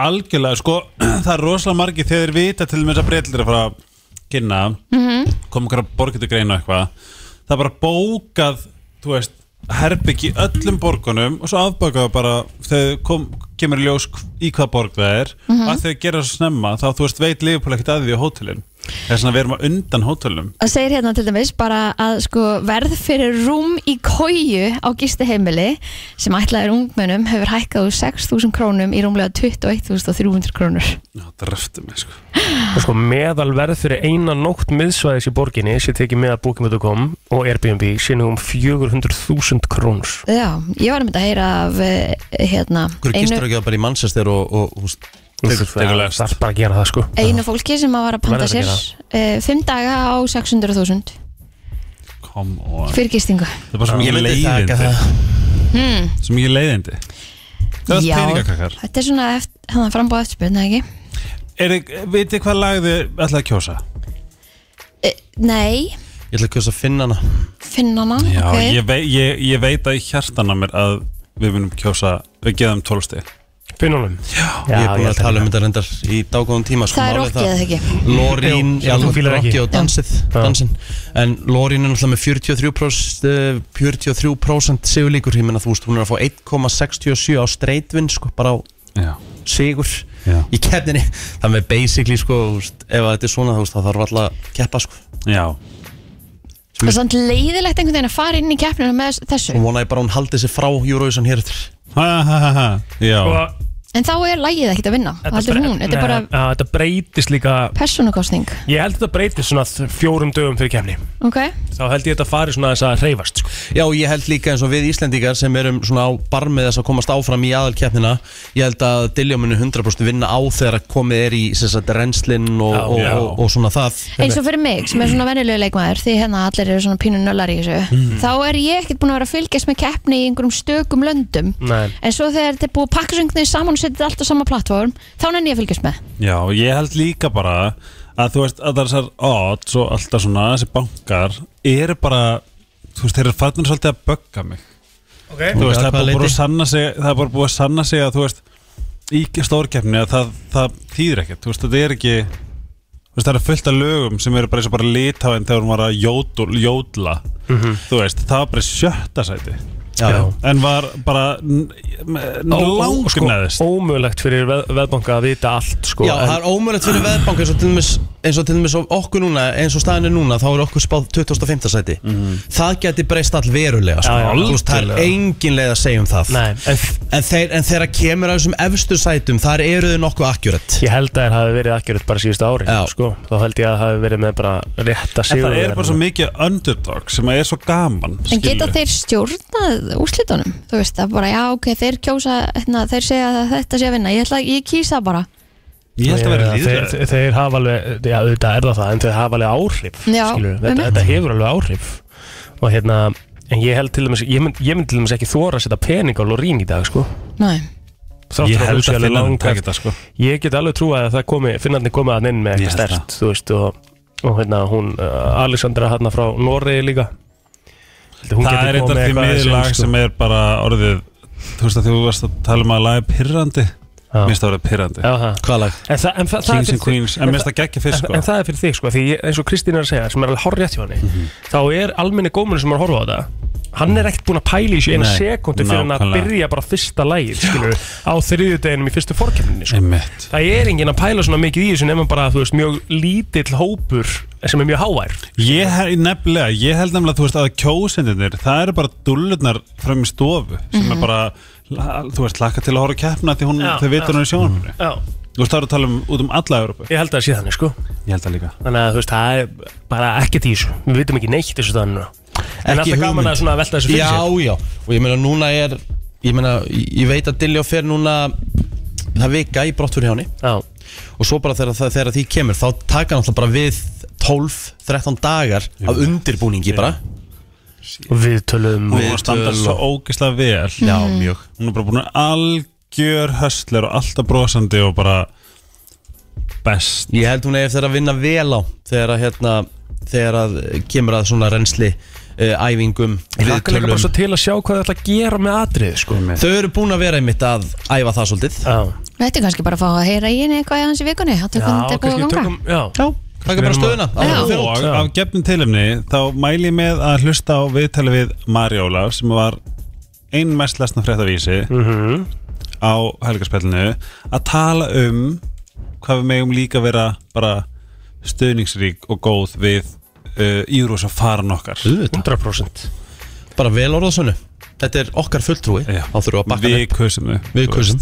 [SPEAKER 6] Algjörlega, sko Það er rosalega margi þegar þeir vita til þess að breytlir að fara að kynna mm -hmm. koma okkur að borga til greina eitthvað Það er bara bókað, þú veist herbyggi öllum borgunum og svo afbakaðu bara þegar kom, kemur í ljós í hvað borg það er að þegar gera svo snemma þá þú veist veit Liverpool ekkert að því á hótelin það er svona við erum að undan hótelum
[SPEAKER 3] Það segir hérna til dæmis bara að sko verð fyrir rúm í kóju á gistiheimili sem ætlaður ungmennum hefur hækkað úr 6.000 krónum í rúmlega 21.300 krónur.
[SPEAKER 6] Já, dreftu mig sko
[SPEAKER 2] Og sko meðalverð fyrir eina nótt miðsvæðis í borginni sé tekið með að booking.com og Airbnb sé nú um 400.000 krónur
[SPEAKER 3] Já, ég var að mynda að heyra af eh, hérna,
[SPEAKER 1] Hverju gistur
[SPEAKER 3] einu,
[SPEAKER 1] ekki það bara í Manchester og, og húst
[SPEAKER 6] tökulegast.
[SPEAKER 2] Það er bara að gera það sko
[SPEAKER 3] einu fólki sem að var að panta
[SPEAKER 2] Verður að
[SPEAKER 3] sér eh, fimm daga á 600.000
[SPEAKER 6] Come on
[SPEAKER 3] fyrir gistingu.
[SPEAKER 6] Það er bara svo
[SPEAKER 1] Ég
[SPEAKER 6] mikið
[SPEAKER 1] myndi taka það
[SPEAKER 6] leiðindi sem ég leiðindi Það er peningakakkar
[SPEAKER 3] þetta er svona eftir, hann frambóð eftirspurn, eða ekki?
[SPEAKER 6] Er þið, veitir hvað lag þið ætlaði að kjósa?
[SPEAKER 3] E, nei,
[SPEAKER 1] Ég ætla að kjósa að finna hana
[SPEAKER 3] finna hana,
[SPEAKER 6] Já,
[SPEAKER 3] ok
[SPEAKER 6] ég, vei, ég, ég veit að í hjartan á mér að við munum kjósa, við geðum tólsti
[SPEAKER 2] Finnunum Já,
[SPEAKER 1] Ég er búin
[SPEAKER 2] ég
[SPEAKER 1] að
[SPEAKER 2] held
[SPEAKER 1] tala um þetta reyndar í dágóðum tíma sko,
[SPEAKER 3] Það er
[SPEAKER 1] málið
[SPEAKER 3] rokkið eða ekki?
[SPEAKER 1] Lorín,
[SPEAKER 2] Jú,
[SPEAKER 1] já,
[SPEAKER 2] þú fílar
[SPEAKER 1] rokkið
[SPEAKER 2] ekki.
[SPEAKER 1] og dansið,
[SPEAKER 2] Já.
[SPEAKER 1] dansin En Lorín er náttúrulega með 43%, eh, 43 sigurlíkur Ég menna þú veist, hún er að fá 1,67 á streitvinn sko, bara á
[SPEAKER 6] Já,
[SPEAKER 1] sigur
[SPEAKER 6] Já.
[SPEAKER 1] í keppninni Þannig að basically, sko, þú veist, ef að þetta er svona, þú veist, þá þarf alltaf að keppa sko.
[SPEAKER 6] já,
[SPEAKER 3] Það er samt leiðilegt einhvern veginn að fara inn í keppnina með þessu
[SPEAKER 1] Og vona ég bara að hún haldi sig frá Eurovision hér eftir
[SPEAKER 6] ha, ha, ha, ha. já.
[SPEAKER 2] Og
[SPEAKER 3] En þá er lægið ekkert að vinna, það heldur
[SPEAKER 2] Sko, bre-
[SPEAKER 3] hún Þetta er bara
[SPEAKER 2] Nei, já, Þetta breytist líka
[SPEAKER 3] persónukostning,
[SPEAKER 2] Ég held að þetta breytist svona þ- fjórum dögum fyrir kemni
[SPEAKER 3] ok?
[SPEAKER 2] Þá held ég að þetta fari svona þess að reyfast sko.
[SPEAKER 1] Já, og ég held líka eins og við Íslendingar sem erum svona á barmið þess að komast áfram í aðalkeppnina ég held að Dilljá muni 100% vinna á þegar að komið er í sem sagt, renslinn og,
[SPEAKER 2] Já.
[SPEAKER 1] og,
[SPEAKER 2] Já.
[SPEAKER 1] og, og svona það
[SPEAKER 3] Eins og fyrir mig, sem er svona venjulegu leikmaður því hérna allir eru svona pínu nöllar í þessu
[SPEAKER 2] Hmm.
[SPEAKER 3] þá er ég ekkert búin að vera að fylgjast með keppni í einhverjum stökum löndum
[SPEAKER 2] Nei.
[SPEAKER 3] en svo þegar þetta er búið að pakka söngnið saman og setja þetta allt á sama plattform, þá nenni ég að fylgjast með
[SPEAKER 6] já, ég held líka bara að þú veist að það er þessar odds og alltaf svona þessi bankar eru bara, þú veist, þeir eru farnir svolítið að bögga mig
[SPEAKER 2] okay.
[SPEAKER 6] Þú veist, það er
[SPEAKER 1] hvaða
[SPEAKER 6] bara búið
[SPEAKER 1] leiti?
[SPEAKER 6] að sanna sig það er bara búið að sanna sig að þú veist í stórkeppni að það, það þýðir ekkert þú veist, þetta er ekki þú veist, það er fullt af lögum sem eru bara eins og bara litáin þegar hún var að jódl, jódla þú veist, það var bara í sjötta sæti
[SPEAKER 1] já.
[SPEAKER 6] en var bara
[SPEAKER 2] sko,
[SPEAKER 6] langnaðist
[SPEAKER 2] Ómögulegt fyrir veð, veðbanka að vita allt sko,
[SPEAKER 1] Já,
[SPEAKER 2] en-
[SPEAKER 1] það er ómögulegt fyrir veðbank eins og til dæmis, eins og til dæmis of- okkur núna eins og staðinu núna, þá er okkur spáð 25. sæti Það geti breyst all verulega sko.
[SPEAKER 2] Mhm. Já, já,
[SPEAKER 1] Þú veist, Það er
[SPEAKER 2] algjörlega.
[SPEAKER 1] engin leið að segja um það
[SPEAKER 2] Nei, en f-
[SPEAKER 1] En, þeir, en þeirra kemur af þessum efstu sætum þar eru þau nokkuð akkurat
[SPEAKER 2] ég held að það hafi verið akkjörð bara síðustu ári
[SPEAKER 1] Já.
[SPEAKER 2] sko. Þá held ég að það hafi verið með bara rétta
[SPEAKER 6] en
[SPEAKER 2] sigur
[SPEAKER 6] það er bara svo mikið underdog sem að er svo gaman
[SPEAKER 3] En
[SPEAKER 6] skilurðu.
[SPEAKER 3] geta þeir stjórnað úrslitunum? Þú veist, það er bara, já, ok, þeir kjósa, hérna, þeir segja að þetta sé að vinna. Ég ætla, ég kýsa bara.
[SPEAKER 6] ég held að vera
[SPEAKER 2] þeir,
[SPEAKER 6] líðræði
[SPEAKER 2] þeir, þeir hafa alveg, já auðvitað er það það en þeir hafa alveg áhrif
[SPEAKER 3] Já,
[SPEAKER 2] skilurðu. þetta,
[SPEAKER 3] einmitt.
[SPEAKER 2] þetta hefur alveg áhrif og hérna, en ég held til dæmis ég mynd, ég mynd til dæmis ekki þóra að setja pening á Lorín í dag sko
[SPEAKER 3] Nei.
[SPEAKER 2] Þrátt
[SPEAKER 6] ég
[SPEAKER 2] fyrir hún
[SPEAKER 6] held
[SPEAKER 2] sé
[SPEAKER 6] að
[SPEAKER 2] alveg
[SPEAKER 6] finna
[SPEAKER 2] langt-
[SPEAKER 6] þetta sko
[SPEAKER 2] ég get alveg trúið að það komi finnandi komið hann inn með
[SPEAKER 6] Ég
[SPEAKER 2] eitthvað
[SPEAKER 6] held
[SPEAKER 2] stert þú veist og, og hérna hún uh, Alexandra hérna frá Noregi líka Held að hún
[SPEAKER 6] það
[SPEAKER 2] geti
[SPEAKER 6] er
[SPEAKER 2] komið
[SPEAKER 6] eitthvað því
[SPEAKER 2] eitthvað aðeins inn,
[SPEAKER 6] miður lag
[SPEAKER 2] sko.
[SPEAKER 6] sem er bara orðið þú veist að þú varst að tala um að lag er pyrrandi
[SPEAKER 2] Já.
[SPEAKER 6] minnst það orðið pyrrandi
[SPEAKER 2] Já, það.
[SPEAKER 1] Hvað lag?
[SPEAKER 2] En það- en það- það er
[SPEAKER 6] Kings
[SPEAKER 2] fyrir
[SPEAKER 6] and Queens, en minnst það geggja fyrst
[SPEAKER 2] en, en
[SPEAKER 6] sko Mhm.
[SPEAKER 2] það er fyrir þig sko, því ég- eins og Kristín er að segja sem er alveg horrið hjá henni þá er almenni gómurinn sem er að horfa á þetta hann er ekkert búinn að pæla í sér eina
[SPEAKER 6] Nei,
[SPEAKER 2] sekundu fyrir hann að
[SPEAKER 6] nákvæmlega.
[SPEAKER 2] byrja bara fyrsta lægir skilur, á þriðjudeginum í fyrstu fórkjöfninni sko.
[SPEAKER 6] einmitt
[SPEAKER 2] það er enginn að pæla svona mikið í þessu nema bara þú veist, mjög lítill hópur sem er mjög hávær
[SPEAKER 6] ég hef nefnilega, ég held nefnilega þú veist að kjósendinir, það eru bara dullurnar fram í stofu sem er bara la- þú veist, laka til að horfa að keppna því hún,
[SPEAKER 2] Já,
[SPEAKER 6] þau vitur
[SPEAKER 2] já.
[SPEAKER 6] hún í sjónarfinu
[SPEAKER 2] Já,
[SPEAKER 6] þú veist það eru að tala um út um alla Európu
[SPEAKER 2] ég held að það sé þannig sko
[SPEAKER 6] ég held það líka
[SPEAKER 2] Þannig að þú veist, það er bara ekkert í þessu Við vitum ekki neitt í þessu þannig núna. En
[SPEAKER 1] Ekki
[SPEAKER 2] alltaf gaman
[SPEAKER 1] hugmynd.
[SPEAKER 2] að svona velta þessu fyrir
[SPEAKER 1] já,
[SPEAKER 2] sér
[SPEAKER 1] já, og ég meina núna er ég meina, ég ég veit að Dilljó fer núna það vika í brottfur hjá henni
[SPEAKER 2] Já,
[SPEAKER 1] og svo bara þegar, það- þegar því kemur þá taka náttúrulega bara við 12-13 dagar af undirbúningi bara
[SPEAKER 2] og við töluðum
[SPEAKER 6] hún var að standa
[SPEAKER 1] töl-
[SPEAKER 6] svo ógislega vel
[SPEAKER 1] já, mjög
[SPEAKER 6] eh, hún er bara búin að algjör höstler og alltaf brosandi og bara best
[SPEAKER 1] ég held hún eigi eftir að vinna vel á þegar að hérna þegar að kemur að svona reynsli uh, æfingum,
[SPEAKER 2] Ég hlakka líka bara svo
[SPEAKER 1] viðtölum
[SPEAKER 2] til að sjá hvað þið ætla að gera með atrið sko.
[SPEAKER 1] þau eru búin að vera einmitt að æfa það svolítið
[SPEAKER 2] Já,
[SPEAKER 3] Þetta er kannski bara að fá að heyra í henni eitthvað í hans í vikunni. Það
[SPEAKER 2] já
[SPEAKER 3] tökum þetta er búið að
[SPEAKER 2] kannski
[SPEAKER 3] ganga.
[SPEAKER 2] tökum Já,
[SPEAKER 1] já, taka bara
[SPEAKER 6] erum
[SPEAKER 1] stöðuna
[SPEAKER 3] Já.
[SPEAKER 1] áður en þú fer út.
[SPEAKER 6] og
[SPEAKER 2] já.
[SPEAKER 6] af gefnum tilumni þá mæli ég með að hlusta á viðtali við Marjóla sem var ein mest lesna fréttavísi
[SPEAKER 2] Mhm.
[SPEAKER 6] á helgarspellinu að tala um hvað við megum líka vera bara stöðningsrík og góð við uh, Írós að fara nokkar
[SPEAKER 1] Auðvitað.
[SPEAKER 2] 100%
[SPEAKER 1] bara vel orðasunnu þetta er okkar fulltrúi,
[SPEAKER 6] Já.
[SPEAKER 1] þá þurfum við að bakka hann
[SPEAKER 6] við kusum þau
[SPEAKER 1] Við kursum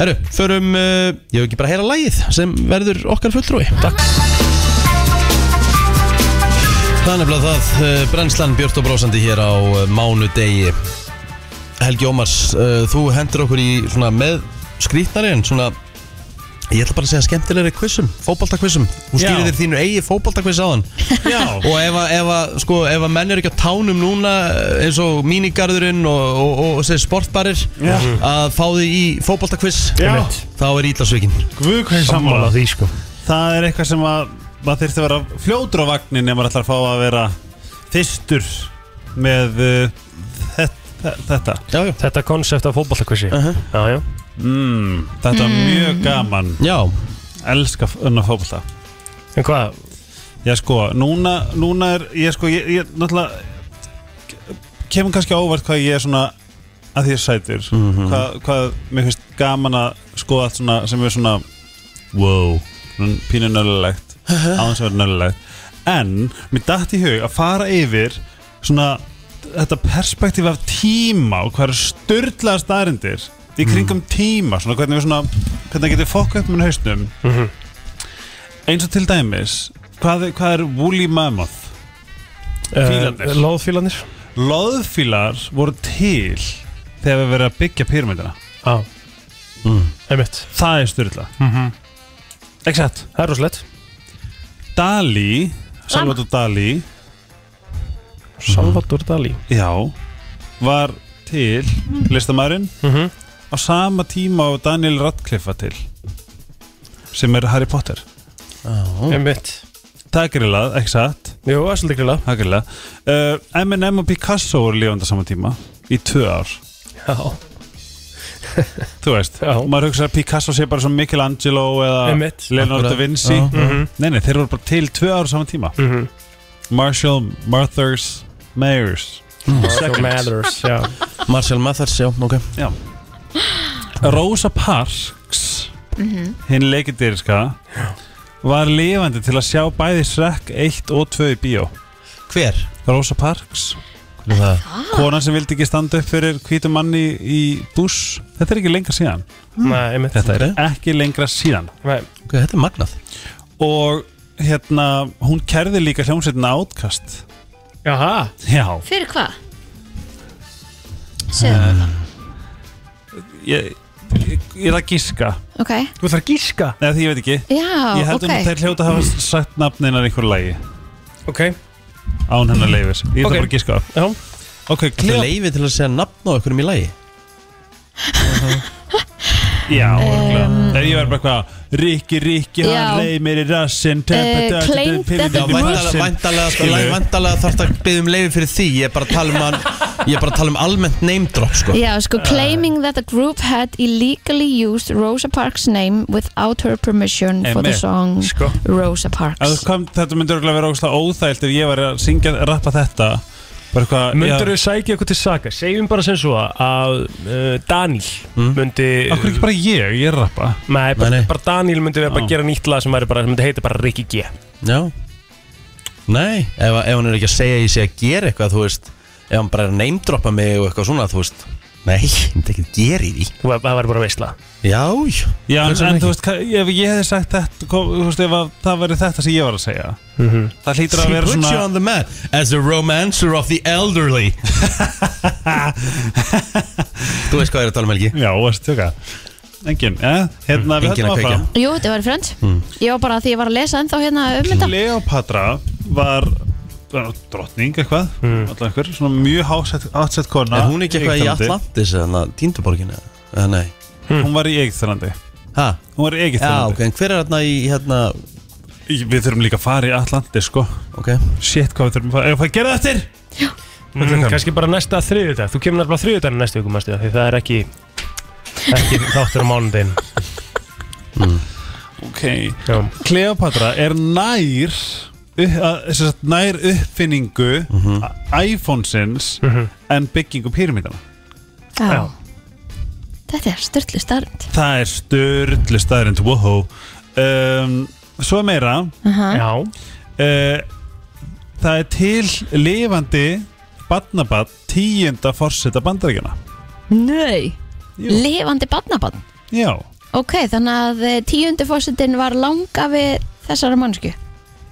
[SPEAKER 1] Herru, förum, uh, ég hef ekki bara að heyra lagið sem verður okkar fulltrúi Takk Það er nefnilega það, uh, brennslan Björn og Brósandi hér á uh, mánudegi eh, Helgi Ómars, uh, þú hendur okkur í svona með skrítnari en svona Ég ætla bara að segja skemmtilegri quizum, fótboltakvissum Þú skýrir
[SPEAKER 2] Já.
[SPEAKER 1] þér þínu eigi fótboltakviss á hann
[SPEAKER 2] Já.
[SPEAKER 1] Og ef að, ef að, sko, ef að menn eru ekki á tánum núna eh, eins og mínigarðurinn og, og, og, og segir sportbarir Já. að fá því í fótboltakviss
[SPEAKER 6] Já.
[SPEAKER 1] þá er ítlasvíkin
[SPEAKER 6] Guð, hvað er
[SPEAKER 2] Sammála
[SPEAKER 6] sammála
[SPEAKER 2] því sko
[SPEAKER 6] Það er eitthvað sem að maður þyrfti að vera fljótur á vagnin ef maður ætlar að fá að vera fyrstur með uh, þetta, þetta.
[SPEAKER 1] Já, já
[SPEAKER 2] Þetta konsept af fótballakvissi
[SPEAKER 1] Mhm.
[SPEAKER 2] Já, já
[SPEAKER 6] Mm, þetta er mjög gaman
[SPEAKER 1] Já,
[SPEAKER 6] Elska unna fókbalta
[SPEAKER 2] En hvað?
[SPEAKER 6] Já sko, núna, núna er ég sko, ég, ég náttúrulega kemur kannski á óvart hvað ég er svona að því er sætur hvað, hvað mér finnst gaman að skoða allt svona sem er svona wow, svona pínu nöllulegt aðeins að vera nöllulegt en mér datt í hug að fara yfir svona þetta perspektíf af tíma og hvað eru styrlaða starindir í kringum tíma, svona hvernig við svona hvernig getur fokk upp með hausnum eins og til dæmis hvað, hvað er Woolly Mammoth? Fílarnir.
[SPEAKER 2] Eh, Lóðfílanir
[SPEAKER 6] Loðfílar voru til þegar við verið að byggja pyrmyndina
[SPEAKER 2] Já Mm. Einmitt
[SPEAKER 6] Það er styrla Exakt
[SPEAKER 2] Það er rosalegt
[SPEAKER 6] Dali, Salvador Dali
[SPEAKER 2] Mm. Salvador Dalí
[SPEAKER 6] Já Var til listamærin
[SPEAKER 2] Mhm.
[SPEAKER 6] á sama tíma og Daniel Radcliffe var til sem er Harry Potter
[SPEAKER 2] Mm. Einmitt
[SPEAKER 6] Það er grillað, ekki satt
[SPEAKER 2] Jú, það er svolítið grila
[SPEAKER 6] Það er grillað uh, M&M og Picasso voru lífandi á sama tíma í tvö ár
[SPEAKER 2] Já
[SPEAKER 6] Þú veist,
[SPEAKER 2] Já.
[SPEAKER 6] maður hugsa að Picasso sé bara svo Michelangelo eða
[SPEAKER 2] Einmitt.
[SPEAKER 6] Leonardo da
[SPEAKER 1] Akkurat.
[SPEAKER 6] Vinci
[SPEAKER 1] Já.
[SPEAKER 2] Mhm.
[SPEAKER 6] Nei, nei, þeir voru bara til tvö ára saman tíma
[SPEAKER 2] Mhm.
[SPEAKER 6] Marshall, Mathers, Mayers
[SPEAKER 2] Marshall Mathers Já
[SPEAKER 1] Marcel Mathers, já, ok
[SPEAKER 6] Já Rosa Parks hinn leikindiriska var lifandi til að sjá bæði Shrek 1 og 2 í bíó
[SPEAKER 1] Hver?
[SPEAKER 6] Rosa Parks
[SPEAKER 1] Hver er það?
[SPEAKER 6] konan sem vildi ekki standa upp fyrir hvítum manni í buss þetta er ekki lengra síðan
[SPEAKER 2] Nei, einmitt
[SPEAKER 6] þetta er
[SPEAKER 1] Ok.
[SPEAKER 6] ekki lengra síðan
[SPEAKER 2] Nei
[SPEAKER 1] Ok, þetta er magnað
[SPEAKER 6] og hérna hún kerði líka hljómsveitina átkast
[SPEAKER 2] Jaha
[SPEAKER 6] já
[SPEAKER 3] Fyrir hvað?
[SPEAKER 2] Eh.
[SPEAKER 3] Segðu það
[SPEAKER 6] ég, ég, ég er að gíska
[SPEAKER 3] Ok
[SPEAKER 2] Þú þarf að gíska
[SPEAKER 6] Nei, því ég veit ekki Ég
[SPEAKER 3] Já,
[SPEAKER 6] held
[SPEAKER 3] ok
[SPEAKER 6] um að þeir hljóta að hafa sagt nafninar einhverju lagi
[SPEAKER 2] Ok
[SPEAKER 6] Án hennar leifis Ég
[SPEAKER 2] Ok.
[SPEAKER 6] ætla bara að gíska
[SPEAKER 2] Já
[SPEAKER 6] Ok,
[SPEAKER 1] Þetta er
[SPEAKER 6] Cleo
[SPEAKER 1] leifi til að segja nafn á einhverjum í lagi
[SPEAKER 6] Já, um, Ef ég verður bara eitthvað Rikki, Rikki,
[SPEAKER 3] Já.
[SPEAKER 6] hann leið mér í rassin
[SPEAKER 3] Eh, claimed that
[SPEAKER 1] Já,
[SPEAKER 3] the
[SPEAKER 1] væntalega, væntalega, sko,
[SPEAKER 6] Skilur.
[SPEAKER 1] væntalega þarf þetta að byggja um leifi fyrir því Ég er bara að tala um, hann, ég er bara að tala um almennt name drop, sko
[SPEAKER 3] Já, sko, claiming that the group had illegally used Rosa Parks' name without her permission for the
[SPEAKER 6] Einmitt. sko.
[SPEAKER 3] song
[SPEAKER 2] Sko.
[SPEAKER 3] Rosa Parks.
[SPEAKER 6] kom, Þetta myndi örgulega vera ógustlega óþælt Ef ég var að syngja, rappa þetta Bara eitthvað
[SPEAKER 2] Möndur
[SPEAKER 6] já,
[SPEAKER 2] við sækja eitthvað til saka Segjum bara sem svo að uh, Daniel
[SPEAKER 1] Hmm?
[SPEAKER 2] myndi
[SPEAKER 6] Akkur ekki bara ég, ég er að rappa
[SPEAKER 2] Nei, bara,
[SPEAKER 1] Nei, nei.
[SPEAKER 2] bara Daniel myndi við bara
[SPEAKER 6] Já.
[SPEAKER 2] gera nýtt lag sem væri bara, sem myndi heita bara Rikki G
[SPEAKER 1] Já Nei, ef, ef hann er ekki að segja að ég sé að gera eitthvað, þú veist Ef hann bara er að neymdroppa mig og eitthvað svona, þú veist Nei, ég myndi ekki að gera í því
[SPEAKER 2] Þú- Það væri bara veistla
[SPEAKER 1] Já, já,
[SPEAKER 6] Já, en,
[SPEAKER 1] Hvers vegna
[SPEAKER 6] en þú
[SPEAKER 1] ekki?
[SPEAKER 6] veist, hvað- ef ég hefði sagt þetta kom, Þú veist, ef að, það væri þetta sem ég var að segja
[SPEAKER 2] Mhm.
[SPEAKER 6] Það hlýtur að
[SPEAKER 1] She
[SPEAKER 6] vera
[SPEAKER 1] puts you
[SPEAKER 6] svona
[SPEAKER 1] on the map as a romancer of the elderly Þú veist hvað ég er að tala um Helgi
[SPEAKER 6] Já, varst tjóka Engin, eh? hérna við
[SPEAKER 1] Engin
[SPEAKER 6] höllum
[SPEAKER 1] að kveikja.
[SPEAKER 6] áfram
[SPEAKER 3] Jú, þetta var frönd. Ég var bara að því ég var að lesa ennþá hérna um þetta.
[SPEAKER 6] Kleopatra var var drottning eitthvað alltaf einhver, svona mjög hásett, hásett kona
[SPEAKER 1] Hmm. Er hún ekki eitthvað í
[SPEAKER 6] Egyptalandi.
[SPEAKER 1] Atlantis eða tínduborgin eða, eða nei
[SPEAKER 6] Hún var í Eikþjólandi
[SPEAKER 1] Ha?
[SPEAKER 6] Hún var í
[SPEAKER 1] Hmm. Já, ok,
[SPEAKER 6] Eikþjólandi
[SPEAKER 1] en hver er hérna í hérna
[SPEAKER 6] Við þurfum líka að fara í Atlandi sko
[SPEAKER 1] Ok,
[SPEAKER 6] Shit, hvað við þurfum að fara Eða hvað gera þetta eftir?
[SPEAKER 2] mm, Kanski bara næsta þriðjudag Þú kemur nefnilega þriðjudag næstu viku mæstu Því það er ekki ekki þáttur á mánudin
[SPEAKER 6] Ok
[SPEAKER 2] Já,
[SPEAKER 6] Kleopatra er nær upp, að, sem sagt, nær uppfinningu mm
[SPEAKER 1] Mhm.
[SPEAKER 6] iPhonesins
[SPEAKER 1] Hmm.
[SPEAKER 2] Mhm.
[SPEAKER 6] en byggingu pyramídana
[SPEAKER 2] já.
[SPEAKER 3] Já. Þetta er störtlu starnd.
[SPEAKER 6] Það er störðlu staðrind Wow um, Svo meira
[SPEAKER 2] já.
[SPEAKER 6] Eh, Það er til lifandi barnabat tíunda forseta bandaríkjana
[SPEAKER 3] Nei.
[SPEAKER 6] Jú.
[SPEAKER 3] Lifandi badnabann.
[SPEAKER 6] Já,
[SPEAKER 3] Ok, þannig að eh, tíundi fórsetin var langa við þessara mannsku.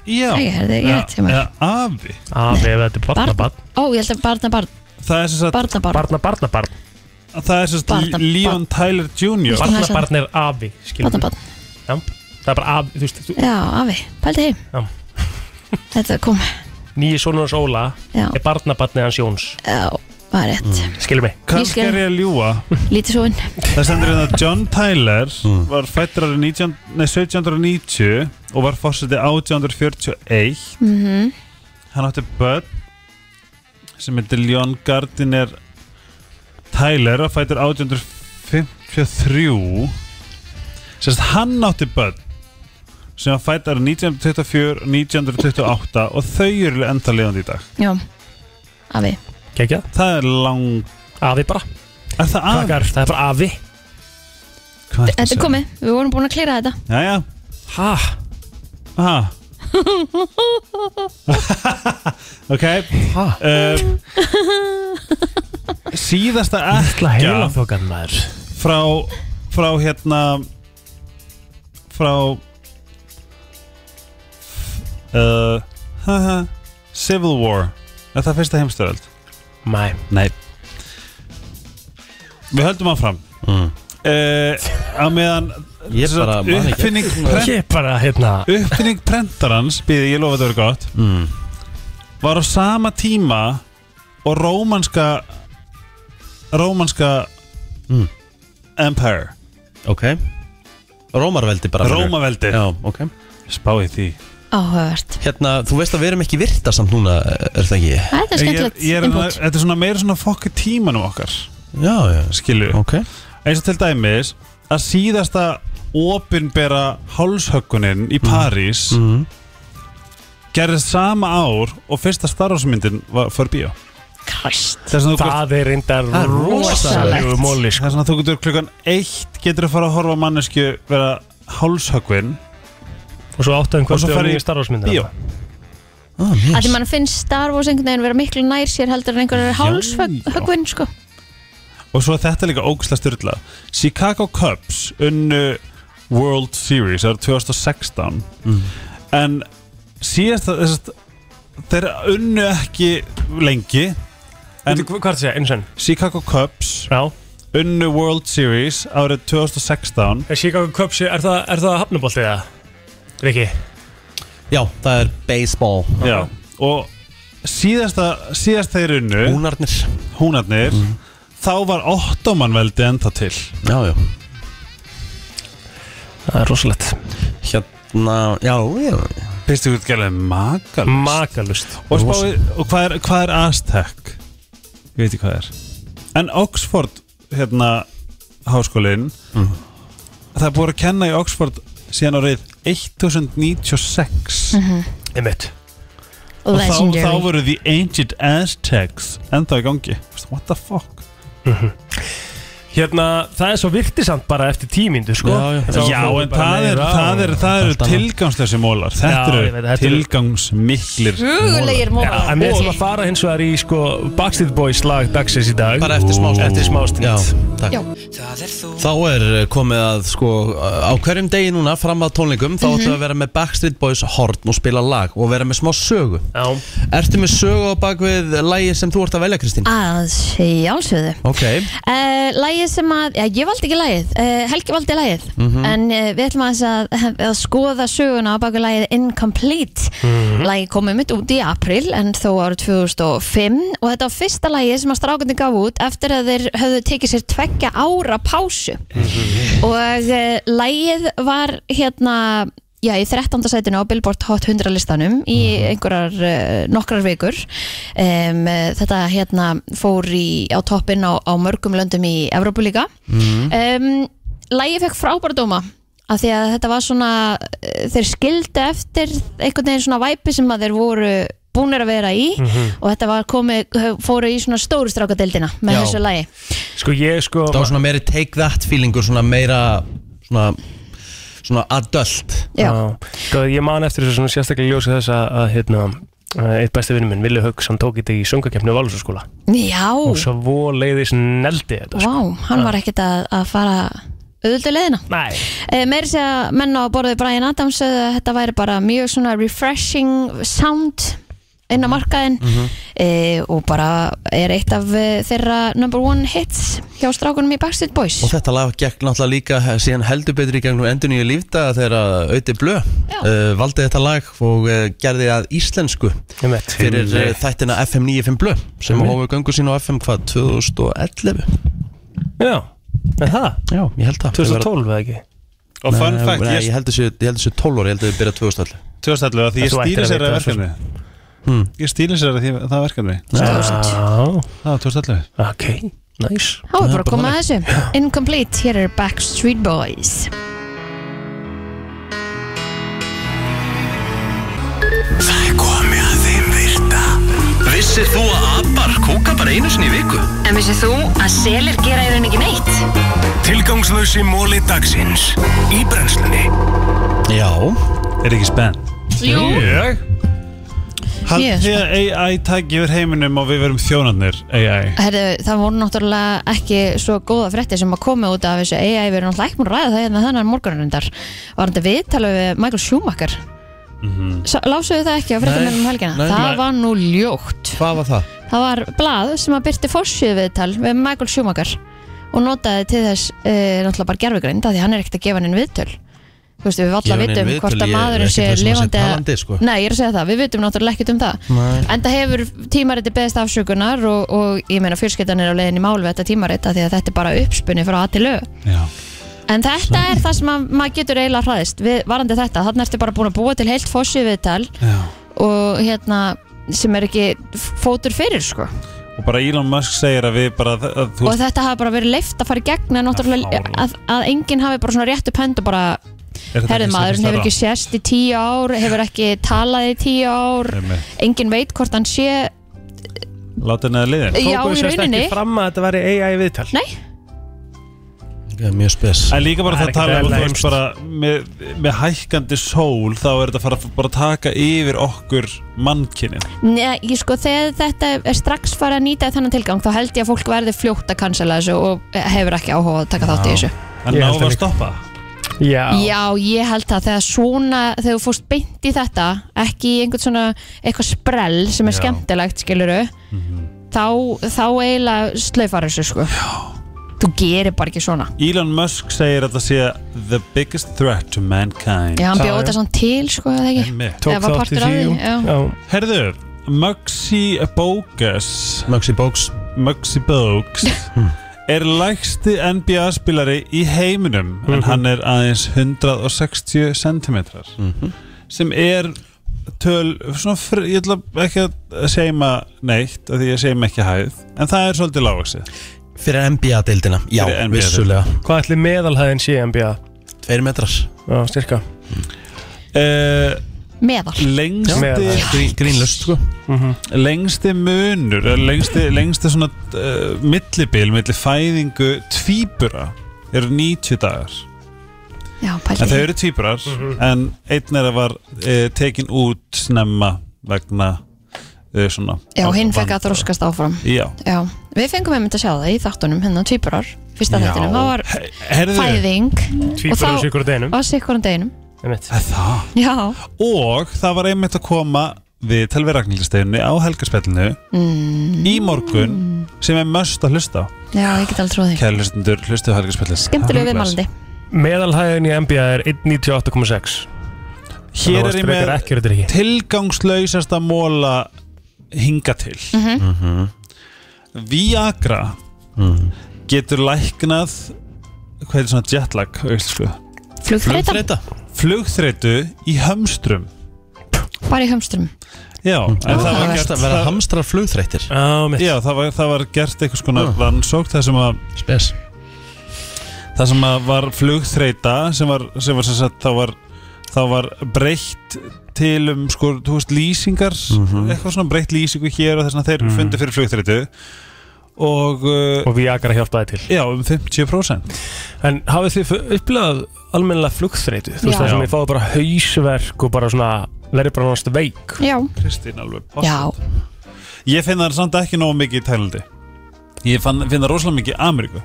[SPEAKER 6] já
[SPEAKER 3] Æ, herði, ég
[SPEAKER 6] Ja,
[SPEAKER 3] veit sem er.
[SPEAKER 6] ja, Afi
[SPEAKER 2] Af ef þetta er barnabarn
[SPEAKER 3] Ó, ég held að barnabarn,
[SPEAKER 6] Það er sem sagt,
[SPEAKER 3] barnabarn.
[SPEAKER 2] Barnabarnabarn
[SPEAKER 6] það er sem sagt
[SPEAKER 3] Barnabarn.
[SPEAKER 6] Leon Tyler Jr.
[SPEAKER 3] Barn-
[SPEAKER 2] Barnabarn er afi skilur við.
[SPEAKER 3] Barnabarn.
[SPEAKER 2] já, það er bara af, þú veist, þú,
[SPEAKER 3] Já, afi, pældi heim
[SPEAKER 2] Já.
[SPEAKER 3] Þetta kom,
[SPEAKER 2] nýji sonur hans Óla
[SPEAKER 3] já,
[SPEAKER 2] er barnabarnið hans Jóns,
[SPEAKER 3] já, var rétt
[SPEAKER 2] skilur mig
[SPEAKER 6] Kannski
[SPEAKER 3] Ég skil.
[SPEAKER 6] er ég að ljúa
[SPEAKER 3] Lítið svo inn
[SPEAKER 6] Það stendur hérna að John Tyler var fættur árið 19 nei, 1790 og var fórsetið 1841
[SPEAKER 3] Mhm.
[SPEAKER 6] Hann átti börn sem heitir Leon Gardiner Tyler og fættur 1853 Sérst hann átti börn sem var fættur árið 1924 og 1928 og þau eru enda lifandi í dag
[SPEAKER 3] Já, afi
[SPEAKER 2] Kekja,
[SPEAKER 6] Það er lang...
[SPEAKER 2] afi bara,
[SPEAKER 6] Er það að?
[SPEAKER 2] krakkar, það er bara afi
[SPEAKER 6] Hvað ertu að
[SPEAKER 3] Þetta er
[SPEAKER 6] segja?
[SPEAKER 3] komið, við vorum búin að klýra þetta
[SPEAKER 6] Jæja,
[SPEAKER 2] ha,
[SPEAKER 6] aha Ok
[SPEAKER 2] ha,
[SPEAKER 6] uh, Síðasta
[SPEAKER 2] ætla
[SPEAKER 6] ekkja
[SPEAKER 2] heila þokan maður
[SPEAKER 6] frá, frá hérna Frá uh, haha, Civil War Er það fyrsta heimstöld?
[SPEAKER 2] mæ,
[SPEAKER 6] Nei Við höldum áfram
[SPEAKER 1] Mm.
[SPEAKER 6] uh, Á meðan
[SPEAKER 1] Ég bara man ekki
[SPEAKER 6] uppfinning, prent,
[SPEAKER 2] ég er bara, hérna
[SPEAKER 6] uppfinning prentarans Býði, ég lofa þetta verið gott
[SPEAKER 1] mm.
[SPEAKER 6] var á sama tíma og rómanska rómanska
[SPEAKER 1] Mm.
[SPEAKER 6] empire
[SPEAKER 1] Ok Rómarveldi bara
[SPEAKER 6] Rómaveldi
[SPEAKER 1] Já, ok
[SPEAKER 6] spáði því
[SPEAKER 3] Áhugavert
[SPEAKER 1] Hérna, þú veist að við erum ekki virta samt núna, er það ekki?
[SPEAKER 3] Æ, Þetta er
[SPEAKER 6] Ég er-
[SPEAKER 3] skemmtilegt
[SPEAKER 6] ég er að-
[SPEAKER 3] input
[SPEAKER 6] þetta er svona meira svona fokki tímanum okkar
[SPEAKER 1] Já, já
[SPEAKER 6] skilju
[SPEAKER 1] Ok
[SPEAKER 6] eins og til dæmis að síðasta opinbera hálshöggunin í París
[SPEAKER 1] mm.
[SPEAKER 6] gerðist sama ár og fyrsta starfsmyndin var fyrir bíó
[SPEAKER 3] Kræst
[SPEAKER 6] þess að þú gott-
[SPEAKER 2] það er reyndar
[SPEAKER 1] Það er
[SPEAKER 3] rosalegt.
[SPEAKER 2] rosalegu sko. móli,
[SPEAKER 6] það er svona að þú getur klukkan eitt getur að fara að horfa á mannesku vera hálshöggvin
[SPEAKER 2] og svo áttuðum
[SPEAKER 6] Og svo
[SPEAKER 2] kvöldu og
[SPEAKER 6] farið í
[SPEAKER 2] nýju starfsmyndir
[SPEAKER 6] bíó
[SPEAKER 1] ah,
[SPEAKER 3] Að
[SPEAKER 1] yes.
[SPEAKER 3] því mann finnst Star Wars einhvern veginn vera miklu nær sér heldur en einhverjar hálshöggvinn sko.
[SPEAKER 6] Og svo er þetta líka ógislega styrla Chicago Cubs unnu World Series það er 2016 en síðast að þessast þeir unnu ekki lengi En-
[SPEAKER 2] Veitu, hva- hvað er það að segja, eins og enn
[SPEAKER 6] Chicago Cubs
[SPEAKER 2] já,
[SPEAKER 6] unnu World Series árið 2016
[SPEAKER 2] er Chicago Cubs, er það, er það hafnaboltið eða? Riki,
[SPEAKER 1] Já, það er baseball
[SPEAKER 6] Já. og síðasta, síðast þeir unnu
[SPEAKER 1] Únarnir
[SPEAKER 6] húnarnir þá var ottomanveldi enda til
[SPEAKER 1] Já, já
[SPEAKER 2] það er rosalegt
[SPEAKER 1] Hérna, já, já
[SPEAKER 6] Pistu út gælega makalust
[SPEAKER 2] makalust
[SPEAKER 6] Og, spáði, og hvað, er, hvað er Aztec? Ég veit ekki hvað er En Oxford hérna háskólin
[SPEAKER 2] Mhm.
[SPEAKER 6] það er búið að kenna í Oxford síðan árið 1096
[SPEAKER 2] Mhm. einmitt
[SPEAKER 6] og þá, þá
[SPEAKER 3] Legendary
[SPEAKER 6] voru The Ancient Aztecs ennþá í gangi What the fuck?
[SPEAKER 2] Hérna, það er svo virtisamt bara eftir tímindu, sko
[SPEAKER 1] Já, já.
[SPEAKER 2] Þá
[SPEAKER 6] Já,
[SPEAKER 2] fórum við
[SPEAKER 6] en
[SPEAKER 2] bara
[SPEAKER 6] það, er,
[SPEAKER 2] meira
[SPEAKER 6] það, er,
[SPEAKER 2] og-
[SPEAKER 6] það eru
[SPEAKER 1] Allt annað.
[SPEAKER 6] tilgangslösi mólar
[SPEAKER 2] Já, ég
[SPEAKER 6] Þetta
[SPEAKER 2] veit,
[SPEAKER 6] eru
[SPEAKER 2] þetta eru-
[SPEAKER 6] tilgangsmiklir
[SPEAKER 3] Hugulegir
[SPEAKER 2] Já, en við ætlum
[SPEAKER 3] mólar
[SPEAKER 2] að fara hins vegar í, sko, Backstreet Boys lag dagsins í dag
[SPEAKER 1] Bara eftir smástund
[SPEAKER 2] Eftir smástund
[SPEAKER 1] Já, takk
[SPEAKER 3] Já.
[SPEAKER 1] Þá er komið að sko á hverjum degi núna fram að tónleikum þá ættu að vera með Backstreet Boys horn og spila lag og vera með smá sögu
[SPEAKER 2] Já,
[SPEAKER 1] Ertu með sögu á bakvið lægi sem þú ert að velja Kristín?
[SPEAKER 3] Að sjálfsögðu
[SPEAKER 1] Ok,
[SPEAKER 3] Uh, lægið sem að, já ég valdi ekki lægið uh, Helgi valdi lægið En uh, við ætlum aðeins að, að skoða söguna á baku lægið Incomplete mm Lægið komið mitt út í april En þó árið 2005 Og þetta var fyrsta lægið sem að strákunni gaf út Eftir að þeir höfðu tekið sér tveggja ára pásu Og uh, lægið var hérna Já, í 13. sætinu á Billboard Hot 100 listanum í einhverjar uh, nokkrar vikur um, uh, þetta hérna fór í, á toppin á, á mörgum löndum í Evrópu líka um, Lægi fekk frábæra dóma af því að þetta var svona uh, þeir skildu eftir einhvern veginn svona væpi sem að þeir voru búnir að vera í og þetta var komið, fóru í svona stóru strákadeildina með
[SPEAKER 1] Já.
[SPEAKER 3] þessu lægi
[SPEAKER 2] sko ég, sko
[SPEAKER 1] það var svona meiri take that feelingur svona meira svona, svona adult
[SPEAKER 3] Já,
[SPEAKER 2] Sko, ég man eftir þessu svona sérstaklega ljósi þess að, að hérna, eh, eitt besti vinnum minn, Vili Höggs, hann tók þetta í söngakefni á Valursaskóla
[SPEAKER 3] Mm. já,
[SPEAKER 2] og svo leiðis neldi þetta, sko
[SPEAKER 3] vá, hann var ekkert að, að fara auðvitað leðina
[SPEAKER 2] Nei,
[SPEAKER 3] Eh, meiri segja að menn á borðið Brian Adams sögðu að þetta væri bara mjög svona refreshing sound inn á markaðin e, og bara er eitt af eh, þeirra number one hits hjá strákunum í Backstreet Boys
[SPEAKER 1] Og þetta lag gekk náttúrulega líka síðan heldur betur í gegnum endur nýju lífdaga þegar að Auði Blö
[SPEAKER 3] Já.
[SPEAKER 1] uh, valdi þetta lag og uh, gerði að íslensku
[SPEAKER 2] Einmitt.
[SPEAKER 1] fyrir uh, þættina FM 95 Blö sem
[SPEAKER 2] Einmitt.
[SPEAKER 1] hófu gangu sín á FM hvað 2011
[SPEAKER 2] Já, en það,
[SPEAKER 1] Já, ég held það
[SPEAKER 2] 2012 eða ekki
[SPEAKER 6] Og fun fact,
[SPEAKER 1] Nei,
[SPEAKER 6] ég
[SPEAKER 1] ég heldur sér, ég heldur sér 12 ára, ég heldur sér byrja 2011
[SPEAKER 6] stjórnstæðlega því
[SPEAKER 2] En
[SPEAKER 6] ég
[SPEAKER 2] þú ættir
[SPEAKER 6] stýri
[SPEAKER 2] að
[SPEAKER 6] sér að
[SPEAKER 2] vita það,
[SPEAKER 6] verkefni Ég stýri sér Hmm. að því það verkefni
[SPEAKER 2] Já,
[SPEAKER 6] Það var stjórnstæðlega
[SPEAKER 2] ok, nice
[SPEAKER 3] Há, við bara að koma að þessu Incomplete, hér er Backstreet Boys
[SPEAKER 8] Vissir þú að abar kúka bara einu sinni í viku?
[SPEAKER 9] En vissið þú að selir gera í rauninni ekki neitt?
[SPEAKER 8] Tilgangslösi móli dagsins í brennslunni
[SPEAKER 1] Já,
[SPEAKER 6] Er ekki spennt?
[SPEAKER 3] Jú, Ég er
[SPEAKER 6] Haldið þið að AI taki yfir heiminum og við verum þjónarnir AI
[SPEAKER 3] Herðu, það voru náttúrulega ekki svo góða fréttir sem að koma út af þessu AI við erum náttúrulega ekki múin að ræða það hérna þannig morgunarundar var þetta viðtala við Michael Schumacher mm -hmm. Lásuðu það ekki á fréttamennum um helgina?
[SPEAKER 1] Mhm. nei,
[SPEAKER 3] það
[SPEAKER 1] nei.
[SPEAKER 3] var nú ljótt
[SPEAKER 1] hvað var það?
[SPEAKER 3] Það var blað sem að byrti fórsjöðu viðtal við Michael Schumacher og notaði til þess e, náttúrulega bara gerfugrind af því hann er ekkert að gefa hann viðtöl Þú veist, við
[SPEAKER 1] Gefa
[SPEAKER 3] alltaf
[SPEAKER 1] hann inn
[SPEAKER 3] vitum
[SPEAKER 1] viðtöl,
[SPEAKER 3] hvort að
[SPEAKER 1] ég-
[SPEAKER 3] maðurinn
[SPEAKER 1] ekki
[SPEAKER 3] sé
[SPEAKER 1] það sem hann sé
[SPEAKER 3] lifandi eða-
[SPEAKER 1] talandi, sko.
[SPEAKER 3] Nei, ég er að segja það, við vitum náttúrulega ekkert um það
[SPEAKER 1] Nei.
[SPEAKER 3] En það hefur tímariti beðist afsökunar og, og ég meina fjölskyldan er á leiðin í mál við þetta tímarit af því að þetta er bara uppspunni frá að til lög
[SPEAKER 6] Já
[SPEAKER 3] En þetta er það sem að, maður getur eiginlega hraðist við, varandi þetta, þannig ertu bara búin að búa til heilt fóssi viðtal
[SPEAKER 6] Já
[SPEAKER 3] og hérna sem er ekki fótur fyrir sko
[SPEAKER 6] Og bara Elon Musk segir að við bara að, að, þú
[SPEAKER 3] og
[SPEAKER 6] veist,
[SPEAKER 3] þetta hafi bara verið leift að fara í gegn en náttúrulega
[SPEAKER 6] fáránlegt.
[SPEAKER 3] að, að enginn hafi bara svona rétt upp hönd og bara,
[SPEAKER 6] er þetta
[SPEAKER 3] herðu
[SPEAKER 6] ekki
[SPEAKER 3] maður,
[SPEAKER 6] stærra?
[SPEAKER 3] hefur ekki sérst í tíu ár, hefur ekki talað í tíu ár
[SPEAKER 6] Einmitt.
[SPEAKER 3] enginn veit hvort hann sé
[SPEAKER 6] Láta henni að liðin
[SPEAKER 3] já
[SPEAKER 2] Tóku
[SPEAKER 3] í
[SPEAKER 2] sérst
[SPEAKER 3] rauninni
[SPEAKER 2] ekki fram að þetta væri AI viðtal
[SPEAKER 3] nei,
[SPEAKER 1] Já, Mjög spes
[SPEAKER 6] En líka bara
[SPEAKER 2] Það
[SPEAKER 6] það
[SPEAKER 2] er
[SPEAKER 6] að tala
[SPEAKER 2] ekkert
[SPEAKER 6] um þú
[SPEAKER 2] eðlilega
[SPEAKER 6] veist bara með, með hækkandi sól þá er þetta að fara bara að taka yfir okkur mannkinni
[SPEAKER 3] Nei, ég sko þegar þetta er strax farið að nýta í þennan tilgang þá held ég að fólk verði fljótt að cancela þessu og hefur ekki áhuga á að taka þátt í þessu
[SPEAKER 6] En
[SPEAKER 2] Ég
[SPEAKER 6] ná
[SPEAKER 2] held það
[SPEAKER 6] að
[SPEAKER 2] líka.
[SPEAKER 6] stoppa
[SPEAKER 2] Já,
[SPEAKER 3] Já, ég held það þegar svona, þegar þú fórst beint í þetta ekki í einhvern svona eitthvað sprell sem er skemmtilegt, skiluru þá, þá eiginlega slaufar þessu, sko Já. Þú gerir bara ekki svona
[SPEAKER 6] Elon Musk segir að það sé the biggest threat to mankind
[SPEAKER 3] Já, hann
[SPEAKER 2] Já,
[SPEAKER 3] bjóð
[SPEAKER 2] já.
[SPEAKER 3] þetta svona til, sko, eða ekki
[SPEAKER 6] Einmitt.
[SPEAKER 2] tók
[SPEAKER 3] Eða
[SPEAKER 2] þátt
[SPEAKER 3] var
[SPEAKER 2] í
[SPEAKER 3] partur
[SPEAKER 2] því
[SPEAKER 3] af því,
[SPEAKER 2] jú.
[SPEAKER 3] já.
[SPEAKER 6] Herðu, Muxi Bogus
[SPEAKER 1] Maxi Bóks
[SPEAKER 6] Muxi Bogus er lægsti NBA-spilari í heiminum en hann er aðeins 160 cm sem er töl, svona, fr- ég ætla ekki að seima neitt, af því ég seima ekki hæð en það er svolítið lágvaksi
[SPEAKER 1] Fyrir NBA-deildina, já,
[SPEAKER 6] Fyrir NBA -deildina.
[SPEAKER 1] vissulega
[SPEAKER 2] Hvað ætli meðalhæðin sé NBA?
[SPEAKER 1] Tveir metrar
[SPEAKER 2] Já, styrka
[SPEAKER 6] uh,
[SPEAKER 3] Meðal
[SPEAKER 6] lengsti
[SPEAKER 2] Meðal.
[SPEAKER 1] Grín, Grínlust, sko
[SPEAKER 6] lengsti munur eða lengsti, lengsti svona uh, millibil, milli fæðingu tvíbura eru 90 dagar
[SPEAKER 3] Já,
[SPEAKER 6] en þau
[SPEAKER 3] pæli
[SPEAKER 6] eru tvíburar en einn er að var uh, tekin út snemma vegna uh, svona
[SPEAKER 3] Já, hinn fekk að
[SPEAKER 6] vanda.
[SPEAKER 3] þroskast áfram
[SPEAKER 6] Já,
[SPEAKER 3] Já, við fengum einmitt að sjá það í þáttunum hérna, tvíburar, fyrsta
[SPEAKER 6] Já.
[SPEAKER 3] þættinum það var
[SPEAKER 6] He- heyrðu,
[SPEAKER 3] fæðing og
[SPEAKER 2] Tvífur
[SPEAKER 3] þá-
[SPEAKER 2] og sigur og deinum
[SPEAKER 3] á sikkurum deginum
[SPEAKER 2] Einmitt.
[SPEAKER 6] er það?
[SPEAKER 3] Já,
[SPEAKER 6] og það var einmitt að koma við Telvi Ragnhildsteinu á Helgarspellinu
[SPEAKER 3] Mm.
[SPEAKER 6] í morgun sem er möst að hlusta á.
[SPEAKER 3] já, ég get alveg trúið því
[SPEAKER 6] kæri hlustendur, hlustu á Helgarspellinu
[SPEAKER 3] Skemmtilegu viðmælandi
[SPEAKER 2] Meðalhæðin í NBA er 1.98,6
[SPEAKER 6] hér er ég með
[SPEAKER 2] ekki, þetta er ekki
[SPEAKER 6] tilgangslausasta móla hinga til Mhm. Viagra getur læknað hvað er svona jetlag á íslensku?
[SPEAKER 3] Flugþreytan,
[SPEAKER 1] Flugþreyta
[SPEAKER 6] sko? flugþreytu í hömstrum
[SPEAKER 3] bara í hömstrum
[SPEAKER 6] já, en það, var gert,
[SPEAKER 1] Hamstra- Verða
[SPEAKER 6] það,
[SPEAKER 1] hamstrar flugþreytir
[SPEAKER 2] Já, mitt
[SPEAKER 6] já það, var, það var gert einhvers konar
[SPEAKER 1] Já.
[SPEAKER 6] rannsók það sem að
[SPEAKER 1] Spes
[SPEAKER 6] það sem að var flugþreita sem var, sem var sem sagt, það var það var breytt til um sko, þú veist, lýsingar eitthvað svona breytt lýsingu hér og þess að þeir fundu fyrir flugþreitu og uh,
[SPEAKER 2] Og Viagra hjálpaði til
[SPEAKER 6] Já, um 50%
[SPEAKER 2] En hafið þið fu- upplifað almennilega flugþreytu? Þú veist
[SPEAKER 3] Já.
[SPEAKER 2] það sem ég fáið bara hausverk og bara svona verið bara náttúrulega veik
[SPEAKER 3] Já,
[SPEAKER 6] Kristín alveg
[SPEAKER 3] já,
[SPEAKER 6] Ég finn það samt ekki nógu mikið í Tælandi Ég fann, finn það rosalega mikið í Ameríku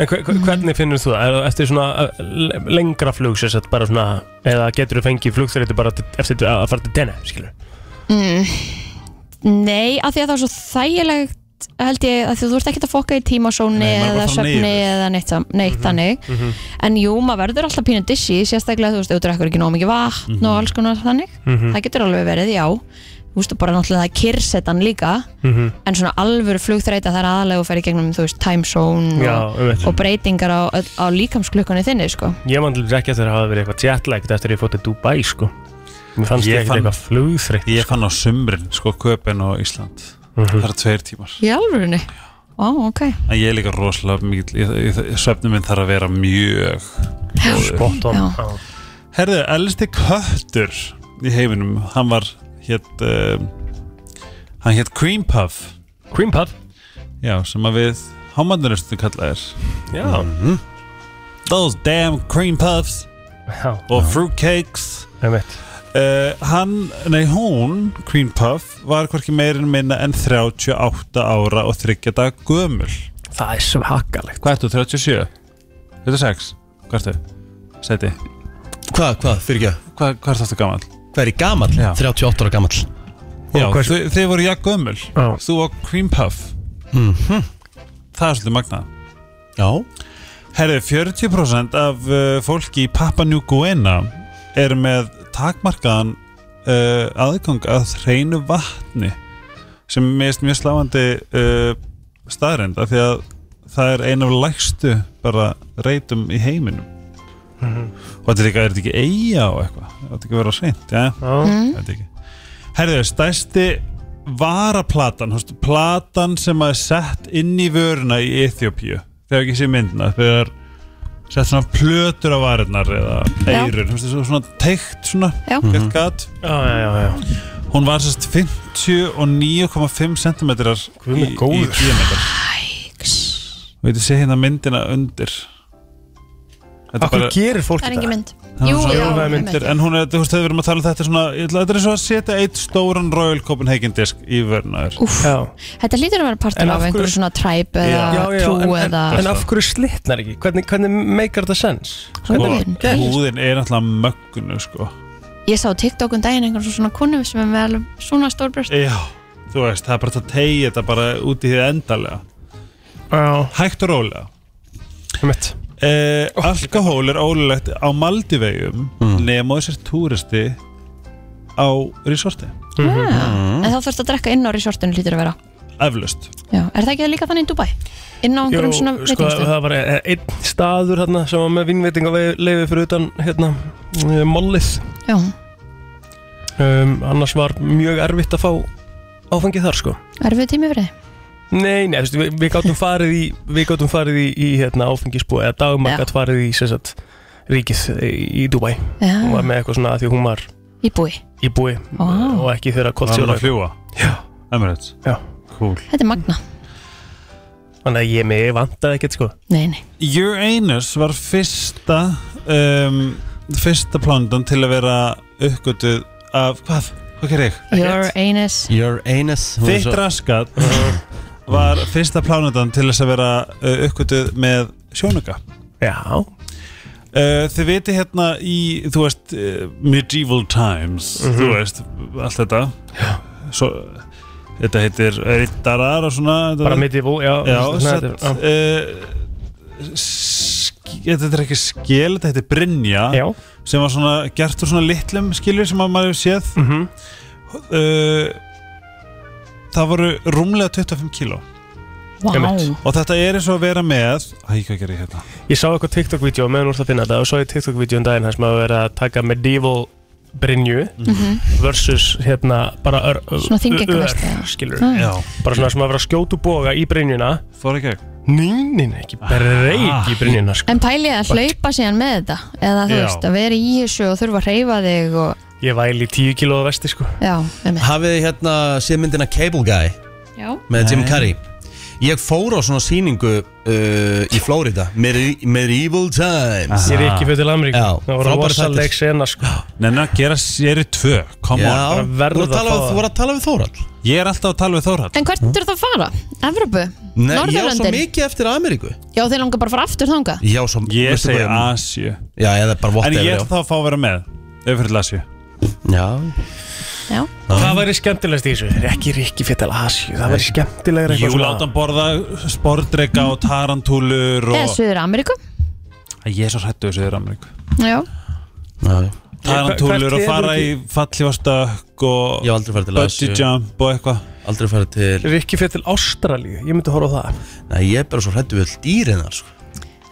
[SPEAKER 2] En hver, hver- hvernig finnur þú það? Er það eftir svona uh, le- lengra flug sem sett bara svona eða getur þú fengið flugþreytu bara til, eftir að að fara til denna, skilur?
[SPEAKER 3] Mm. Nei, af því að það var svo þægilegt held ég að þú ert ekkert að fokka í tímasóni
[SPEAKER 6] Nei, maður er bara
[SPEAKER 3] eða
[SPEAKER 6] að fara
[SPEAKER 3] svefni
[SPEAKER 6] niður. Mhm,
[SPEAKER 3] eða neitt, sam- neitt þannig en jú, maður verður alltaf pínu dissi sérstaklega þú veist, þú drekkur ekki nóg mikið vatn
[SPEAKER 6] Mhm.
[SPEAKER 3] og alls konar þannig, það getur alveg verið, já þú veist, og bara náttúrulega það er kyrsetan líka
[SPEAKER 2] Mhm.
[SPEAKER 3] en svona alvöru flugþreita það er aðalega að fara í gegnum, þú veist, time zone
[SPEAKER 2] Já,
[SPEAKER 3] og,
[SPEAKER 2] einmitt.
[SPEAKER 3] og breytingar á, á líkamsklukkunni þinni, sko
[SPEAKER 2] Ég man til dæmis ekki að þeirra hafa verið eitthvað jetlagged eftir ég fótt til Dubai sko Mér fannst
[SPEAKER 6] Ég
[SPEAKER 2] ég ekkert
[SPEAKER 6] fann-
[SPEAKER 2] eitthvað flugþreytt Mhm.
[SPEAKER 6] Ég fann á sumrin, sko, Köpen og Ísland Það er tveir tímar
[SPEAKER 3] í alvörunni, á, ok
[SPEAKER 6] En ég er líka rosalega mikil Svefnum minn þarf að vera mjög
[SPEAKER 2] Spot on
[SPEAKER 3] Já.
[SPEAKER 2] Já.
[SPEAKER 6] Herðu, elsti köttur í heiminum Hann var hétt um, Hann hétt Cream Puff
[SPEAKER 2] Cream Puff
[SPEAKER 6] Já, sem að við Hámandurustu kallaðir
[SPEAKER 2] Já,
[SPEAKER 6] Those damn cream puffs
[SPEAKER 2] já,
[SPEAKER 6] Og fruitcakes
[SPEAKER 2] einmitt
[SPEAKER 6] uh, Hann, nei hún Cream Puff var hvorki meirin minna En 38 ára og 30 dag gömul
[SPEAKER 2] Það er svakalegt
[SPEAKER 6] Hvað ertu, 37? 36? Hvað ertu? Sæti,
[SPEAKER 1] Hvað, hvað, fyrir ekki að
[SPEAKER 6] hvað, hvað ertu aftur gammal?
[SPEAKER 1] Hvað er í gamall?
[SPEAKER 6] Já.
[SPEAKER 1] 38 ára gamall
[SPEAKER 6] Já,
[SPEAKER 2] hvað-
[SPEAKER 6] þau, þau voru jafn gömul
[SPEAKER 2] Já.
[SPEAKER 6] Þú og Cream Puff Það er svolítið magnað
[SPEAKER 1] Já
[SPEAKER 6] Herði, 40% af uh, fólki í Papua New Guinea er með takmarkaðan uh, aðgang að hreinu vatni sem er mest mjög sláandi uh, staðrind af því að það er ein af lægstu bara reytum í heiminum og þetta er líka, er þetta ekki eiga og eitthvað, þetta er ekki að vera seint já,
[SPEAKER 2] Já.
[SPEAKER 6] þetta er ekki Herðu, stærsti varaplatan þú veist, platan sem að er sett inn í vöruna í Ethiopíu þegar ekki sé myndina þegar sett svona plötur á varirnar eða
[SPEAKER 3] Já.
[SPEAKER 6] eirur, þú veist, svo- svona teikt svona,
[SPEAKER 3] Já.
[SPEAKER 6] gert gat
[SPEAKER 2] Já, já, já, já
[SPEAKER 6] hún var sérst 59,5 cm
[SPEAKER 2] Guð
[SPEAKER 6] í,
[SPEAKER 2] minn
[SPEAKER 6] í
[SPEAKER 2] góður.
[SPEAKER 6] diameter og þetta sé hérna myndina undir Þetta er
[SPEAKER 2] Akkur gerir fólk
[SPEAKER 3] það er engin mynd
[SPEAKER 6] Það
[SPEAKER 3] Jú,
[SPEAKER 6] var svona
[SPEAKER 3] já,
[SPEAKER 6] jólaveður myndir,
[SPEAKER 3] einmitt.
[SPEAKER 6] En hún er, þú veist, þegar við erum að tala um þetta er svona, ég ætla, þetta er svo að setja eitt stóran Royal Copenhagen disk í vörnaður
[SPEAKER 3] Úff.
[SPEAKER 2] Já,
[SPEAKER 3] Þetta lítur að vera
[SPEAKER 2] En
[SPEAKER 3] partur
[SPEAKER 2] af
[SPEAKER 3] af
[SPEAKER 2] hverju-
[SPEAKER 3] einhverju svona træp eða
[SPEAKER 2] já, já
[SPEAKER 3] trú
[SPEAKER 2] en, en,
[SPEAKER 3] eða
[SPEAKER 2] en af hverju slitnar ekki? Hvernig, hvernig meikar þetta sens?
[SPEAKER 3] húðin.
[SPEAKER 6] Húðin er náttúrulega mögnu, sko
[SPEAKER 3] Ég sá á TikTok um daginn einhvern svona konu sem er með alveg svona stór brjóst
[SPEAKER 6] Já, þú veist, það er bara að tegja þetta bara út í því endalega
[SPEAKER 2] Já,
[SPEAKER 6] Hægt og rólega
[SPEAKER 2] einmitt
[SPEAKER 6] eh, Alkohól er ólulegt á Maldivegum
[SPEAKER 1] Hmm.
[SPEAKER 6] mm. nema þessir túristi á resorti
[SPEAKER 2] Mhm.
[SPEAKER 3] Ah, En þá þarfst að drekka inn á resortinu lítur að vera
[SPEAKER 6] Eflust
[SPEAKER 3] já. Er það ekki líka þannig í Dubai? Inn
[SPEAKER 2] Jú,
[SPEAKER 3] á einhverjum svona
[SPEAKER 2] sko,
[SPEAKER 3] veitingstu
[SPEAKER 2] það var eh, einn staður hérna sem var með vinnveitingaleifi fyrir utan hérna, eh, mollið
[SPEAKER 3] Já,
[SPEAKER 2] um, annars var mjög erfitt að fá áfangið þar sko
[SPEAKER 3] erfið tími fyrir þið
[SPEAKER 2] Nei, nei, þú veist, við, við gátum farið í við gátum farið í, í hérna, áfengisbúi eða dagum
[SPEAKER 3] Já.
[SPEAKER 2] að gæt farið í sem sagt, ríkið í, í Dubai hún var
[SPEAKER 3] Já,
[SPEAKER 2] með eitthvað svona að því hún var
[SPEAKER 3] í búi
[SPEAKER 2] í búi
[SPEAKER 3] Ó.
[SPEAKER 2] og ekki þeirra
[SPEAKER 6] Það er
[SPEAKER 2] koltsjóra
[SPEAKER 6] að fljúa
[SPEAKER 2] Já.
[SPEAKER 6] Emirates
[SPEAKER 2] Já.
[SPEAKER 6] Cool
[SPEAKER 3] Þetta er magna
[SPEAKER 2] þannig að ég mig vantaði ekkert sko
[SPEAKER 3] Nei, nei
[SPEAKER 6] Uranus var fyrsta um, fyrsta plándan til að vera uppgötuð af hvað, hvað ger ég?
[SPEAKER 3] Your anus
[SPEAKER 1] Your anus hún er
[SPEAKER 6] Þitt
[SPEAKER 1] svo-
[SPEAKER 6] raskat var fyrsta plándan til þess að vera uh, uppgötuð með sjónuga
[SPEAKER 2] Já,
[SPEAKER 6] Uh, þið viti hérna í, þú veist, uh, medieval times, þú
[SPEAKER 2] Mhm.
[SPEAKER 6] veist, allt þetta. Svo, þetta heitir rittarar og svona. þetta-
[SPEAKER 2] bara mitt í bú Já,
[SPEAKER 6] Já,
[SPEAKER 2] svona,
[SPEAKER 6] satt,
[SPEAKER 2] þetta er-
[SPEAKER 6] uh, þetta er ekki skil, þetta heitir Brynja
[SPEAKER 2] ah. já. já.
[SPEAKER 6] sem var svona gert úr svona litlum skilur sem að maður hefur séð
[SPEAKER 2] Mm
[SPEAKER 6] uh, það voru rúmlega 25 kíló
[SPEAKER 3] Vá
[SPEAKER 2] Einmitt.
[SPEAKER 6] og þetta er eins og að vera með Æ, hvað gerir ég hérna?
[SPEAKER 2] Ég sá eitthvað TikTok-vídeó meðan úr það finna þetta og svo ég TikTok-vídeó um daginn hans maður verið að taka medieval Brynju
[SPEAKER 3] Mhm.
[SPEAKER 2] versus hérna bara ör,
[SPEAKER 3] Svona þyngingarvesti,
[SPEAKER 2] ör,
[SPEAKER 3] já. Ah.
[SPEAKER 2] skilur
[SPEAKER 3] Það er-
[SPEAKER 6] Já,
[SPEAKER 2] bara svona sem að vera að skjótu boga í Brynjuna
[SPEAKER 6] fór ekki ekki
[SPEAKER 2] Nínin ekki, breyk í Brynjuna sko.
[SPEAKER 3] En pælið að hlaupa síðan með þetta Eða þú
[SPEAKER 6] Já.
[SPEAKER 3] veist, að vera í þessu og þurfa að reyfa þig og...
[SPEAKER 2] Ég væli tíu kílóða vesti sko
[SPEAKER 3] Já, einmitt
[SPEAKER 1] Hafið þið hérna séð myndina Cable Guy
[SPEAKER 3] Já,
[SPEAKER 1] með Jim
[SPEAKER 6] Nei.
[SPEAKER 1] Carrey Ég fór á svona sýningu uh, í Flórida Medi- Medieval Times
[SPEAKER 2] Ég er ekki fyrir til Ameríku
[SPEAKER 1] Já,
[SPEAKER 2] Það var
[SPEAKER 1] frábæri
[SPEAKER 2] rosaleg
[SPEAKER 1] þættir.
[SPEAKER 2] sena sko
[SPEAKER 6] Nenna að gera séri tvö, come
[SPEAKER 1] Já,
[SPEAKER 2] bara
[SPEAKER 1] þú
[SPEAKER 2] verð
[SPEAKER 1] voru að
[SPEAKER 2] að
[SPEAKER 1] tala
[SPEAKER 2] fá
[SPEAKER 1] við-
[SPEAKER 2] það.
[SPEAKER 1] þú voru að tala við Þórald
[SPEAKER 6] on Ég er alltaf að tala við Þórhall
[SPEAKER 3] En hvert er það að fara? Evrópu?
[SPEAKER 1] Nei, ég á svo
[SPEAKER 3] Norðurlöndin?
[SPEAKER 1] mikið eftir Ameríku
[SPEAKER 3] Já, þeir langar bara að fara aftur þanga
[SPEAKER 1] Ég á svo
[SPEAKER 6] Ég
[SPEAKER 1] veistu
[SPEAKER 6] segi
[SPEAKER 1] hvað ég-
[SPEAKER 6] Asju
[SPEAKER 1] Já, eða bara
[SPEAKER 6] En
[SPEAKER 1] whatever
[SPEAKER 6] ég
[SPEAKER 1] já.
[SPEAKER 6] ætla þá að fá að vera með Ef við fyrir til Asju
[SPEAKER 1] Já,
[SPEAKER 3] Já.
[SPEAKER 2] Hvað væri skemmtilegast í þessu? Ekki Rikki Fettel Asju, það væri skemmtilegra
[SPEAKER 6] Jú, láta hann borða spordrega og tarantúlur
[SPEAKER 3] Eða
[SPEAKER 6] og...
[SPEAKER 3] Suður Ameríku
[SPEAKER 6] Ég er svo hrættu þessu þeirra Ameríku
[SPEAKER 3] Já,
[SPEAKER 1] Já,
[SPEAKER 6] Tarantúlur
[SPEAKER 2] Hvert
[SPEAKER 6] og
[SPEAKER 2] hefur
[SPEAKER 6] fara í fallífastökk og
[SPEAKER 1] Ég hef aldrei farið til
[SPEAKER 6] bungee
[SPEAKER 1] Asíu.
[SPEAKER 6] jump og eitthvað
[SPEAKER 1] Aldrei farið til
[SPEAKER 2] Rikki Fettel Ástralíu, ég myndi horfa á það
[SPEAKER 1] Nei, ég er bara svo hrættu við all dýrin þar sko.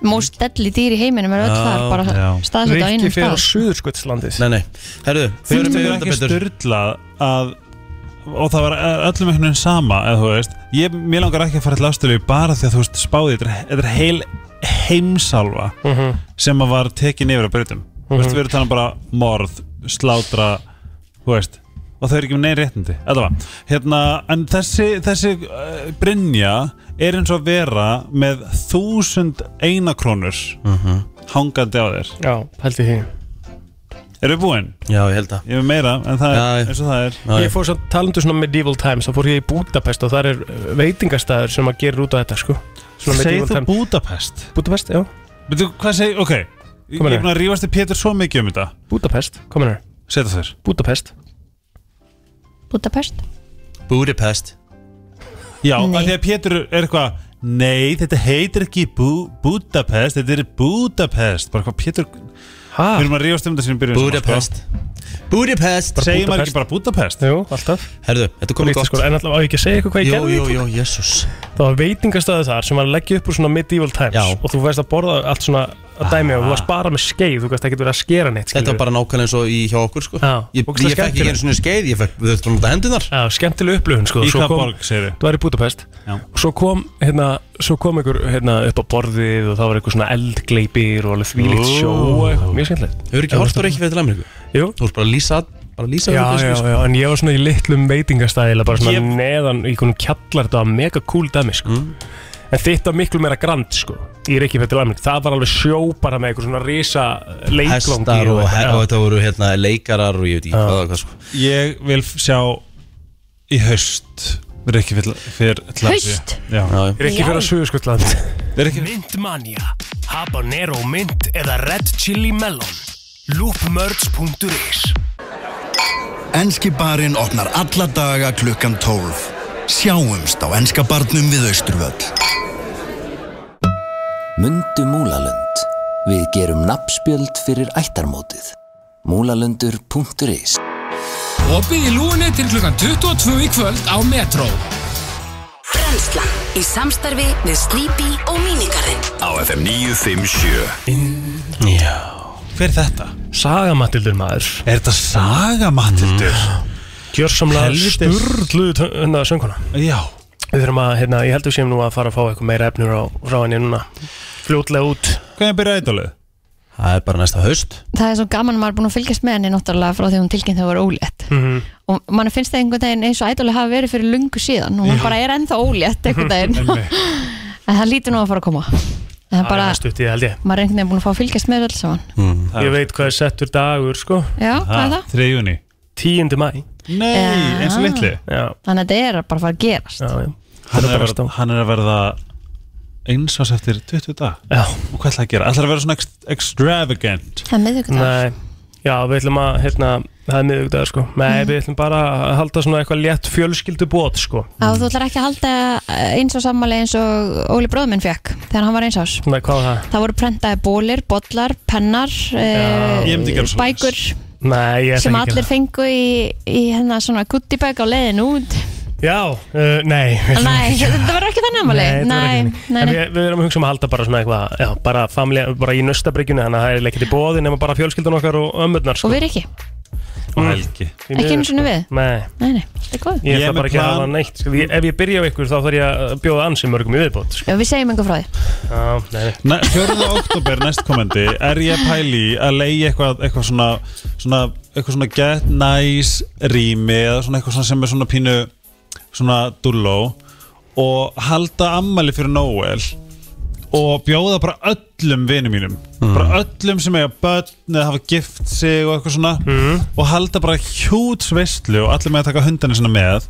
[SPEAKER 3] most deadly dýr í heiminum er öll
[SPEAKER 1] Já,
[SPEAKER 3] þar bara
[SPEAKER 4] já.
[SPEAKER 3] staðsett á
[SPEAKER 2] Rikki
[SPEAKER 3] einum
[SPEAKER 2] fyrir á
[SPEAKER 3] stað
[SPEAKER 2] Suðurskottslandið
[SPEAKER 1] Nei, nei, herðu, förum
[SPEAKER 6] Finnst
[SPEAKER 1] við
[SPEAKER 6] þér
[SPEAKER 1] þetta
[SPEAKER 6] ekki
[SPEAKER 1] betur
[SPEAKER 6] styrlað að og það var eh, öllum einhvern veginn sama eða þú veist, ég, mér langar ekki að fara til Ástralíu bara því að þú veist spáði þetta er- þetta er heil heimsálfa sem að var tekin yfir að breytum þú veist, við erum talað um bara morð slátra, þú veist og þau eru ekki með neinn réttindi, allavega hérna, en þessi, þessi uh, Brynja er eins og að vera með þúsund einakrónur hangandi á þér
[SPEAKER 2] Já, held ég því
[SPEAKER 6] Erum við búin?
[SPEAKER 1] Já, ég held að
[SPEAKER 6] Ég er með meira, en það er
[SPEAKER 1] Já, já.
[SPEAKER 6] eins og það er
[SPEAKER 1] Já,
[SPEAKER 2] Ég fór samt talandu svona medieval times þá fór ég í Budapest og þar er uh, veitingastæður sem að gera út á þetta sko Svona
[SPEAKER 6] Segir
[SPEAKER 2] medieval
[SPEAKER 6] þú
[SPEAKER 2] times
[SPEAKER 6] Budapest?
[SPEAKER 2] Budapest, já,
[SPEAKER 6] Veitu, hvað segir, ok Ég
[SPEAKER 2] Kom
[SPEAKER 6] ég
[SPEAKER 2] hérna.
[SPEAKER 6] er búin að rífast í Pétur svo mikið um þetta
[SPEAKER 2] Budapest, komin hér
[SPEAKER 6] Seta þér
[SPEAKER 2] Budapest
[SPEAKER 3] Budapest
[SPEAKER 1] Budapest
[SPEAKER 6] Já,
[SPEAKER 3] Nei.
[SPEAKER 6] af því að Pétur er eitthvað Nei, þetta heitir ekki Bú, Budapest Þetta er Budapest Bara hvað Pétur Við
[SPEAKER 2] Ha?
[SPEAKER 6] erum að rífast um þetta sinni byrjun
[SPEAKER 1] Budapest Budapest
[SPEAKER 2] Bara-
[SPEAKER 6] Segir maður
[SPEAKER 2] Budapest.
[SPEAKER 6] ekki bara Budapest?
[SPEAKER 2] Jú, alltaf
[SPEAKER 1] Herðu, þetta komið
[SPEAKER 2] Líkt,
[SPEAKER 1] gott
[SPEAKER 2] sko, En alltaf á ég ekki að segja eitthvað hvað ég
[SPEAKER 1] Jú,
[SPEAKER 2] gerði
[SPEAKER 1] jú, jú, jesús
[SPEAKER 2] Það var veitingastæður þar sem var að leggja upp úr svona medieval times
[SPEAKER 1] Já. Ah.
[SPEAKER 2] og þú veist að borða allt svona að dæmi og þú varst bara með skeið, þú veist ekki verið að skera neitt
[SPEAKER 1] Þetta var bara nákvæmlega eins og í hjá okkur sko
[SPEAKER 2] Já,
[SPEAKER 1] Ég,
[SPEAKER 2] ógeðslega
[SPEAKER 1] ég fekk ekki einu svona skeið, ég fekk, við þurftum að nota hendunar
[SPEAKER 2] Já, skemmtileg upplöfun sko
[SPEAKER 6] Í
[SPEAKER 2] Svo
[SPEAKER 6] hvað
[SPEAKER 2] kom-
[SPEAKER 6] borg, segir þið?
[SPEAKER 2] Þú var í Budapest
[SPEAKER 6] Já.
[SPEAKER 2] og svo kom, hérna, svo kom einhver hérna, upp á borðið og það var eitthvað svona eldgleipir og alveg þvílíkt sjó og eitthvað, mjög skemmtilegt
[SPEAKER 1] Þau eru ekki hort á Reykjavík til Ameríku
[SPEAKER 2] Jú,
[SPEAKER 1] Þú ert bara að lýsa, bara að lýsa
[SPEAKER 2] já,
[SPEAKER 1] þessu,
[SPEAKER 2] já,
[SPEAKER 1] sko.
[SPEAKER 2] já, en ég var svona í litlum veitingastæðilega bara svona
[SPEAKER 6] Ég-
[SPEAKER 2] neðan í konum kjallar, þetta var mega cool dæmi sko.
[SPEAKER 1] Mm.
[SPEAKER 2] en þitt var miklu meira grand sko, í Reykjavík til Ameríku, það var alveg sjó bara með eitthvað svona risa leikvangi
[SPEAKER 1] Hestar og,
[SPEAKER 2] eitthvað,
[SPEAKER 1] he-
[SPEAKER 2] já.
[SPEAKER 1] og þetta voru hérna leikarar og ég veit ekki hvað það var, sko
[SPEAKER 6] Ég vil f- sjá Í haust Við erum ekki fyrir, fyrir til Asíu.
[SPEAKER 3] Haust?
[SPEAKER 6] Já
[SPEAKER 1] Já, já.
[SPEAKER 2] Ég er ekki
[SPEAKER 3] Já.
[SPEAKER 2] fyrir að Suðurskotland
[SPEAKER 6] Við erum ekki
[SPEAKER 2] Myndmania Habanero mynd eða Red Chili Melon loopmerge.is
[SPEAKER 10] Enski barinn opnar alla daga klukkan 12. Sjáumst á Enska barnum við Austurvöll.
[SPEAKER 11] Mundu Múlalund. Við gerum nafnspjöld fyrir ættarmótið. Múlalundur.is
[SPEAKER 8] Opið í lúinni til klukkan 22 í kvöld á Metro
[SPEAKER 9] Brennslan í samstarfi við Sleepy og Minigarinn
[SPEAKER 8] Á FM 957
[SPEAKER 6] Hver er þetta?
[SPEAKER 2] Sagamattildur maður
[SPEAKER 6] Er þetta saga, Matildur?
[SPEAKER 2] Gjörsamlega
[SPEAKER 6] Helvitis.
[SPEAKER 2] sturlu hérna sönguna
[SPEAKER 6] Já
[SPEAKER 2] Við þurfum að, hérna, ég held við séum nú að fara að fá eitthvað meira efnur á frá henni núna Fljótlega út
[SPEAKER 6] Hvernig byrjaði ídólið?
[SPEAKER 1] Það er bara næsta haust
[SPEAKER 3] það er svo gaman að maður er búin að fylgjast með henni náttúrulega frá því hún tilkynnt þegar hún var ólétt og mann finnst það einhvern veginn eins og ædoli hafi verið fyrir lungu síðan og hún bara er ennþá ólétt einhvern veginn en það lítur nú að fara að koma en það er
[SPEAKER 2] Það
[SPEAKER 3] bara,
[SPEAKER 2] er stutt í það, held ég
[SPEAKER 3] maður er einhvern veginn búin að fá að fylgjast með öll saman
[SPEAKER 2] Ég veit hvað er settur dagur, sko
[SPEAKER 3] já, hvað er það? Eh.
[SPEAKER 6] 3. júni
[SPEAKER 2] 10. mæ
[SPEAKER 6] Nei,
[SPEAKER 3] Já.
[SPEAKER 6] eins og litli
[SPEAKER 2] Já,
[SPEAKER 3] þannig að þetta er bara að fara að gerast
[SPEAKER 2] já, já
[SPEAKER 6] hann
[SPEAKER 2] Þetta
[SPEAKER 6] er, að
[SPEAKER 2] bara
[SPEAKER 6] verða,
[SPEAKER 2] stó-
[SPEAKER 6] hann er að verða eins ás eftir 20 dag
[SPEAKER 2] Já,
[SPEAKER 6] og hvað ætlaði að gera? ætlaði að vera svona ex extravagant
[SPEAKER 3] það er miðvikudagur
[SPEAKER 2] nei Já, við ætlum að, hérna, það er miðugdæður, sko
[SPEAKER 3] Mm.
[SPEAKER 2] Nei, við ætlum bara að halda svona eitthvað létt fjölskyldu sko
[SPEAKER 3] að þú ætlar ekki að halda eh, eins og sammali eins og Óli bróðminn fekk þegar hann var eins ás
[SPEAKER 2] Nei, hvað var það?
[SPEAKER 3] það voru prentaði bólir, bollar, pennar
[SPEAKER 2] Já.
[SPEAKER 6] Ég myndi
[SPEAKER 3] e,
[SPEAKER 6] gera svoleiðis.
[SPEAKER 3] bækur
[SPEAKER 2] Nei, ég ætla
[SPEAKER 3] sem
[SPEAKER 2] ekki að gera
[SPEAKER 3] allir fengu í, í hérna svona guttibæk á leiðin út
[SPEAKER 2] Já, uh, nei við ætlum
[SPEAKER 3] Nei,
[SPEAKER 2] ekki að-
[SPEAKER 3] þetta var ekki þannig ammali
[SPEAKER 2] þetta var ekki
[SPEAKER 3] Nei,
[SPEAKER 2] þannig.
[SPEAKER 3] nei,
[SPEAKER 2] En
[SPEAKER 3] nei
[SPEAKER 2] Við, við erum að hugsa um að halda bara svona eitthvað já, bara, family, bara í nöstabrygginu þannig að það er ekki til bóði nema bara fjölskyldan okkar og ömmurnar sko.
[SPEAKER 3] Og við erum ekki,
[SPEAKER 6] og
[SPEAKER 2] Mm.
[SPEAKER 6] helgi
[SPEAKER 2] Því miður,
[SPEAKER 3] ekki einu sinni við
[SPEAKER 2] sko. Nei,
[SPEAKER 3] Nei, nei, þetta er góð
[SPEAKER 2] ég
[SPEAKER 6] Ég er
[SPEAKER 2] ætla bara
[SPEAKER 6] með
[SPEAKER 2] ekki að
[SPEAKER 6] plan.
[SPEAKER 2] hafa neitt sko. Því Ef ég byrja á ykkur þá þarf ég að bjóða ansi mörgum í viðbót sko.
[SPEAKER 3] Já, við segjum einhver frá því
[SPEAKER 2] Já, nei, nei.
[SPEAKER 6] 4. oktober næstkomandi er ég að pæli í að leiði eitthvað, eitthvað svona, svona eitthvað svona get nice rými eða svona eitthvað svona sem er svona pínu svona dulló og halda ammali fyrir Noel og bjóða bara öllum vinum mínum bara öllum sem eiga börn eða hafa gift sig og eitthvað svona og halda bara hjúts veistlu og allir með að taka hundana sinna með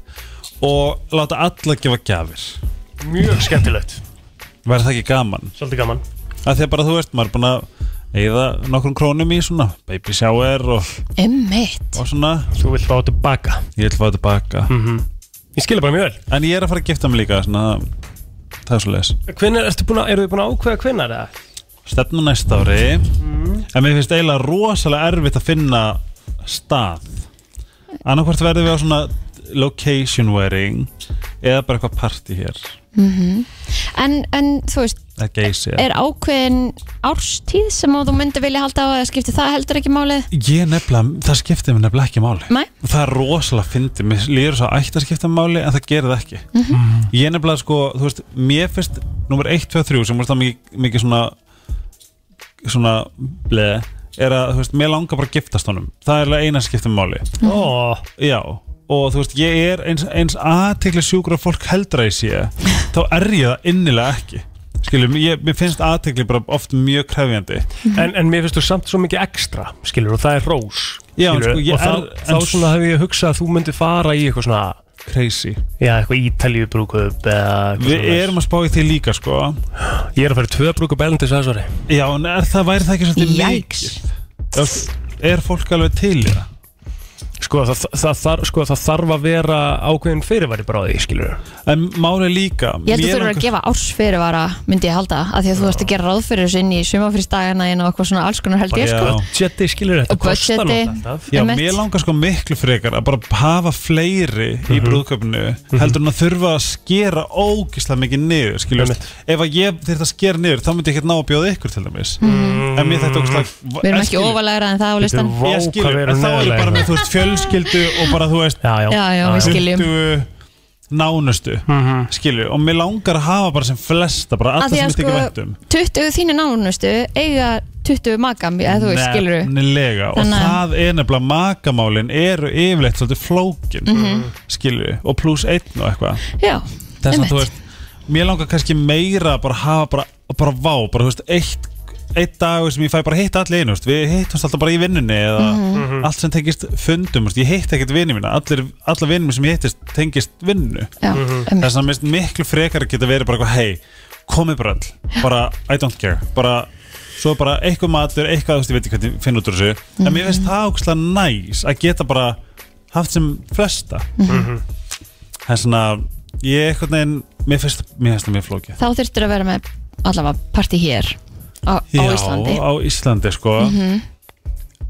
[SPEAKER 6] og láta alla gefa gjafir
[SPEAKER 2] Mjög skemmtilegt
[SPEAKER 6] væri það ekki gaman
[SPEAKER 2] Svolítið gaman
[SPEAKER 6] að því að bara þú veist maður er búin að eða nokkrum krónum í svona baby shower og,
[SPEAKER 3] Emmitt
[SPEAKER 6] og svona
[SPEAKER 2] Þú vilt fá tilbaka
[SPEAKER 6] Ég vil fá tilbaka mm
[SPEAKER 2] -hmm. Ég skilja bara mjög vel
[SPEAKER 6] En ég er að fara að gifta mig líka svona, það er svo leiðis
[SPEAKER 2] Hvenær ertu búin að, eru þið búin að ákveða hvenær eða?
[SPEAKER 6] Stefnu næsta ári En mér finnst eiginlega rosalega erfitt að finna stað Annarkvort verðum við á svona location wearing eða bara eitthvað party hér
[SPEAKER 3] Mhm. en, en þú veist
[SPEAKER 6] eða geysi
[SPEAKER 3] er ákveðin árstíð sem að þú myndir vilja halda á að skipti það heldur ekki málið
[SPEAKER 6] Ég nefnilega, það skiptir mér nefnilega ekki máli
[SPEAKER 3] Nei.
[SPEAKER 6] Og Það er rosalega fyndið, mér líður svo að ætti að skipta máli en það gerir það ekki
[SPEAKER 3] Mhm.
[SPEAKER 6] Ég nefnilega sko, þú veist, mér finnst nummer 1, 2, 3 sem er það mikið, mikið svona svona bleð er að, þú veist, mér langar bara að giftast honum það er alveg eina sem skiptir máli
[SPEAKER 2] oh.
[SPEAKER 6] Já, og þú veist, ég er eins, eins aðtekli sjúkur að fólk heldur að ég sé þá er ég það innilega ekki Skiljum, ég, mér finnst aðtekli bara oft mjög krefjandi
[SPEAKER 2] En, en mér finnst þú samt svo mikið ekstra, skilur, og það er rós
[SPEAKER 6] Já, en
[SPEAKER 2] skilurðu,
[SPEAKER 6] sko, ég
[SPEAKER 2] Og
[SPEAKER 6] er-
[SPEAKER 2] þá, þá
[SPEAKER 6] en-
[SPEAKER 2] svona hef ég hugsað að þú myndir fara í eitthvað svona
[SPEAKER 6] Crazy
[SPEAKER 2] Já, eitthvað ítalíu brúkup eða eitthvað
[SPEAKER 6] Við
[SPEAKER 2] svoleiðis.
[SPEAKER 6] erum að spá í því líka sko
[SPEAKER 2] Ég er að fara í tvö brúkup elendis aðsvari
[SPEAKER 6] Já, en er það væri það ekki svolítið mikið Já, Er fólk alveg til í það?
[SPEAKER 2] Sko, það, það, það, þarf- sko, það þarf að vera ákveðin fyrirværi bara á því, skilur
[SPEAKER 6] En máli líka
[SPEAKER 3] ég held að þú eru að gefa ársfyrirvara myndi ég halda, af því að þú ert að gera ráð fyrir þessu inn í sumafrýstagana inn og eitthvað svona alls konar held ég sko
[SPEAKER 2] Budgeti, skilur þetta
[SPEAKER 3] Og budgeti.
[SPEAKER 2] kostar náttúrulega alltaf.
[SPEAKER 6] Já,
[SPEAKER 3] Einmitt.
[SPEAKER 6] mér langar sko miklu frekar að bara hafa fleiri í brúðköpnu heldur en að þurfa að skera ógislega mikið niður, skiljum Ef að ég þyrfti að skera niður, þá myndi ég ekkert ná að bjóða ykkur til dæmis En mér þetta ógislega
[SPEAKER 3] Mm. við erum ekki ofalegra en það á listan
[SPEAKER 6] Ég skilur, en þá er ég bara með, þú veist, fjölskyldu og bara, þú veist
[SPEAKER 2] Já,
[SPEAKER 3] Já, já, við skiljum.
[SPEAKER 6] nánustu, skilju og mér langar að hafa bara sem flesta bara
[SPEAKER 3] Af
[SPEAKER 6] alltaf
[SPEAKER 3] því
[SPEAKER 6] sem
[SPEAKER 3] að
[SPEAKER 6] þetta ekki
[SPEAKER 3] sko,
[SPEAKER 6] væntum
[SPEAKER 3] 20 þínu nánustu eiga 20 magam eða þú veist, skilur
[SPEAKER 6] Nefnilega, og
[SPEAKER 3] Þannig að-
[SPEAKER 6] það er nefnilega makamálin eru yfirleitt svolítið flókin
[SPEAKER 3] Mhm.
[SPEAKER 6] skilju, og pluss einn og eitthvað
[SPEAKER 3] já,
[SPEAKER 6] þess að
[SPEAKER 3] einmitt.
[SPEAKER 6] þú veist, mér langar kannski meira að bara hafa bara, bara vá bara, þú veist, eitt, eitt dag sem ég fæ bara hitta allir einu, þú veist, við hittumst alltaf bara í vinnunni eða
[SPEAKER 2] Mhm.
[SPEAKER 6] allt sem tengist fundum, þú veist, ég hitt ekkert vinni mína allir, alla vinni mín sem ég hittist tengist vinnu
[SPEAKER 3] Já, einmitt.
[SPEAKER 6] þess að mér finnst miklu frekar að geta verið bara eitthvað, hei, komið bara all bara, I don't care, bara svo bara eitthvað matur, eitthvað, þú veist, ég veit ekki hvernig ég finn út úr þessu, en mér finnst það ákslega næs að geta bara haft sem flesta
[SPEAKER 3] Mhm.
[SPEAKER 6] það er svona ég eitthvað neginn, mér finnst mér finnst það mjög flókið
[SPEAKER 3] þá þurftur að vera með allavega party hér á, á Íslandi
[SPEAKER 6] á Íslandi sko
[SPEAKER 3] Mhm.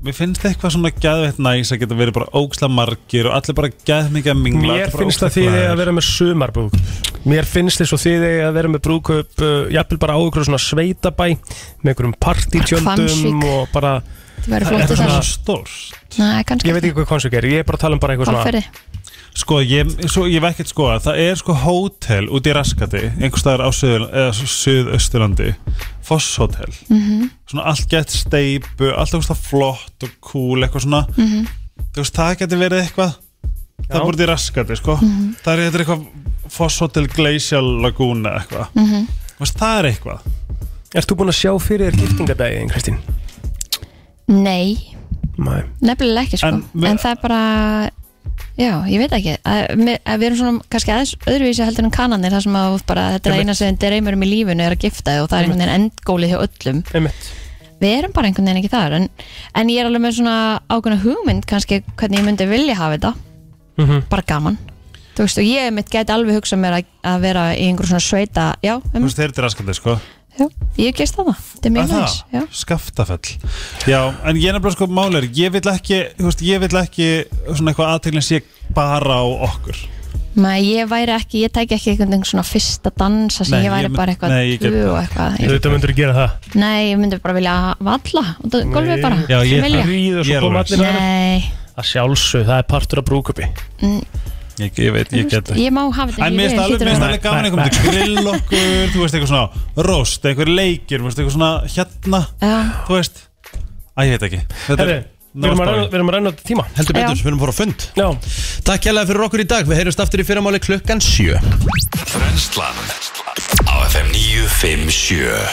[SPEAKER 6] mér finnst eitthvað svona gæðveitt næs að geta verið bara óksla margir og allir bara gæðmikið að mingla
[SPEAKER 2] Mér
[SPEAKER 6] allir bara
[SPEAKER 2] finnst að
[SPEAKER 6] ógeðslega
[SPEAKER 2] þið eigi
[SPEAKER 6] glaðir.
[SPEAKER 2] að vera með sumarbrúk Mér finnst þess að þið eigi að vera með brúkup uh, Jafnvel bara á ykkur svona sveitabæ Með einhverjum partítjöldum
[SPEAKER 3] Hvammsvík.
[SPEAKER 2] Og bara
[SPEAKER 3] Þetta væri flott í það.
[SPEAKER 6] stórt
[SPEAKER 3] Nei, kannski
[SPEAKER 2] Ég veit ekki hvað konsert er, ég er bara að tala um bara eitthvað svona
[SPEAKER 3] Hálfferði
[SPEAKER 6] sko ég, svo, ég vekkit sko að það er sko hótel út í raskati einhvers staðar á Suður- eða Suðausturlandi Fosshótel
[SPEAKER 7] Mhm.
[SPEAKER 6] svona allt gett steipu allt eitthvað flott og cool eitthvað svona
[SPEAKER 7] Mhm.
[SPEAKER 6] þú veist það geti verið eitthvað það
[SPEAKER 7] Já.
[SPEAKER 6] er búið í raskati sko
[SPEAKER 7] Mhm.
[SPEAKER 6] það er þetta er eitthvað Fosshótel Glacial Laguna eitthvað
[SPEAKER 7] Mhm.
[SPEAKER 6] þú veist það er eitthvað
[SPEAKER 2] Erst þú búin að sjá fyrir þér giftingadagið, Kristín?
[SPEAKER 3] Nei,
[SPEAKER 2] Nei
[SPEAKER 3] nefnilega ekki sko
[SPEAKER 2] En
[SPEAKER 3] en,
[SPEAKER 2] við-
[SPEAKER 3] það er bara Já, ég veit ekki að, me- að Við erum svona kannski aðeins öðruvísi heldur en kananir þar sem að þú bara, þetta er
[SPEAKER 2] Einmitt.
[SPEAKER 3] eina sem dreymur um í lífinu er að gifta þig og það er einhvern veginn endgólið hjá öllum
[SPEAKER 2] Einmitt.
[SPEAKER 3] Við erum bara einhvern veginn ekki þar en, en ég er alveg með svona ákveðna hugmynd kannski hvernig ég myndi vilja hafa þetta bara gaman Þú veist, og ég mitt gæti alveg hugsað mér að, að vera í einhver svona sveita, já,
[SPEAKER 6] þú
[SPEAKER 3] um,
[SPEAKER 6] veist þeir eru til raskandi sko
[SPEAKER 3] já ég gist það það, þetta er mjög
[SPEAKER 6] Að það?
[SPEAKER 3] næs já.
[SPEAKER 6] Skaftafell Já, en ég er nefnilega sko málir Ég vil ekki, þú veist, ég vil ekki Svona eitthvað aðteglinn sé bara á okkur
[SPEAKER 3] Nei, ég væri ekki, ég tæki ekki einhvern veginn svona fyrsta dansa sem
[SPEAKER 6] Nei,
[SPEAKER 3] ég væri
[SPEAKER 6] ég mynd-
[SPEAKER 3] bara eitthvað
[SPEAKER 6] nei, ég get
[SPEAKER 3] tvö
[SPEAKER 6] það.
[SPEAKER 3] og eitthvað
[SPEAKER 6] Þú veit
[SPEAKER 2] Þetta myndur gera það
[SPEAKER 3] Nei, ég myndi bara vilja valla út af gólfið bara
[SPEAKER 2] Já, ég
[SPEAKER 3] sem vilja.
[SPEAKER 2] ríð og
[SPEAKER 6] Ég
[SPEAKER 2] svo
[SPEAKER 6] er
[SPEAKER 2] koma
[SPEAKER 6] alveg.
[SPEAKER 2] allir aðra.
[SPEAKER 3] Nei,
[SPEAKER 2] Að sjálfsög, það er partur af brúkupi
[SPEAKER 3] mm,
[SPEAKER 6] Ég, ég veit, ég get
[SPEAKER 3] ég má hafa þetta
[SPEAKER 6] En mér
[SPEAKER 3] ég
[SPEAKER 6] finnst alveg,
[SPEAKER 3] hlýtur
[SPEAKER 6] mér
[SPEAKER 3] að
[SPEAKER 6] finnst
[SPEAKER 3] vera-
[SPEAKER 6] alveg gaman einhvern veginn grill okkur, þú veist, eitthvað svona rost, einhver leikir, þú veist, eitthvað svona hérna,
[SPEAKER 3] Já.
[SPEAKER 6] þú veist Æ, ég veit ekki Þetta er-
[SPEAKER 2] Herri, við erum að renna- við erum að renna út í tíma
[SPEAKER 1] Heldur betur, við erum að fóra fund
[SPEAKER 2] Já.
[SPEAKER 1] Takk hérlega fyrir okkur í dag, við heyrjumst aftur í fyrramáli klukkan 7
[SPEAKER 8] Brennslan á FM 957